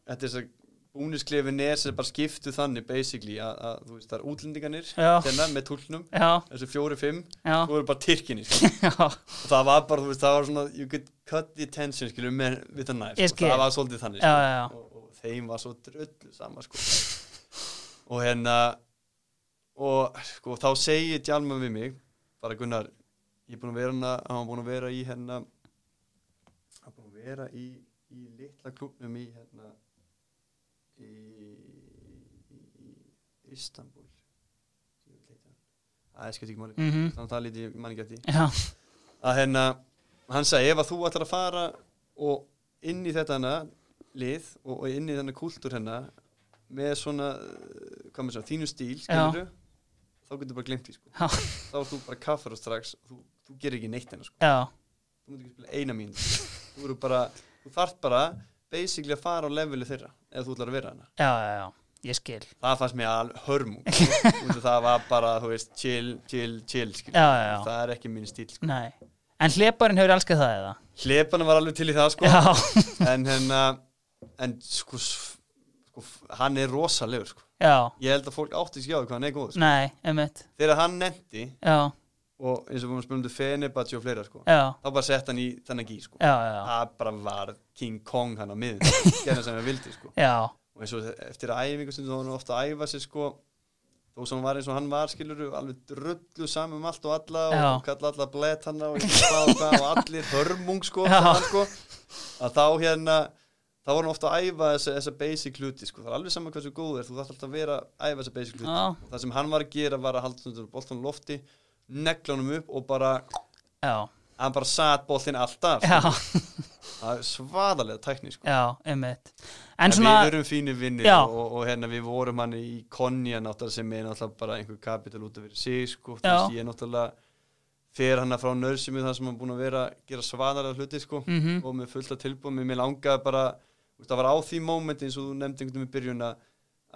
þetta er þess að búnisklefi nes er bara skiptu þannig basically að, að þú veist það er útlendinganir
Já.
hérna með tólknum
já,
þessi fjóri fimm
já,
þú eru bara tyrkinni sko.
já,
og það var bara þú veist það var svona you could cut the tension skilur með við það
Ég
næf sko.
skil.
það var svolítið þannig
já, já,
og, og þeim var svo dröllu sama sko. og hérna og sko, þá segir Djalma við mig bara Gunnar, ég er búin að vera hérna hann var búin að vera í hérna hann var búin að vera í, í litla klubnum í hérna í, í, í Istanbul Ég veit ekki. Æ, ég skil ekki máli
mhm,
þannig að það lítið ég man ekki eftir því
já,
að hérna, hann sagði ef að þú ætlar að fara og inn í þetta hana lið og, og inn í þennan kúltúr hennar með svona, uh, hvað með svona, þínu stíl skilur þá getur bara glemt því sko
Já.
þá er þú bara kaffar og strax þú, þú gerir ekki neitt hennar sko
já,
þú myndir ekki spila eina mín þú eru bara, þú þarft bara basically að fara á leveli þeirra ef þú ætlar að vera hana
já, já, já, ég skil,
það fannst mér al hörmung sko. Út af það var bara, þú veist, chill, chill, chill skilur,
Já, já, já.
það er ekki minn stíl sko.
nei. En hleparinn hefur elskað það eða?
hlepana var alveg til í það sko
Já,
en hérna en sko, s- sko, hann er rosalegur sko.
já,
ég held að fólk átti sig á því hvað hann er góð sko.
nei, einmitt
þegar hann nefndi
já, og
og eins og við erum spilum til um Fenerbahce og fleira sko.
já,
þá bara sett hann í þennan gí sko.
já, já,
það bara var King Kong hann á miðin gerða sem hann vildi sko.
já,
og eins og eftir æfingu stundum þá var hann ofta að æfa sér sko þó sem hann var eins og hann var skilur alveg drullu saman um allt og alla og,
Já.
og kalla alla blett hann og, hvað og, hvað og allir hörmung sko,
Já.
hann, sko að þá hérna þá var hann ofta að æfa þessa, þessa basic hluti sko. það er alveg saman hversu góð er þú þarf alltaf að vera að æfa þessa basic hluti
Já.
og það sem hann var að gera var að halda stundur boltan á lofti negla honum upp og bara
já,
hann bara sat boltin alltaf sko.
já,
það er svaðalega tækni sko.
já, einmitt
En
en svona,
við erum fínir vinnir
Já.
og, og hérna við vorum hann í Konja náttúrulega sem er náttúrulega bara einhver kapital út af verið sig sko,
Já.
þess ég náttúrulega fer hann frá nörsimi þar sem hann búin að vera að gera svaðalega hluti sko
Mhm.
og með fullta tilbúið, mér langaði bara þú veist, það var á því mómenti eins og þú nefndi einhvern veginn í byrjun að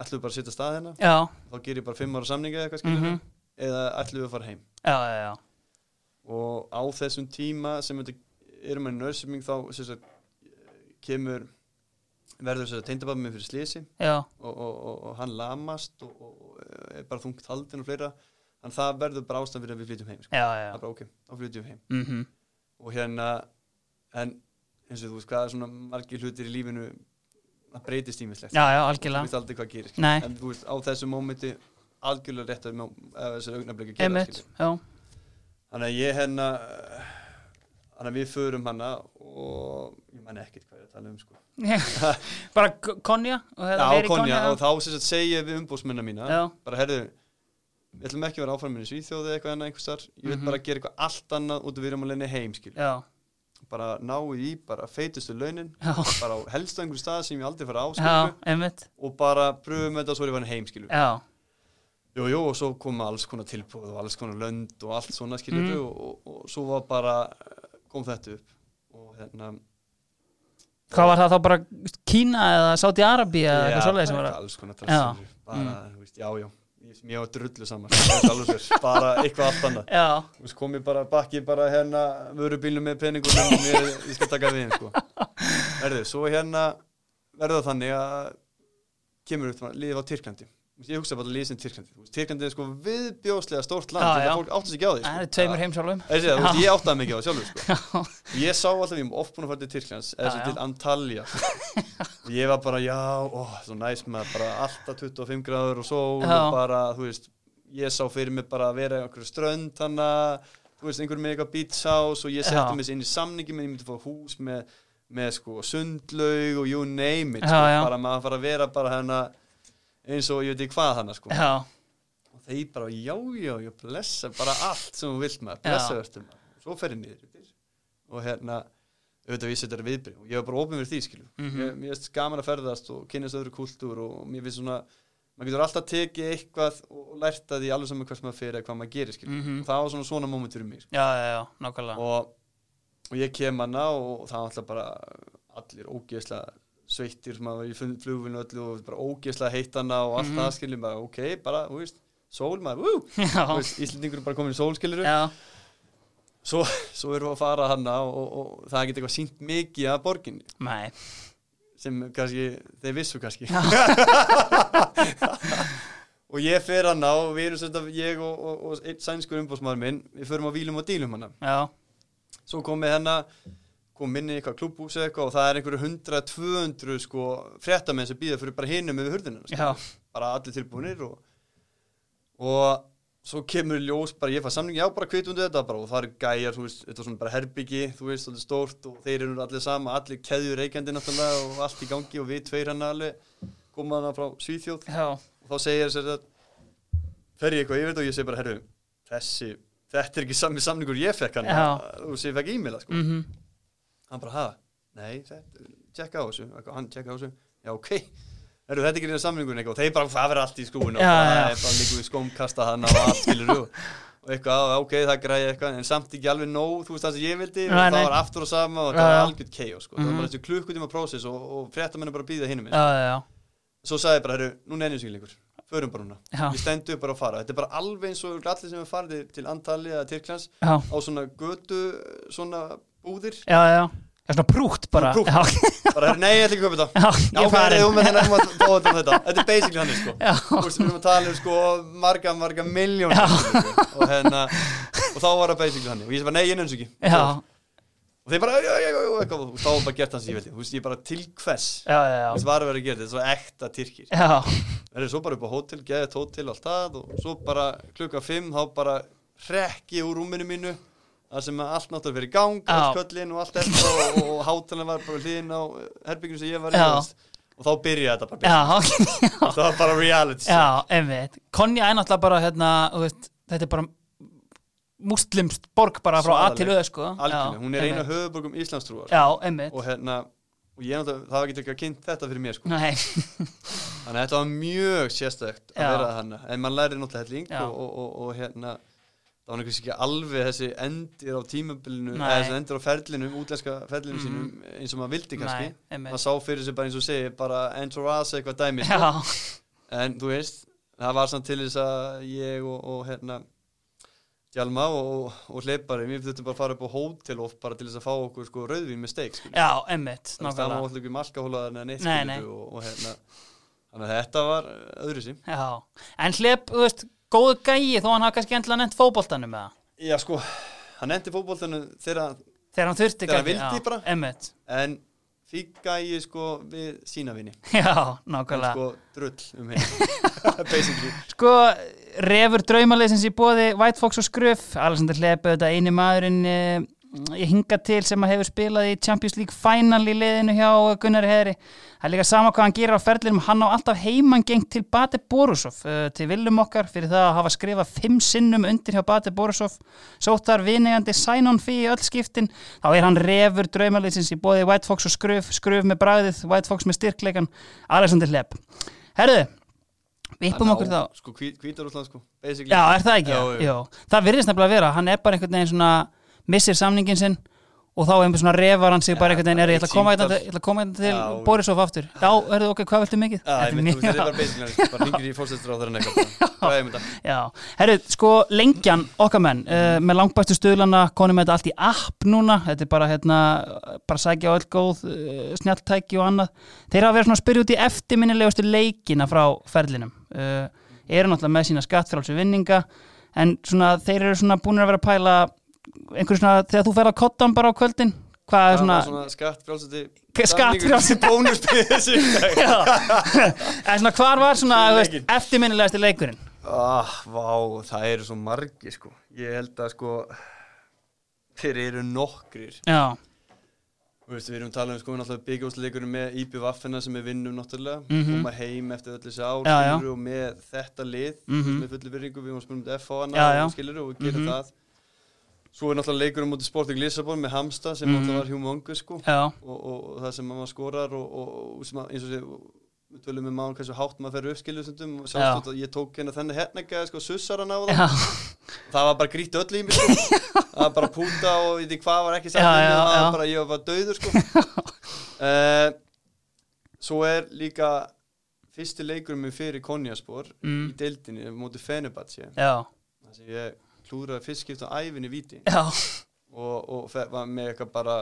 ætlum við bara að setja stað hérna
já,
þá ger ég bara fimm ára samninga eða eitthvað skilur
Mhm.
eða ætlum við að fara heim
já, já, já
og á þessum tíma sem þetta erum að nörsiming þá sem sagt, kemur verður þess að teindababbi minn fyrir slisi
já,
og, og, og, og hann lamast og, og, og er bara þungt haldin og fleira en það verður bara ástæðan fyrir að við flytjum heim sko.
já,
það
já,
er bara ok, þá flytjum við heim
mhm,
og hérna, en eins og þú veist hvað er svona margir hlutir í lífinu að breytist ímislegt
já, já,
þú
algjörlega
veist aldrei hvað gerist
Nei.
en þú veist á þessu mómenti algjörlega rétt að þessar augnablik að gera
einmitt,
skilur.
já,
þannig að ég hérna eh, þannig að við förum hana og ég man ekkert hvað ég er að tala um sko.
bara k- konja og
Já,
hefða verið
Konja,
konja
og þá sem sagt segi ég við umbúsmennar mína
Já.
bara herðu, við ætlum ekki að vera áframin í Svíþjóði eða eitthvað annað einhvers þar ég vil
Mhm.
bara gera eitthvað allt annað út og við erum að leina heim skil,
já,
bara náu í bara feitustu launin,
já,
bara á helst einhver stað sem ég aldrei fara á skil,
já, einmitt
og bara pröfum þetta og svo er ég farin heim skil
já,
jú, jú, og svo koma alls konar tilbúð og alls konar lönd og allt svona skil
Mhm.
og, og, og svo var bara eh, kom þetta upp og hérna
hvað var það þá bara Kína eða Saudi Arabi eða eitthvað svoleiðis sem
bara
var að-
alls konar
Já. Mhm.
drastur bara, þú veist, já, já, ég, ég var drullu saman sko, það er alveg sér, bara eitthvað allt annað
já,
Þú veist, kom ég bara, bakki bara hérna vörubílnum með peningunum og mér, ég skal taka við þeim, sko verður, svo hérna verður það þannig að kemur upp liðið á Tyrklandi Þú veist, ég hugsa bara liðið sem Tyrklandi Þú veist, Tyrklandi er sko viðbjóðslega stórt land
Já,
þetta
já.
fólk átti sig ekki á því
það
sko.
er tveimur heimsálfum
Það er sér, þú veist, ég áttaði mikið á það sjálfur sko. Ég sá alltaf, ég hef oft búin að fara til Tyrklands
Já,
eða sér
já.
til Antalya og ég var bara, já, ó, svo næs maður bara alltaf 25 gráður og sól
Já.
og bara, þú veist, ég sá fyrir mig bara að vera í einhverju strönd hana þú veist, einhverju með eitthvað beach house og ég
Já.
setti mig inn í samningi minn, ég myndi fá hús með, með sko, sundlaug og you name it,
Já,
sko,
já.
bara maður fara að vera bara hana eins og ég veit ekki hvað hana, sko
já,
og þeir bara, já, já, já, blessa bara allt sem þú vilt maður, blessa
Já.
verður maður svo fer ég niður yfir. og hérna, auðvitað vísi þetta er viðbrið og ég var bara opið fyrir því, skilju mm
Mhm.
mér finnst gaman að ferðast og kynast öðru kultúr og mér finnst svona, maður getur alltaf tekið eitthvað og lært að því alveg saman hvers maður fyrir eða hvað maður gerir, skilju
Mhm.
og það var svona svona momentur um mig, sko.
já, já, já, nákvæmlega
og, og ég kem hana og það var alltaf bara allir ógeðslega sveittir maður var í fun- flugvélinu öllu og bara ógeðslega heitt hana og allt það, skiljum bara, ok, bara, þú veist sól maður, wú,
Mhm. já,
Þú veist, Íslendingur er bara komin í sólskiluru
já,
svo, svo erum við að fara hana og, og, og það geta eitthvað sínt mikið að borginni
nei,
sem kannski, þeir vissu kannski og ég fer hana og við erum svolítið ég og, og, og einn sænskur umbóðsmaður minn við förum á vílum og dílum hana
já,
svo komið hana kom inn í eitthvað klubbús eða eitthvað og það er einhverju 100-200 sko fréttamenn sem býða fyrir bara hinum yfir hurðinum
já,
bara allir tilbúinir og, og svo kemur í ljós bara ég fæ samning, já bara kvitundu þetta bara og það eru gæjar, þú veist, þetta er svona bara herbyggi þú veist, þetta er stórt og þeir eru allir sama allir keðjur reikandi náttúrulega og allt í gangi og við tveir hann alveg koma hana frá Svíþjóð
já,
og þá segir þess að fer ég eitthvað yfir þetta og ég segi bara, herru þessi, þetta er ekki sami samningur ég fekk hann
Já.
og sem ég fekk e-maila sko.
mhm,
hann bara, ha, nei, þetta tjekka á þessu, Eitthvað, hann tjekka á þessu já, ok, Heru, þetta er ekki reyna samlingun eitthvað, og þeir bara, það verður allt í skrúinu
Já,
og það
já.
er bara líku við skómkasta hann og allt skilur þú og eitthvað, á, ok, það græði eitthvað en samt ekki alveg nóg, þú veist það sem ég vildi og
Nei,
það
nei.
var aftur og sama og
Já,
það var
já. Mhm.
algjörð keio, sko, það var bara þessi klukkutíma prósess og, og fréttamennu bara býða hinum minn
já, já,
svo sagði ég bara, herru, nú nennir sig lengur förum bara núna,
Já.
ég stendu upp bara að fara þetta er bara alveg eins og allir sem er farið til Antalya eða Tyrklands
já,
á svona götu, svona búðir
já, já, Það er svona prúkt bara
Prútt.
Já,
bara, nei, ég ætla ekki að kaupa þetta
já,
Já,
ég
ok, nei,
farin
þú með þennan um að fá þetta um þetta Þetta er basically hann, sko
Já.
Þú veist, við erum að tala um, sko, marga, marga miljón
Já.
Og hérna, og þá var það basically hann Og ég sem bara, nei, ég nefnst ekki
Já,
Og þeir bara, já, já, já, já, eitthvað Og þá var bara gert hans ég veldi Þú veist, ég bara til hvers
já, já, já.
Þess var að vera að gera þetta, þetta er svo ekta tyrkir
já.
Það er svo bara upp á hótel, geðið hótel, allt það Og svo bara klukka fimm, þá bara rekki úr rúminu mínu Það sem að allt náttúrulega fyrir í gang,
Já.
allt köllin og allt þetta og, og hátalinn var bara hliðin á herbyggjum sem ég var í
Já.
þú veist. Og þá byrjaði þetta bara
Já, ok,
það var bara reality show.
já, einmitt Konja er náttúrulega bara, hérna, þú veist, þetta er bara múslimst borg bara frá A til
Svaðaleg.
öð, sko
algjörlega,
Já,
hún er eina
einmitt.
höfuborgum Íslandstrúar
Já, einmitt
og hérna og ég náttúrulega, það var ekki ekki að kynnt þetta fyrir mér sko.
Nei,
þannig að þetta var mjög sérstækt að
Já.
vera þarna, en maður læri náttúrulega helling
Já.
og, og, og, og hérna það var einhvers ekki alveg þessi endir á tímabilinu,
Nei. Mm.
eða þessi endir á ferlinu útlenska ferlinu sínum eins og maður vildi kannski,
nei, einmitt
maður sá fyrir sér bara eins og segi bara entourage eitthvað dæmi sko.
Já,
en þú veist, það var samt til þess að ég og, og hérna Hjalma og, og hleypari, við þurftum bara að fara upp á hótel of bara til þess að fá okkur sko rauðvín með steik sko.
já, einmitt,
það var
nákvæmlega
alltaf ekki malkahólaðar en neitt
Nei,
skilurðu,
nei.
Og, og hérna þannig að þetta var öðru sím
Já, en hlep, þú veist, góðu gæi þó hann hafa kannski endla nefnt fótboltanum eða
Já sko, hann endi fótboltinu þegar
þegar hann þurfti
Þegar hann
kannski-
vildi
já,
bara.
Einmitt,
en fíka ég sko við sína vini
já,
En
nákvæmlega
sko drull um hérna basically
Sko, refur draumaliðsins í bóði White Fox og Skröf, Alexander Hlepp auðvitað eini maðurinn eh, í hinga til sem að hefur spilað í Champions League final í liðinu hjá Gunnar Heðri það er líka sama hvað hann gerir á ferðlinum hann á alltaf heimangengt til Bate Borisov eh, til viljum okkar fyrir það að hafa skrifað fimm sinnum undir hjá Bate Borisov sóttar vinegandi sænon fyrir öll skiptin, þá er hann refur draumaliðsins í bóði White Fox og Skröf Skröf með bragðið, White Fox með styrkleikan Alexander Hlepp. Herðu, vippum okkur þá
Sko hvítar útland sko basically
Já, er það ekki?
Já,
Já,
já.
Það virðist nefnilega að vera, hann er bara einhvern veginn svona missir samningin sinn og þá einhver svona refar hann sig bara einhvern veginn er ég ætla að koma
símtal.
hérna- ég ætla að koma hérna til
Já.
Borisov aftur. Já, hörðu ok, hvað viltu mikið?
Já,
Þetta
ég
er
myndi,
mjög-
þú veist, þetta er bara basically hann, sko, bara hringir í fórsetur á þeirra nekka Hvað er mynda?
Já, herru, sko, lengjan okkar menn, uh, með langbæstu stuðlana konum þetta allt í app núna þetta er bara, hérna, bara sækja öll góð uh, snjalltæki og annað þeir hafa verið svona að spyrja út í eftirminnilegustu leikina frá ferlinum uh, eru náttúrulega með sína skattfrálsu vinninga en svona, þeir eru svona búinir að vera að pæla einhverju svona, þegar þú fer að kottan bara á kvöldin hvað er
Það
svona,
var svona skatt frjálsandi
skattfrjálsi-
Bónus byrðið þessu í dag.
en Eh, svona hvar var svona þú veist,
Leikinn.
eftirminnilegustu leikurinn
Ah, vá, það eru svo margi sko Ég held að sko Þeir eru nokkrir
Já,
Þú veist, Við erum talað um sko náttúrulega byggjúsleikurinn með E IB Vaffena sem við vinnum náttúrulega
Mhm.
Koma heim eftir öll þessi ár
Já, já.
skilurðu, og með þetta lið
Mhm.
mm. með fullu virðingu, við erum að spilum um FH hana,
Já, já.
skilur, og við gerum
Mhm.
það Svo er náttúrulega leikurinn mútið Sporting Lissabon með Hamsta sem
Mhm.
náttúrulega var humongous sko
já,
og, og, og það sem maður skorar og, og, og sem að, eins og sé við tölum um án hversu hátt maður fer upp skiljuðsundum og
Já.
sjálfstöld að ég tók hérna þenni hérna ekki sko sussar hann á það
já,
það var bara grýtt öll í mig sko. það var bara púta og ég veit ekki hvað var ekki sagt
Já,
við mig,
já, já.
það var bara, ég var bara döður sko. uh, svo er líka fyrsti leikurum minn fyrir konjaspor
Mm.
í deildinni móti Fenebatsi
já,
þannig að ég klúðraði fyrst skipt á æfinni víti
já,
og, og fe- var með eitthvað bara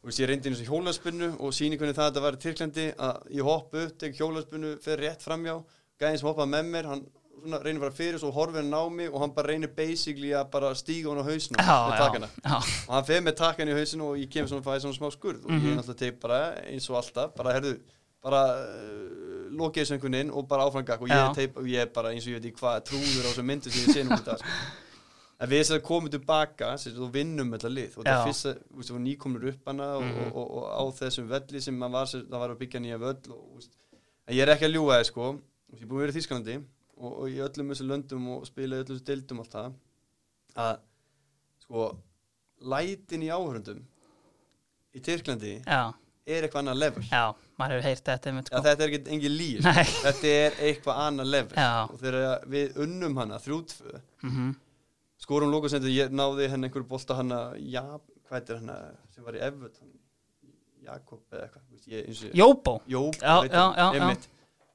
þú veist, ég reyndi eins og hjólaspinnu og síni hvernig það að þetta var í Tyrklandi að ég hoppa upp, tek hjólaspinnu, fer rétt framjá gæðin sem hoppaði með mér, hann svona, reynir bara fyrir svo horfir hann á mig og hann bara reynir basically að bara stíga hann á hausna
já, já,
takkana
já.
og hann fer með takkan í hausinu og ég kem svona að fæði svona smá skurð og
Mhm.
ég er náttúrulega teg bara eins og alltaf bara herðu, bara uh, lokið þessu einhvern veginn og bara áframgak og ég,
Já.
er teip, og ég er bara eins og ég veit í hvað trúður á þessu myndu sem ég sé nú þetta sko. en við þess að komum tilbaka sem þú vinnum þetta lið og
Já.
það fyrst að það var nýkomnur upp hana og,
Mhm.
og, og, og á þessum velli sem maður var, sem það var að byggja nýja völl og, úst, en ég er ekki að ljúga þér sko ég er búin að vera í Þískalandi og, og í öllum þessu löndum og spila í öllum þessu deildum og allt það að sko lætin í áhörundum í Tyrklandi
Já,
er eitthvað annað level
já, maður hefur heyrt þetta einmitt
Já,
sko.
þetta er ekki engin líf
Nei.
þetta er eitthvað annað level
Já.
og þegar við unnum hana þrjútfö
Mhm.
skorum lókasendur, ég náði henni einhver bolta hana, já, hvað heitir hana sem var í Evert Jakob eða eitthvað, þú veist, ég eins og
Jóbó
Jóp,
Já, já, já, já.
einmitt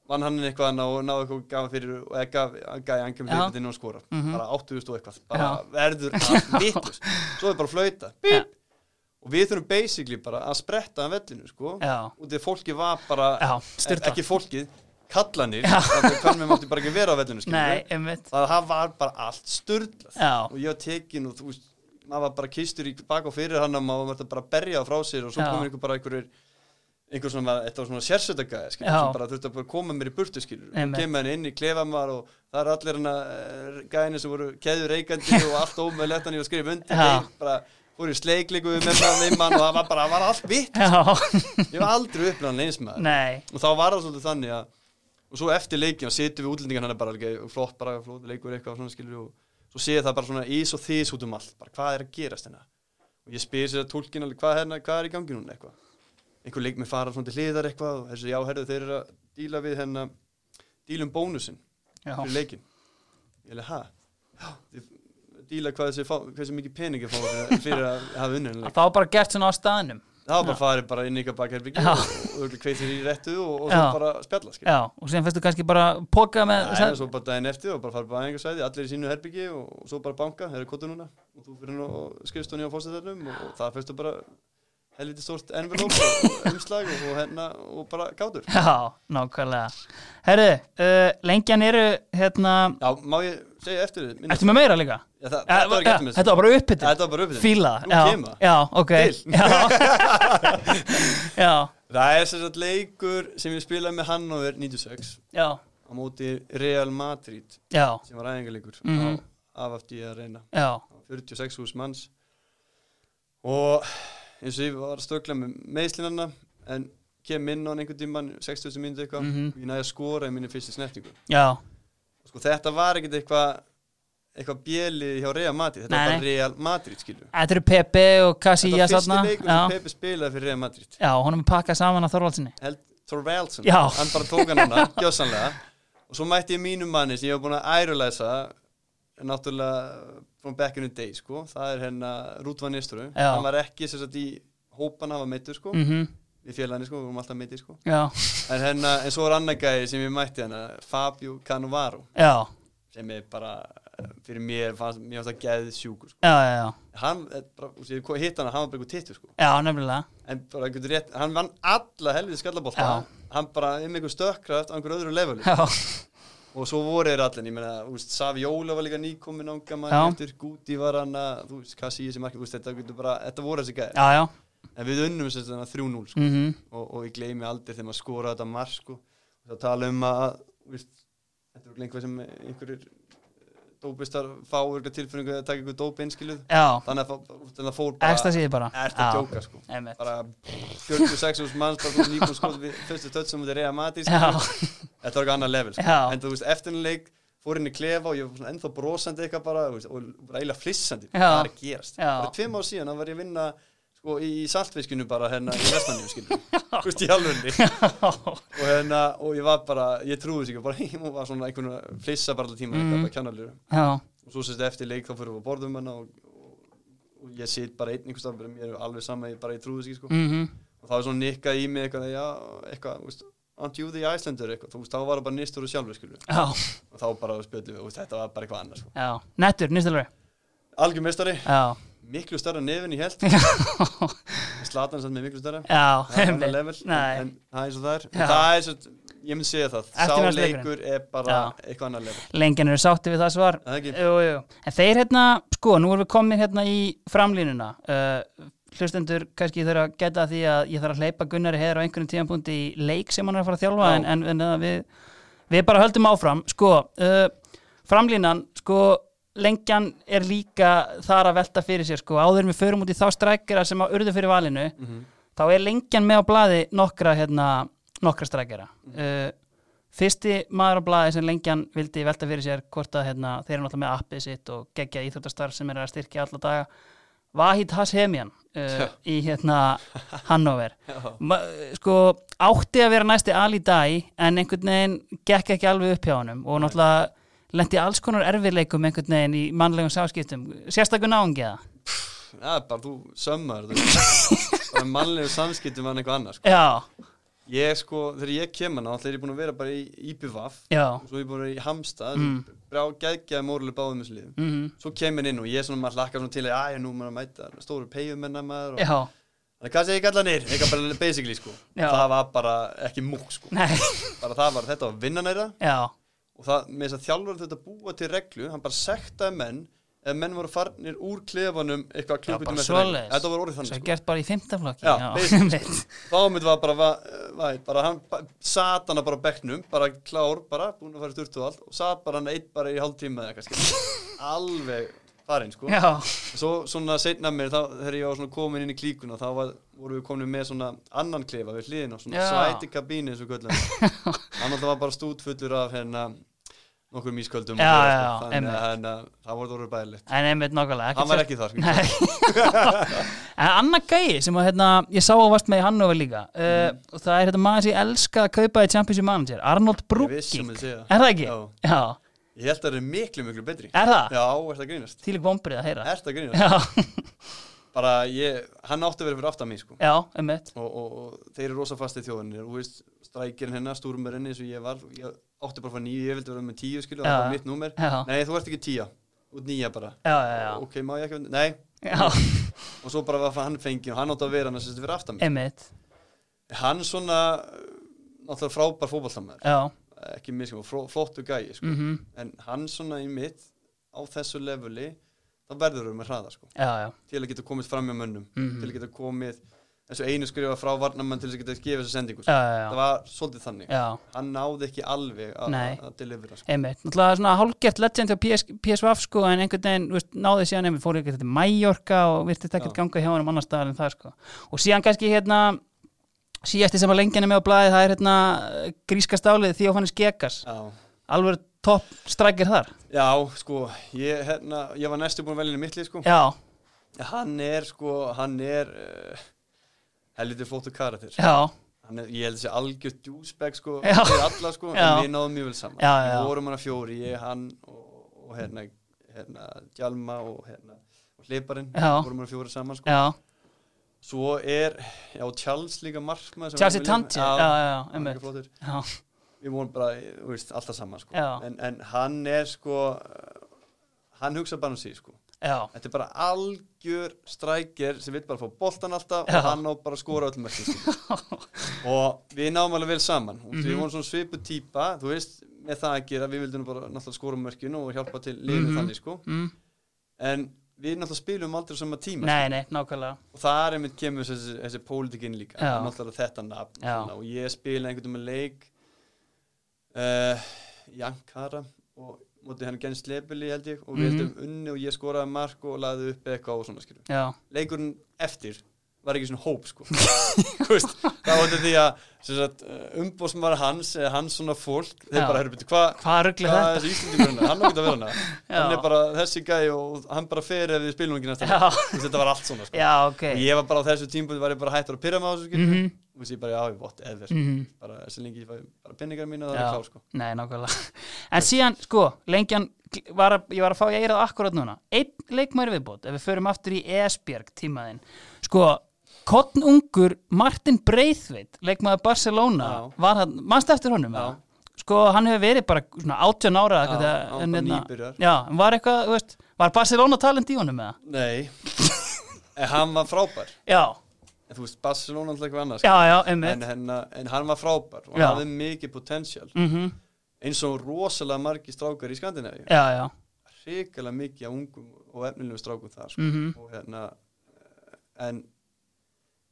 vann hann eitthvað hana og náði eitthvað gafa fyrir og eða gaf, gæði hann kemur
Já.
fyrir inn og skora
Mhm.
bara 80.000 og eitthvað, bara verður að vitlust, svo er bara að flauta
Já.
Bíp. og við þurfum basically bara að spretta að vellinu sko
Já.
og því að fólki var bara
Já,
eh,
styrta.
ekki fólkið, kallanir þannig að hvernig mátti bara ekki vera á vellinu skilurðu.
Nei, einmitt.
það það var bara allt styrlað
Já.
og ég var tekin og þú veist maður var bara kistur í bak og fyrir hann og maður var bara að berja frá sér og svo
Já.
komur einhver bara einhverjir einhver svona, þetta var svona sérsöndagæði skilur,
Já.
sem bara þurfti að bara koma mér í burtu skilur og
Einmitt.
kemur hann inn í klefamar og það er allir hann að gæðinni sem voru keður reikandi og allt ómöðlegt hann ég var að skrifa undir
Já.
þeim, bara voru í sleiklingu með maður með mann og það var bara, það var allt vitt
Já,
ég var aldrei upplæðan eins maður
nei,
og þá var það svolítið þannig að og svo eftir leikin og situm við útlendingan hann er bara alveg flott bara flott leikur eitthvað svona skilur og svo sé það bara svona ís og þís út um allt bara hvað er að gerast hérna og ég spyr sér að tólkin alveg hvað, hérna, hvað er í gangi núna eitthvað einhver leik með fara svona til hliðar eitthvað og þessi já herðu þeir eru að díla við hérna dílum bónusin
já,
fyrir leikin ég er hæ díla hvað þessi, fá, hvað þessi mikið peningi fá fyrir, fyrir að hafa unnið
að þá bara gert svona á staðnum
það var bara farið bara inn í ykkar bakherbyggi
Já.
og auðvitað kveitir í réttu og, og
Já.
svo bara spjalla skil.
Já, og síðan fyrstu kannski bara póka með
Nei,
sem,
svo bara daginn eftir og bara farið bara einhver sæði, allir í sínu herbyggi og, og svo bara banka, það eru kottu núna og þú fyrir nú skrifst hún í á fórstæðarnum og, og það fyrstu bara helviti stórt envelope og umslag og, og hérna og bara gátur.
Já, nákvæmlega Herru, uh, lengjan eru hérna,
Já, má ég segja eftir þið?
ertu með meira líka? Eh,
Já, það, þetta var ekki eftir með
Þetta var bara uppbyttu
Þetta var bara uppið.
Fíla,
Nú
já,
kemur það.
já, ok
Til.
Já, já,
Það er sem sagt leikur sem ég spilaði með Hannover 96
já,
á móti Real Madrid
já,
sem var æfingarleikur
Mhm.
á AFD að reyna.
já,
46 hús manns og eins og ég var að stökla með meðslinanna en kem inn á hann einhvern tímann 60 minnir eitthvað
Mhm.
og ég næði að skora í minni fyrstu snertingu
já
og sko þetta var ekkert eitthvað eitthvað bjeli hjá Real Madrid þetta
Nei,
var bara
nei.
Real Madrid skilju
Þetta eru Pepe og
þetta
Casilla
var fyrsti
satna
leikur sem
Já,
Pepe spilaði fyrir Real Madrid
já honum er pakkað saman á Þorvaldsinni
held Thorvaldsen
Já.
hann bara tók hann hana, gjössanlega og svo mætti ég mínum manni sem ég var búin að ærulæsa náttúrulega from back in the day sko, það er hérna Rúdvan Nistru,
Já.
hann var ekki sem sagt í hópan hann var meittur sko
mm
við félagni sko, við vorum alltaf meittir sko
Já,
en hérna, en svo er annar gæði sem ég mætti hérna Fabio Cannavaro
já,
sem er bara, eh, fyrir mér fannst, mér fannst það geðið sjúkur sko.
já, já, já
hann, eh, bara, þú veist, ég hitt hann hann var bara eitthvað tittu sko
Já, nefnilega
en bara einhvern rétt, hann vann alla helvið skallabólta,
Já.
hann bara um einhver stökkraft á einhver öðru levelu
Já,
og svo voru þeir allir, ég meina, þú veist, Savi Jóla var líka nýkomin ánga mann
Já.
eftir, Guti var hann að, þú veist, hvað sé ég sem ekki, þú veist, þetta, getur bara, þetta voru þessi gæði,
já, já
en við unnum þess að 3-0 sko.
mm
og, og ég gleymi aldrei þegar maður skora þetta marg sko. og það tala um að þú veist, þetta er örugglega einhver sem einhverjir eh, dópistar fá örgulega tilfinningu að taka einhver dóp einskiluð
Já,
þannig að fá- þannig að fór
eksta
bara
síði bara
ert að djóka sko
Einmitt.
bara 46 hús manns bara þú nýbúin skoð við fyrstu tötsum og þetta er reyða mati
Já,
sko. þetta var eitthvað annað level sko.
Já.
en þú veist eftir enn leik fór inn í klefa og ég var svona ennþá brosandi eitthvað bara þú veist, og bara eiginlega flissandi
Já.
hvað er að gerast
Já.
bara tveim ár síðan þá var ég að vinna sko, í saltfiskinu bara hérna í vestmannjum skilur þú veist í alvegni og, hérna, og ég var bara, ég trúði sig bara heim og var svona einhvern veginn að flissa bara alltaf tíma
Mhm.
mm. bara kjannalur
já,
og svo sérst eftir leik þá fyrir við að borðum hana og, og, og ég sit bara einn einhvers stað, mér er alveg sama, ég bara ég trúði sig sko.
mhm,
og það var svona nikkað í mig eitthvað, já, eitthvað, þú veist aren't you the Icelander eitthvað, þú veist, þá var það bara nýstur og sjálfur skilur,
já,
og þá bara spjöldum við, þú veist, þetta var bara eitthvað annars sko.
já Nettur, nýstalari
algjör mestari,
Já,
miklu starra nefin í held slatan samt með miklu starra
já,
það er annað level, en,
Nei.
en það er eins og það er
Já.
en það er eins og, ég myndi segja það
Eftir
sá
næsta leikurinn.
leikur er bara eitthvað annar level
Lengjan eru sátti við það svar
Það ekki?
jú, jú. En þeir hérna, sko, nú erum við komin hérna í framlínuna uh, Hlustendur kannski þurfa að geta að því að ég þarf að hleypa Gunnari heður á einhverjum tíðanpunkti í leik sem hann er að fara að þjálfa
Já.
en, en, en að við, við bara höldum áfram Sko, uh, framlínan, sko Lengjan er líka þar að velta fyrir sér sko, áður en við förum út í þá strækjara sem að urðu fyrir valinu þá er lengjan með á blaði nokkra hérna, nokkra strækjara uh, fyrsti maður á blaði sem lengjan vildi velta fyrir sér hvort að hérna, þeir eru náttúrulega með appið sitt og geggja íþjóttastarf sem er að styrkja alla daga Vahid Hashemian uh, í hérna Hannover Ma, sko átti að vera næsti Ali Dæ en einhvern veginn gekk ekki alveg upp hjá honum og náttúrulega lendi alls konar erfiðleikum einhvern veginn í mannlegum sáskiptum sérstakun ángiða
Já, bara þú sömmar þú veist. bara mannlegu samskiptum hann eitthvað annars sko.
já,
Ég sko, þegar ég kem hana, þegar ég er búin að vera bara í IPVAF
Já.
Svo ég er búin að vera í Hamstað
Mm.
mm. Brá geggjaði mórulega báðum þessu liðum
Mm
Svo kem ég inn og ég er svona, maður hlakkar svona til að Æja, nú er maður að mæta stóru peyjumennar maður og...
Já,
Það er kannski ekki allar nýr, eitthvað bara basically sko
Já.
Það var bara ekki múk sko
nei,
Bara það var, þetta var vinnan þeirra
já,
Og það, með þess að þjálfur þetta búa til reglu Hann bara sektaði menn Ef menn voru farnir úr klefanum
já
eitthvað klukkutíma
bara
eftir reglu.
svoleiðis
Þetta var orðið þannig
Svo
sko.
er gert bara í fymtaflokki
Já, basically,
einmitt.
Fámið var bara, va, va, bara hann, ba- sat hana bara á bekknum, bara klár, bara búin að fara í sturt og allt og sat bara hann eitt bara í hálftíma eða kannski, alveg farinn sko.
Já,
Svo svona seinna mér, þá, þegar ég var svona komin inn í klíkuna, þá var, voru við komin með svona annan klefa við hliðina, svona
Já.
sæti kabíni eins og köllum. hann alltaf var bara stútfullur af hérna nokkur mísköldum. og
Já,
fleira,
já,
sko.
einmitt.
Þannig að hérna, það voru það voru bæðilegt.
en einmitt nákvæmlega
Hann var ekki þar sko.
Nei En annar gæi sem að hérna, ég sá að varst með í Hannover líka uh,
Mm.
og það er þetta maður sem ég elska að kaupa í Championship Manager, Arnold
Ég vissi um
Brooking
að segja.
Er það ekki?
Já.
Já,
Ég held að það eru miklu, miklu betri.
er það?
Já, ert að grínast.
Þýlik vombrið að heyra
Ert að grínast.
Já,
bara ég, hann átti að vera fyrir aftan mig sko.
já, einmitt
og, og, og þeir eru rosa fastið þjóðinir og þú veist, strækirinn hennar, stúrumurinn eins og ég var, ég átti bara að fara nýju ég vildi vera með tíu
Já.
skilu, það var mitt númer
Já.
nei, þú ert ekki tíja, út nýja bara
Já, já, já.
ok, má ég ekki, nei,
Já,
og svo bara var hann fengið og hann átti að vera hann að sérstu fyrir aftan mig
einmitt
hann svona, náttúrulega frábær fótballtamæður,
Já,
ekki miskum fró, flottu gæi, sko,
mhm,
en hann svona í mitt, á þessu leveli þá verður þau með hraða, sko
já, já
til að geta komið fram með mönnum
Mhm.
til að geta komið þessu einu skrifa frá varnamann til þess að geta gefið þessu sendingu sko.
Já, já, já.
það var svolítið þannig
Já,
hann náði ekki alveg að-
Nei.
að delivera sko.
einmitt Náttúrulega svona hálfgert legend á PS, PSVF sko en einhvern veginn, þú veist, náði síðan einmitt fór ekkert til Mallorca og virtist ekkert
Já.
ganga hjá hann annar staðar en það sko og síðan kannski hérna síðasti sem að lengjan er með á blaði það er hérna eh, gríska stálið Theophanes Gekas
já.
alveg topp strækir þar
já, sko ég, hérna, ég var næstu búin að velja henni mittli sko.
Já,
hann er sko hann er uh, helviti flóttu karakter
já,
Hann er, ég held þessi algjör djúsbæk sko,
Já.
fyrir alla sko,
Já.
en við náðum mjög vel saman
Já, já, já.
við vorum hana fjóri, ég, hann og, og hérna, hérna Gjalma og hérna og Hleiparinn,
Já.
vorum hana fjóri saman sko.
já
Svo er, já, Charles líka markmaður sem
Chelsea
við viljum-
Tanti, já, já, já,
hann er
einmitt
ekki flottur.
Já,
Við vorum bara, þú veist, alltaf saman sko.
Já.
en, en hann er sko uh, Hann hugsa bara um sig sko.
já,
Þetta er bara algjör strækir sem vil bara fá boltan alltaf
Já.
og hann á bara að skora öllum ekki og við náum alveg vel saman og
Mhm.
við vorum svona svipu típa þú veist, með það að gera, við vildum bara náttúrulega skora mörkin og hjálpa til liðinu þannig sko.
mm.
en við náttúrulega spilum aldrei á sama tíma
nei, nei, nákvæmlega
og þar er mitt kemur þessi, þessi pólitikinn líka
Já.
það er náttúrulega þetta nafn
Já.
svona, og ég spila einhvern veginn leik uh, í Ankara og mótið hann genn slepili held ég og við
Mhm.
heldum unni og ég skoraði mark og laði upp eitthvað og svona skilur
Já,
leikurinn eftir var ekki svona hóp sko Þú veist, það var þetta því að sem sagt, umbóðsmaður hans eða hans svona fólk þeir
Já.
bara höfðu betur hvað
hvað ruggli
hvað
þetta?
er þessi Íslandingurinn hann á ekki að vera hana
Já.
hann er bara þessi gæi og hann bara fer ef við spilum ekki næsta
Já.
leik. Þú veist, þetta var allt svona sko
Já, ok
og ég var bara á þessu tímpunkti var ég bara hættur að pyrra með þessu skilur mm
Mhm.
og þessi ég bara, já, whatever mm
Mhm.
bara, þessi lengi ég fæ bara pinningar mína það
Já.
er klár sko
Nei, nákvæmlega. En síðan, sko, lengjan, gl- var að, ég var að fá ég eirað akkurat núna. Einn leikmæri viðbót, ef við förum aftur í Esbjerg tímaðinn. Sko, kottnungur Martin Breithveit, leikmæður Barcelona,
Já.
var hann, mannst eftir honum,
Já.
eða? Sko, hann hefur verið bara svona 18 ára,
Já,
eitthvað,
hann
en
bara
hérna-
nýbyrjar.
Já, en var eitthvað, þú veist, var Barcelona talent í honum, eða?
nei, en hann var frábær
Já,
en þú veist, Barcelona alltaf eitthvað annars
já, já,
en,
einmitt.
hennar, en hann var frábær
Já.
og hann hafði mikið potential
Mm
eins og rosalega margi strákar í Skandinavíu
Já, já,
hrikalega mikið af ungum og efnilegum strákum þar sko.
mhm,
og hérna eh, en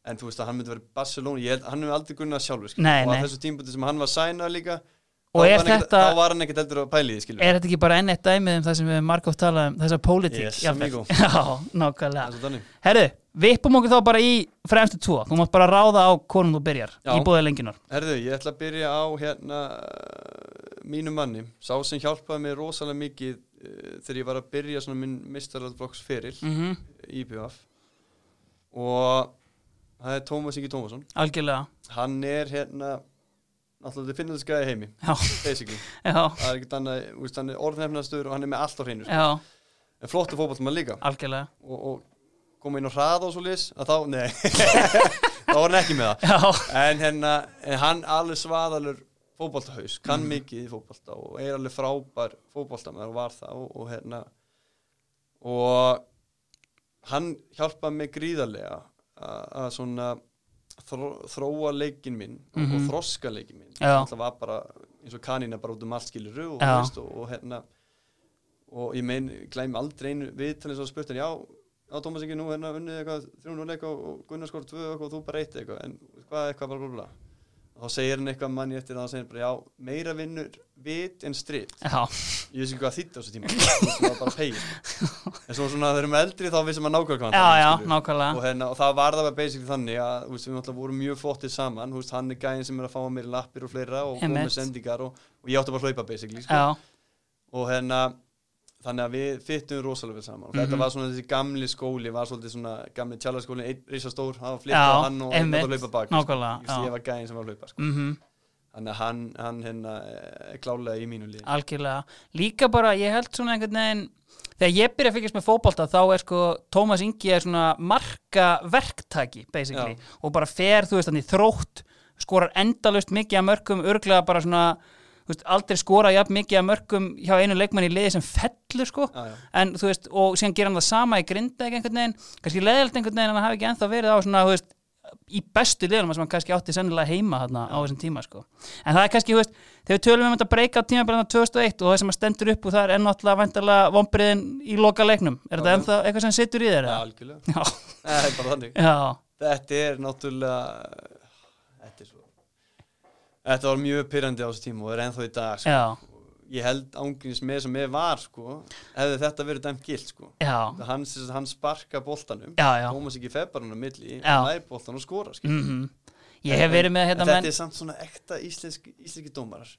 en þú veist að hann myndi verið Barcelona ég held, hann hefur aldrei gunnað sjálfur skilur.
Nei,
og
nei.
að þessu tímpunkti sem hann var sæna líka
Og
þá
er
var hann ekkert-
þetta-
þá var hann ekkert heldur að pæli því skilur
Er þetta ekki bara enn eitt dæmið um það sem við margótt talað um, þessa pólitík?
Yes,
jafnvel?
amigo.
Já, nákvæmlega.
það er svo þannig
Herru, vippum okkur þá bara í fremstu tvo. Þú mátt bara ráða á hvornum þú byrjar
Já.
í bóðið lengjunar.
Herðu, ég ætla að byrja á hérna uh, mínu manni, sá sem hjálpaði mér rosalega mikið uh, þegar ég var að byrja svona minn mistaraldflokks feril
Mm
IPF og það er Tómas Ingi Tómasson
Algjörlega.
hann er hérna alltaf þið finnum þessi gæði heimi
Já,
basically,
já,
það er ekkert annað þú veist, hann er orðnefnastur og hann er með allt á hreinu sko.
já,
en flottu fótballtum maður líka
algjörlega.
og, og koma inn og hraða og svo lis að þá, nei þá var hann ekki með það
Já,
en, hérna, en hann alveg svaðalur fótboltahaus, kann mikið í fótbolta og er alveg frábær fótboltamaður og var það og, og hérna og hann hjálpaði mig gríðarlega að að svona þró, þróa leikin minn og þroska leikin minn
Já.
það var bara eins og kanína bara út um allt skiluru og,
Já.
veist, og, og hérna og ég mein, glæmi aldrei einu viðtalið svo spurt en já, já Tómas ekki nú hérna unnið eitthvað 3-0 eitthvað og Gunnar skor 2 eitthvað og þú bara eitt eitthvað en hvað eitthvað bara blá og þá segir hann eitthvað manni eftir það og segir hann bara já, meira vinnur vit en stritt
já,
ég vissi ekki hvað þýtti á þessu tíma það var bara peil en svo svona þegar við erum eldri þá vissum maður nákvæmlega hvað
já,
hann
já,
talaði, skilur. og,
nákvæmlega
hérna, og það var það bara basically þannig að þú veist, við náttúrulega vorum mjög flottir saman þú veist, hann er gæðin sem er að fá mér lappir og fleira og kom
Einmitt.
með sendingar og, og ég átti bara að hlaupa basically sko.
Já,
og hérna þannig að við fyttum rosalega vel saman og
Mhm.
þetta var svona þessi gamli skóli var svolítið svona gamli tjálfarskóli einn risa stór, hann var flitt
Já,
á hann og hann var að
einmitt.
hlaupa bak sko.
nákvæmlega
Ég veist, ég
já.
var gæðin sem var að hlaupa sko.
Mhm,
þannig að hann, hann hérna, er klálega í mínu lið
Algjörlega Líka bara, ég held svona einhvern veginn Þegar ég byrja að fylgjast með fótbolta þá er sko Tómas Ingi er svona marka verktaki basically og bara fer, þú veist, hann í þrótt skorar endalaust mikið af mörgum örglega bara svona, þú veist, aldrei skora jafn mikið af mörgum hjá einu leikmann í liði sem fellur sko
Já, já.
en þú veist, og síðan gera hann það sama í grinda einhvern veginn, kannski leðilt einhvern veginn en hann hafi ekki ennþá verið á svona, þú veist í bestu liðunum sem hann kannski átti sennilega heima þarna á þessum tíma sko en það er kannski, þú veist, þegar við tölum um þetta breyka á tímabilana 2001 og það sem að stendur upp og það er ennáttúrulega vantarlega vombriðin í loka leiknum, er þetta
Já, já.
ennþá eitthvað sem situr í þér?
ja,
eða?
algjörlega
Já,
Nei, það er bara þannig.
já,
Þetta er náttúrulega, þetta er svo, þetta var mjög pyrrandi á þessu tíma og er ennþá í dag, sko.
já,
Ég held ángríns með sem ég var, sko, hefði þetta verið dæmt gilt, sko.
já
Það Hann, sem sagt, hann sparka boltanum,
Já, já.
Tómas ekki febarinn á milli,
Já.
hann nær boltan og skora, sko.
mm ég hef verið með hérna
En
menn
Þetta er samt svona ekta íslensk, íslenski dómarar.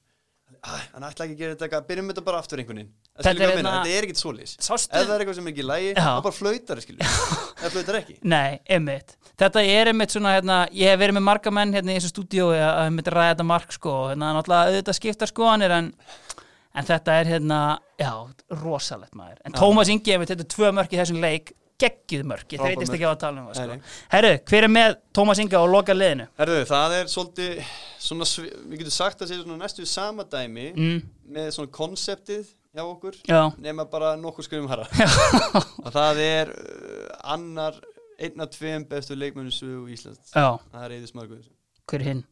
Æ, hann ætla ekki að gera þetta, eitthvað, byrjum þetta bara aftur einhvern veginn.
Þetta
Það skilur
er
hvað að minna,
hérna-
þetta er ekkit svolis.
Sástu-
Ef það er eitthvað sem er ekki í lagi,
Já.
þá bara flautar, skilur. Það flautar ekki.
Nei, einmitt. Þetta er einmitt svona, hérna, ég hef verið með marga menn hérna í þessu stúdíói að að einmitt ræða þetta mark sko, og hérna, náttúrulega auðvitað skiptar skoðanir en, en þetta er hérna, já, rosalegt maður. En Tómas Ingi einmitt, þetta er tvö mörk í þessum leik, geggjuð mörk, ég
Frábær
þreytist
mörk.
ekki á að tala um það
Nei, nei.
sko. Herru, hver er með Tómas Inga og loka liðinu?
Herðu, það er svolítið svona, svi- við getum sagt að sé svona næstu við sama dæmi
Mm,
með svona konseptið hjá okkur
já,
nema bara nokkur skrifum harra og það er uh, annar einn af tveim bestu leikmönnum sögu Íslands
já,
það er Eðis Marguðis,
hver er hinn?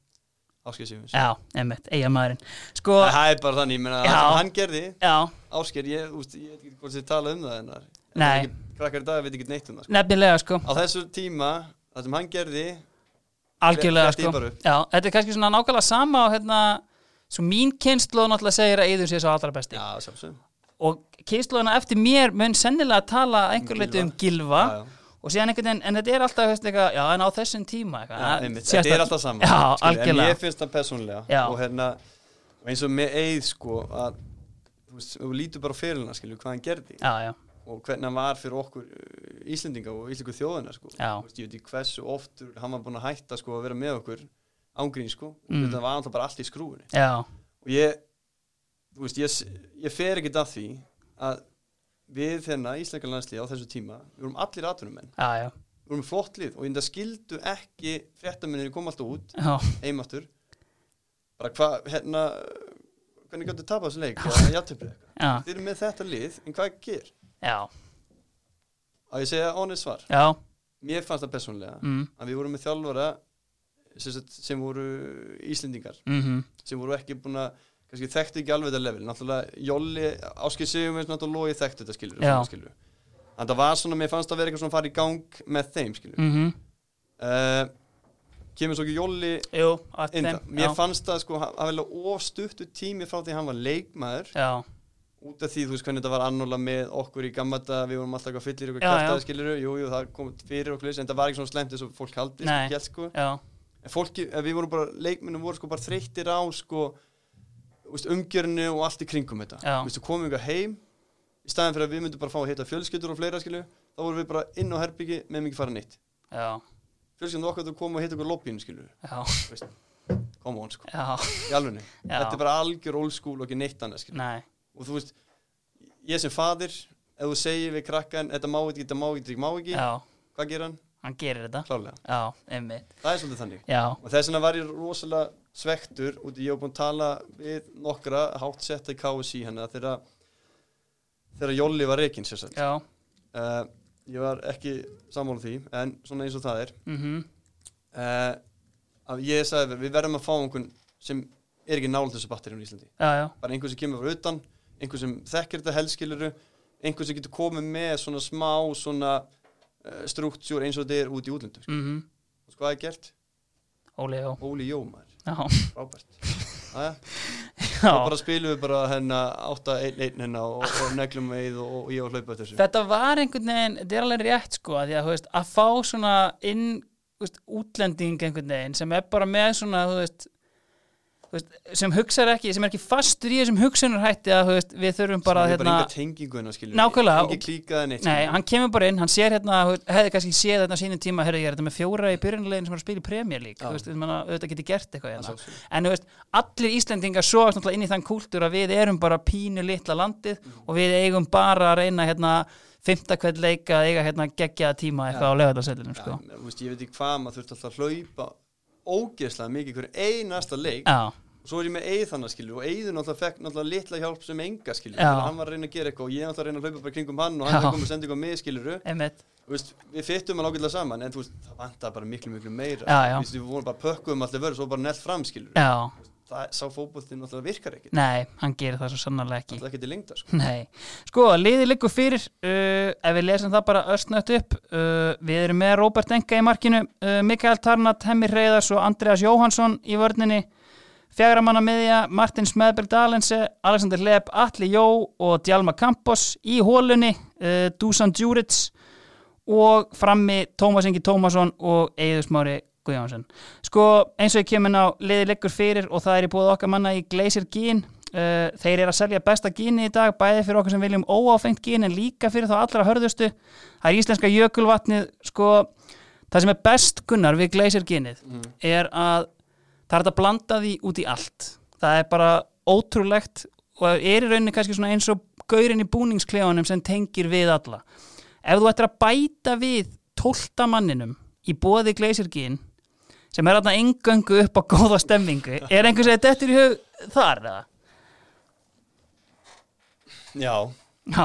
Ásker Sjöfins
Já, einmitt, eiga maðurinn. Sko,
það er bara þannig, ég meina það
Já.
sem hann gerði
já,
Ásker, ég, úst, ég veit ekki hvort þið tala um það en það en
Nei.
það er ekki- krakkar í dag veit ekki neitt um það sko.
nefnilega sko.
á þessu tíma, það sem hann gerði
algjörlega
Fletti
sko.
bara upp.
Já, þetta er kannski svona nákvæmlega sama og hérna, svo mín kynnslóð náttúrulega segir að Eiður sé svo allra besti
já, sjálfsögum
og kynnslóðina eftir mér mun sennilega tala einhver leiti um Gilva
Já, já.
og síðan einhvern veginn, en þetta er alltaf veist, eitthvað, já, en á þessum tíma eitthvað,
Já,
það
einmitt,
sést
þetta er
að-
alltaf saman
Já,
skilur, en
algjörlega,
ég finnst það persónulega
Já.
og hérna, og eins og með eið sko að þú veist, ef við lítum bara á fyrirna skilju hvað hann gerði
já, já,
og hvernig hann var fyrir okkur uh, Íslendinga og Íslengu þjóðina sko
Já.
Þú veist, ég veit ekki hversu oftur hann var búin að hætta sko að vera með okkur ángrín sko
Mm.
mm. þetta var alltaf bara allt í skrúinu
já,
og ég, þú veist, ég, s- ég fer ekki að því að við hérna Íslenga landslið á þessu tíma við vorum allir atvinnumenn,
já, já,
við vorum flott lið og ég enda skildu ekki fréttamenninni koma alltaf út
já,
heimáttur bara hvað, hérna hvernig gætu tapað þessu leik Bara jafntefli eða eitthvað.
já,
þið eru með þetta lið, en hvað ger
já,
á ég segja honest svar,
já,
mér fannst það persónulega
mm,
að við vorum með þjálfara sem, sagt, sem voru Íslendingar
mhm,
sem voru ekki búin að kannski þekktu ekki alveg þetta level náttúrulega Jolli, Áskei Sigurvins náttúrulega logi þekktu þetta skilur,
Já.
skilur. en það var svona, mér fannst það vera eitthvað svona að fara í gang með þeim skilur mm.
mhm,
kemur svo ekki Jolli
jú, að
inn
þeim,
það, mér
já,
fannst það sko að velja ofstuttu tími frá því hann var leikmaður
já,
út af því, þú veist hvernig þetta var annóla með okkur í gamla þetta, við vorum alltaf eitthvað fyllir
Já,
eitthvað
já.
kæftað, skilur jú, jú, það kom fyrir okkur leys, en það var ekki svona slemt eins og fólk haldi,
Nei.
hélt sko
já,
en fólki, en við vorum bara, leikmennum voru sko bara þreyttir á sko þú veist, umgjörinu og allt í kringum þetta
Já.
Þú veist, við komum eitthvað heim í staðin fyrir að við myndum bara fá að heita fjölskyldur og fleira skilur, þá vorum við bara inn á herbyggi með mikið fara neitt,
já,
fjölskyldur okkar þú komum og heita okkur lobbyin skilur,
já,
þú veist, come on sko
já,
í alvegni,
Já.
þetta er bara algjör old school og ekki neitt annað skilur
nei,
og þú veist, ég sem fadir ef þú segir við krakkan, þetta má ekki, þetta má ekki, þetta má ekki
já,
hvað ger hann?
hann gerir þetta
klálega.
Já, einmitt
Það er svolítið þannig.
Já,
Og þess vegna var ég rosalega svektur út í ég var búinn að tala við nokkra hátt setta í KSI hana þegar, þegar Jolli var reikinn sér sett.
já,
Uh, ég var ekki sammála því, en svona eins og það er.
mhm,
Uh, að ég sagði við, við verðum að fá einhvern sem er ekki nála þessu batterjum í Íslandi.
já, já
Bara einhver sem kemur frá utan, einhver sem þekkir þetta helskiluru, einhver sem getur komið með svona smá svona uh, struktúr eins og þetta er út í útlöndum.
mhm,
Og hvað er gert?
Óli, já
Óli Jómar,
Já,
frábært. Aja.
já
þá bara spilum við bara hérna 8-1-1 hérna og, og neglum við og, og ég var hlaupa eftir þessu
Þetta var einhvern veginn, þetta er alveg rétt sko að, að, veist, að fá svona inn þú veist, útlending einhvern veginn sem er bara með svona þú veist, þú veist, sem hugsar ekki, sem er ekki fastur í þessum hugsunarhætti að þú veist, við þurfum bara að
Sem er
hérna,
bara enga tengingu hérna skilur
Nákvæmlega.
Engi klíkaði neitt
nei, hann kemur bara inn hann sér hérna, þú veist, hefði kannski séð hérna á sínum tíma, herrðu ég er þetta með fjóra í byrjunlegin sem er að spila í premjör lík,
Já.
þú veist, þú veist, auðvitað geti gert eitthvað
Að
hérna
sjálfsögðu.
en þú veist, allir Íslendingar sóast náttúrulega inn í þann kúltúr að við erum bara pínu litla landið
Mm.
og við eigum bara að reyna hérna fymtakveld leika að eiga hérna geggjaða tíma eitthvað á lögðarsellinum
sko.
sko.
ja, veist, Ég veit ekki hvað maður þurfti alltaf að hlaupa ógeðslega mikið hverju einasta leik
Já,
og svo er ég með Eið þannig skilur og Eiður náttúrulega fekk náttúrulega litla hjálp sem enga skilur
Já.
hann var að reyna að gera eitthvað og ég náttúrulega að reyna að hlaupa bara kringum hann og
Já.
hann er að koma að senda eitthvað með skilur
einmitt,
veist, við fyttum hann ágætlega saman en þú veist, það vantar bara miklu miklu meira
Já, já.
Þú Veist, við vorum bara pökkuðum allir vörð svo bara nell fram skilur
já,
það, sá fótbolti náttúrulega virkar ekki
nei, hann gerir það svo sannarlega ekki
alltaf ekki til lengda sko.
Nei, sko, liðið liggur fyrir uh, ef við lesum það bara östnött upp uh, við erum með Róbert Enga í markinu uh, Mikael Tarnat, Hemmi Reyðars og Andreas Jóhansson í vörninni fjagramanna miðja, Martin Smedberg Dalense Alexander Lepp, Atli Jó og Djalma Campos í hólunni uh, Dusan Djuric og frammi Tómas Ingi Tómasson og Eiður Smári Guðjónsson. Sko eins og ég kemur á liði liggur fyrir og það er í búið okkar manna í Glacier Gín. Uh, þeir eru að selja besta gíni í dag, bæði fyrir okkur sem viljum óáfengt gín en líka fyrir þá allra hörðustu. Það er íslenska jökulvatnið, sko það sem er best gunnar við Glacier gínið er að það er hægt að blanda því út í allt. Það er bara ótrúlegt og er í rauninni kannski svona eins og gaurin í búningsklefanum sem tengir við alla ef þú ættir að bæta við tólta manninum í bóði gleysirgin sem er þarna engöngu upp á góða stemmingu er einhvers að þetta er í hug þar eða?
já,
Já,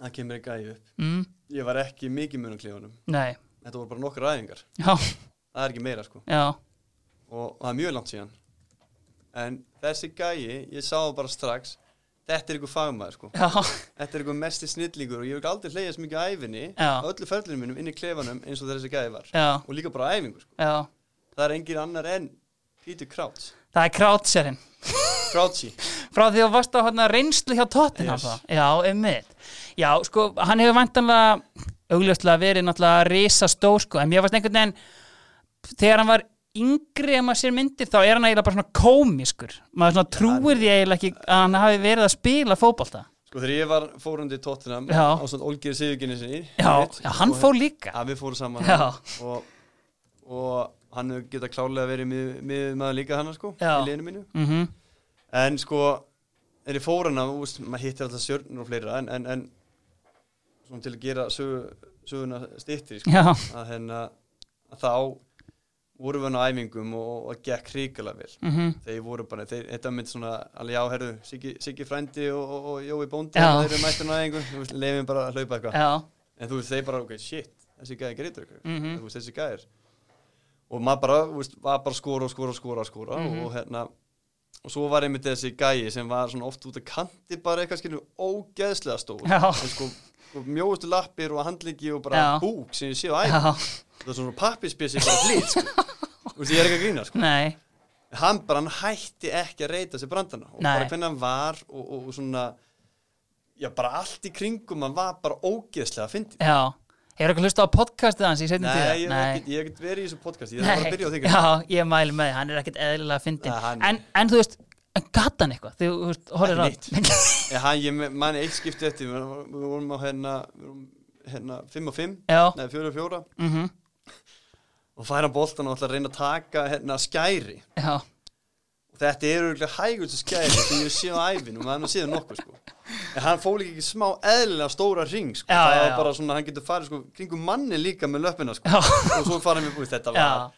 það kemur ekki gæði upp
mm,
ég var ekki mikið mun á klefunum
nei,
þetta voru bara nokkur æfingar,
já,
það er ekki meira sko
já,
og það er mjög langt síðan en þessi gæi, ég sá það bara strax þetta er ykkur fagmaður sko
já,
þetta er ykkur mesti snillingur og ég hef ekki aldrei hleyjast mikið á æfinni
Já.
á öllu ferðlunum mínum inn í klefanum eins og þessi gæi var
já,
og líka bara á æfingu sko
já.
það er engin annar en Peter Crouch
Það er krátserinn
Crouchy
frá því að þú varst á hérna, reynslu hjá Tottenham
Yes.
yes. Já, einmitt Já, sko, hann hefur vantanlega augljóslega verið náttúrulega risa stór sko, en mér varst einhvern veginn þegar hann var yngri ef maður sér myndir þá er hann eiginlega bara svona komiskur maður svona trúir því eiginlega ekki að hann hafi verið að spila fótbolta
sko þegar ég var fórundi í Tottenham
Já.
á svona Olgeir Sigurginni sinni
Já, já hann fór líka
Já, við fórum saman
Já.
og, og hann geta klálega verið mið, mið maður líka hann sko,
Já.
í liðinu mínu
mm -hmm.
en sko, þegar ég fór hann að, úst, maður hittir alltaf sjörnur og fleira en, en, en svona til að gera sög, söguna styttri sko,
Já,
að hérna að þá vorum við hann á æfingum og, og gekk hrikalega vel
mm
þeir voru bara, þeir, þetta mynd svona alveg áherðu, Siggi, Siggi frændi og, og, og Jói Bóndi,
Já.
þeir eru mættur á æfingum leifin bara að hlaupa eitthvað
já,
en þú veist, þeir bara, ok, shit, þessi gæði greitur ykkur,
Mhm.
þú veist, þessi gæðir og maður bara, þú veist, var bara að skora og skora og skora og skora
Mhm.
og hérna og svo var einmitt þessi gæði sem var svona oft út að kanti bara eitthvað skilur ógeðslega stór,
Já.
en sko sko mjóustu lappir og handliki og bara
Já.
búk sem ég sé á æð,
já,
það er svona pappispessi bara flýtt, sko, þú veist, ég er ekki að grína sko.
nei
hann bara, hann hætti ekki að reyta sér brandana og
Nei.
bara hvernig hann var og, og, og svona já, bara allt í kringum hann var bara ógeðslega fyndið
Já, hefur eitthvað hlusta á podcastið hans í setjum
Nei, ég hef ekkert- ég hef ekkert verið í þessu podcast Ég þarf bara að byrja á því
Já, ég mæli með, þig, hann er ekkert eðlilega fyndin
Nei, hann-
en, en þú veist, en gat hann eitthvað þú þú veist, horfir á
Ekki Ég, hann, ég me- man eitt skipti eftir Við vorum- við vorum á hérna, við vorum hérna 5 og 5,
Já.
neða 4 og 4
mm -hmm.
og færa boltan og ætla að reyna að taka hérna skæri
Já,
og þetta eru auðvitað hægustu skæri sem ég sé á æfin og maður séð nokkuð sko En hann fór líka ekki smá eðlilega stóra ring, sko.
Já,
það
já,
var
já.
bara svona, hann getur farið, sko, kringum manni líka með löppina, sko.
Já.
Og svo farið með búið, þetta var
Já,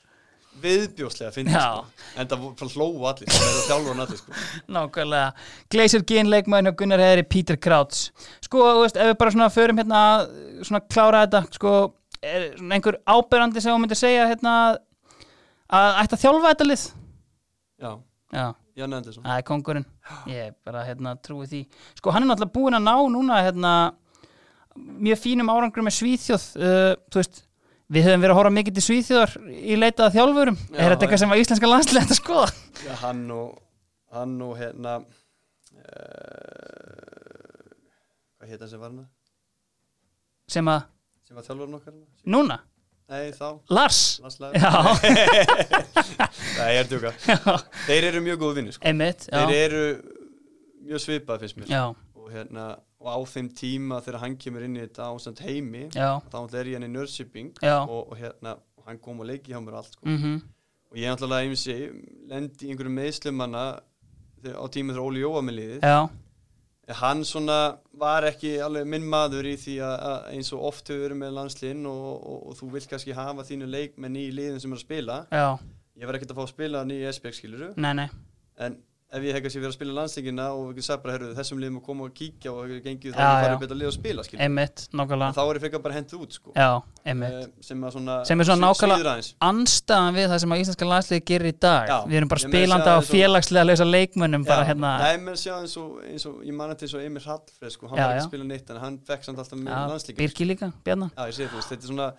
viðbjóslega að finna,
Já.
sko. En það var hlóa allir, það er þjálfur allir, sko.
nákvæmlega. Gleisir Ginn, leikmæðin og Gunnar Heðri, Pítur Krauts. Sko, þú veist, ef við bara svona förum hérna að svona klára þetta, sko, er svona einhver áberandi sem þú myndir segja hérna að- að ætti að þjálfa þetta lið?
Já,
Já,
Jan Andersson.
það er kongurinn. Ég bara hérna trúi því. Sko, hann er náttúrulega búinn að ná núna hérna mjög fínum árangur með Svíþjóð, uh, þú veist, við höfum verið að horfa mikið til Svíþjóðar í leitað að þjálfurum.
Já,
er þetta
já.
eitthvað sem að íslenska landslega þetta skoða?
Já, hann og, hann og hérna, uh, hvað heit hann sem var hann?
Sem að,
Sem var þjálfurinn okkar? hérna?
núna,
Nei, þá,
Lars
landslæður.
Já,
Nei, ég er að djóka.
já,
Þeir eru mjög góð vinni, sko.
einmitt já.
Þeir eru mjög svipað, finnst mér.
já,
og hérna og á þeim tíma þegar hann kemur inn í þetta ásand heimi
já,
þá náttúrulega er ég hann í Nörshipping
já
og, og hérna og hann kom og leiki hjá mér og allt sko.
mm
og ég náttúrulega eins og lendi í einhverju meðslumanna á tíma þegar Óli Jóa með liðið
Já,
en hann svona var ekki alveg minn maður í því að, að eins og oft hefur verið með landslinn og, og, og þú vilt kannski hafa þínu leikmenn í liðin sem er að spila
já,
ég var ekkert að fá að spila hann í SBX skiluru
nei, nei
en ef ég hef kannski verið að spila landslingina og við sagði bara, herru, þessum liðum að koma og kíkja og hefur gengið þá
Já,
er
já.
farið betra lið að spila skilur.
Einmitt,
en
nákvæmlega
þá er ég frekar bara hent út sko.
Já,
Eh,
einmitt
sem að svona
Sem er svona
sí-
nákvæmlega-
síður aðeins
Anstaðan við það sem að íslenska landslið gerir í dag
Já,
Við erum bara
ég meina að
spilanda
segja
á
eins og-
félagslega lausa leikmönnum bara hérna
Nei, menn sjá eins og, eins og ég manna til eins og Emil Hallfrey sko, hann
Já,
var ekki
já.
að spila neitt en hann fekk samt alltaf með
Já,
landslingin
Birki líka, Bjarna
Já, ég sé þú veist, þetta er svona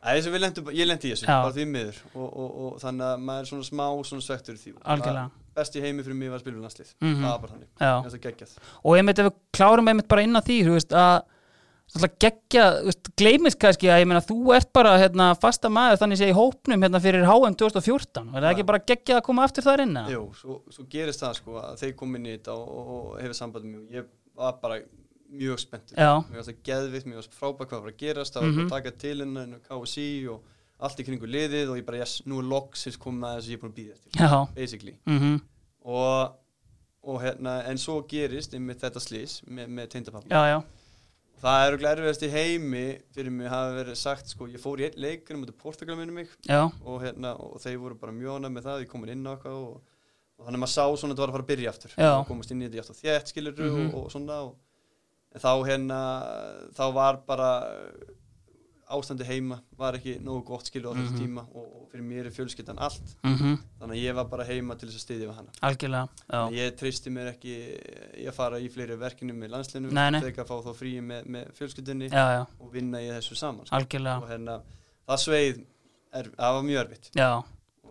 Æ, þessu, við lentum, bara- ég lendi í þessu,
Já.
bara því miður og, og, og þannig að maður er svona smá svona svektur í því
Algjörlega.
Það- Best í heimi fyrir mig var að spila um landslið
Mhm.
Það var bara þannig,
Já
þetta geggjað
og einmitt ef við klárum einmitt bara inn á því þú veist að alltaf geggja, þú veist, gleymist kannski að ég meina þú ert bara hérna fasta maður þannig sé í hópnum hérna fyrir HM 2014 er það ekki bara geggja að koma aftur þar inn eða?
Jú, svo, svo gerist það sko að þeir kom inn í þetta og, og, og hefur samband með mig og ég var bara mjög spenntur
Já.
mér var það geðvitt, mér var frábæk hvað var að gerast það var
Mhm.
bara að taka til hérna hennar og KSI og allt í kringu liðið og ég bara yes, nú er loksins komið að þessu ég er búin að býða eftir
já,
basically
mhm,
og, og hérna, en svo gerist einmitt þetta slís með, með tindapappa
já, já
það eru glæriðast í heimi fyrir mig hafa verið sagt sko ég fór í einn leikur um þetta Portugal minnum mig
já,
og, hérna, og þeir voru bara mjög ánægð með það, ég komin inn á eitthvað og, og þannig að maður sá svona að þetta var að fara að byrja aftur
Já.
og komast inn í þetta aftur þétt skilur
Mhm.
og, og svona og, en þá hérna þá var bara uh, ástandi heima, var ekki nógu gott skilur á þessum
Mhm.
tíma og, og fyrir mér er fjölskyldan allt,
mhm,
þannig að ég var bara heima til þess að styðja við hana
algjörlega já,
ég treysti mér ekki í að fara í fleiri verkinu með landslinu
Nei, nei.
þegar að fá þá fríi með, með fjölskyldinni
já, já,
og vinna í þessu saman sko. og
algjörlega
hérna, það sveið er, það var mjög erfitt
já,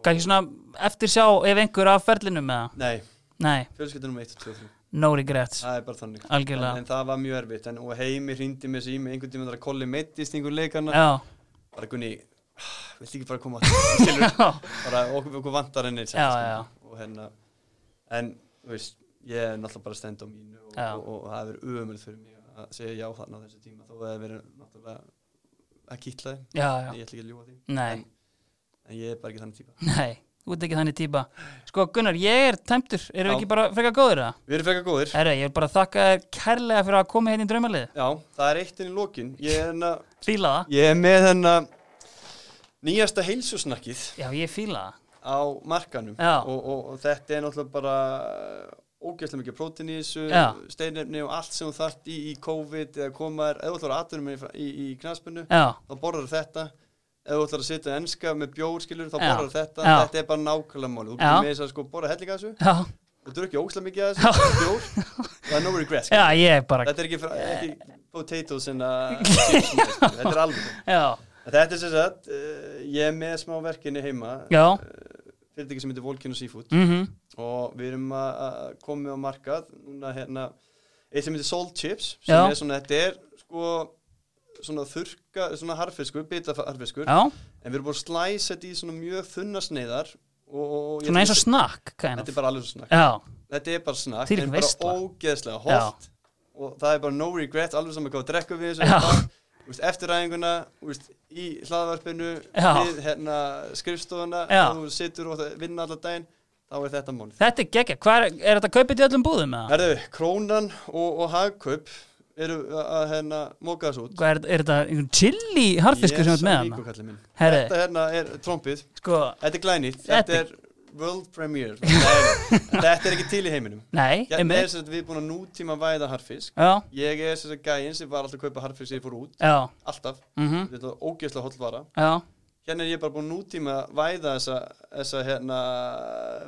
kannski svona eftir sjá ef einhver af ferlinum eða?
Nei,
nei,
fjölskyldunum 1 og 2 og 3
no regrets
Það er bara þannig en,
algjörlega,
en það var mjög erfitt en, og heimi hrindi með sig í mig einhvern tímann að kolli meittist einhver leikana
já
bara Gunni, vilt ekki bara koma Skilurðu? bara okkur, okkur vantar henni
Já, já.
og hérna en þú veist, ég er náttúrulega bara að stenda á mínu og,
Já.
og, og, það hefur ömul fyrir mig að segja já þarna á þessu tíma þó að það hefur verið náttúrulega að kýtla þeim
já, já,
ég ætla ekki að ljúa því
nei
en ég er bara ekki þannig típa
Nei, þú ert ekki þannig típa Sko Gunnar, ég er tæmtur, erum við
Já.
ekki bara frekar góður það?
Við erum frekar góðir
Herra, ég vil bara þakka þér kærlega fyrir að koma hérna í draumalið
Já, það er eitt inn í lokin Ég er, hérna-
Fíla það?
ég er með hennar nýjasta heilsusnakkið
Já, ég fíla það
á markanum
Já.
og, og, og þetta er náttúrulega bara eh, ógeðslega mikið prótín í þessu
Já.
steinefni og allt sem þú þart í, í COVID eða koma er, ef þú ætlar að aðtunum í, í, í knaspunnu,
Já,
þá borðar þetta ef þú ætlar að sitja enska með bjór skilur þá
Já.
borðar þetta,
Já.
þetta er bara nákvæmlega máli þú
Já.
getur með þess að sko borða hellinga þessu
já,
og drukja ógeðslega mikið af þessu bjór, það er no regrets
já, ég er bara
þetta er ekki, fra- ekki potatoes en að þetta er alveg
Já,
þetta er sem sagt, uh, ég er með smá verkinni heima
já,
fyrirtæki sem heitir Volcano Seafood
mhm,
og við erum að að koma á markað núna hérna eitt sem heitir Salt Chips sem
Já.
er svona, þetta er sko svona þurka, svona harfiskur, bita harfiskur
já
en við erum búin að slæsa þetta í svona mjög þunna sneiðar og, og ég
Svona eins og
ætla-
snakk, kind
þetta
of
er bara alveg svo snakk
Já,
þetta er bara snakk,
Þvílík
en bara
veisla.
ógeðslega holdt og það er bara no regret, alveg saman hvað að drekka við
Já.
þessu hérna. Úst, eftir ræðinguna, úst, í hlaðvarpinu
Já.
við hérna skrifstofuna
Já.
og þú situr og það- vinna allan daginn þá er þetta málið.
Þetta er geggja, Hvar, er þetta kaupið í öllum búðum eða?
Herðu, krónan og, og hagkaup eru að hérna móka þessu út.
Hvað er, er þetta einhvern chili harfiskur sem
Yes,
er með
amigo,
hana?
kallinn minn.
Herri.
Þetta hérna er trompið,
Sko,
þetta er glænýtt,
Þetta-
þetta er world premiere. Þetta er- þetta er ekki til í heiminum.
nei,
Ég er
einmitt.
sem sagt við búin að nútíma væða harfisk.
Já,
Ég er sem sagt gæinn sem var alltaf að kaupa harfisk sem ég fór út,
já,
alltaf.
mhm,
Þetta er ógeðslega holdvara.
já,
Hérna er ég bara búin að nútíma væða þessa, þessa hérna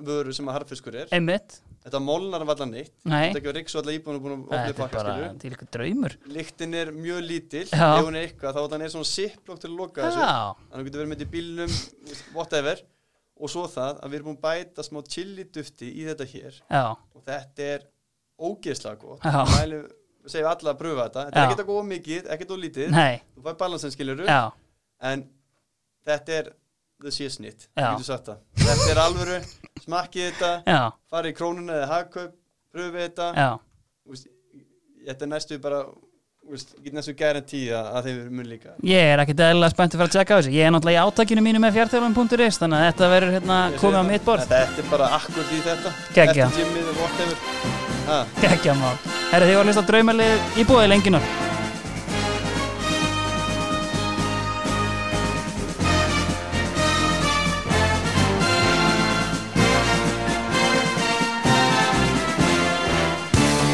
vöru sem að harfiskur er.
einmitt.
Þetta molnar vallar neitt.
Nei,
Þetta er ekki að riksu allar íbúin að búin að opna
þetta er
pakka,
bara
skilju.
til ykkur draumur.
Líktin er mjög lítil,
Já.
ef hún er eitthvað, þá þannig er svona sipplokk til að loka þessu.
Já,
Þannig að hún getur verið með þetta í bílnum, whatever. Og svo það að við erum búin að bæta smá chili dufti í þetta hér.
já,
Og þetta er ógeðslega gott.
Já.
Mælu, segjum alla að pröfa þetta. Þetta
Já.
er ekkert að góða mikið, ekkert of lítið.
nei,
Þú fær balansen skiluru.
já,
En þetta er the shit
Já.
þetta. þetta er alvöru, smakkið þetta,
já,
farið í krónuna eða hagkaup, pröfið þetta.
já,
Þú veist, þetta er næstu bara þú veist, ég get næstu garanti að að þeim mun líka
ég er ekkert eðlilega spennt að fara að tjekka á þessu, ég er náttúrulega í átakinu mínu með fjartölun.is, þannig að þetta verður hérna komið á mitt borð,
þetta þetta er bara akkur í þetta
Geggjað.
eftir gymmið og whatever ah.
geggjamál. Herra, þið var að hlusta á draumalið í búið lengjunum.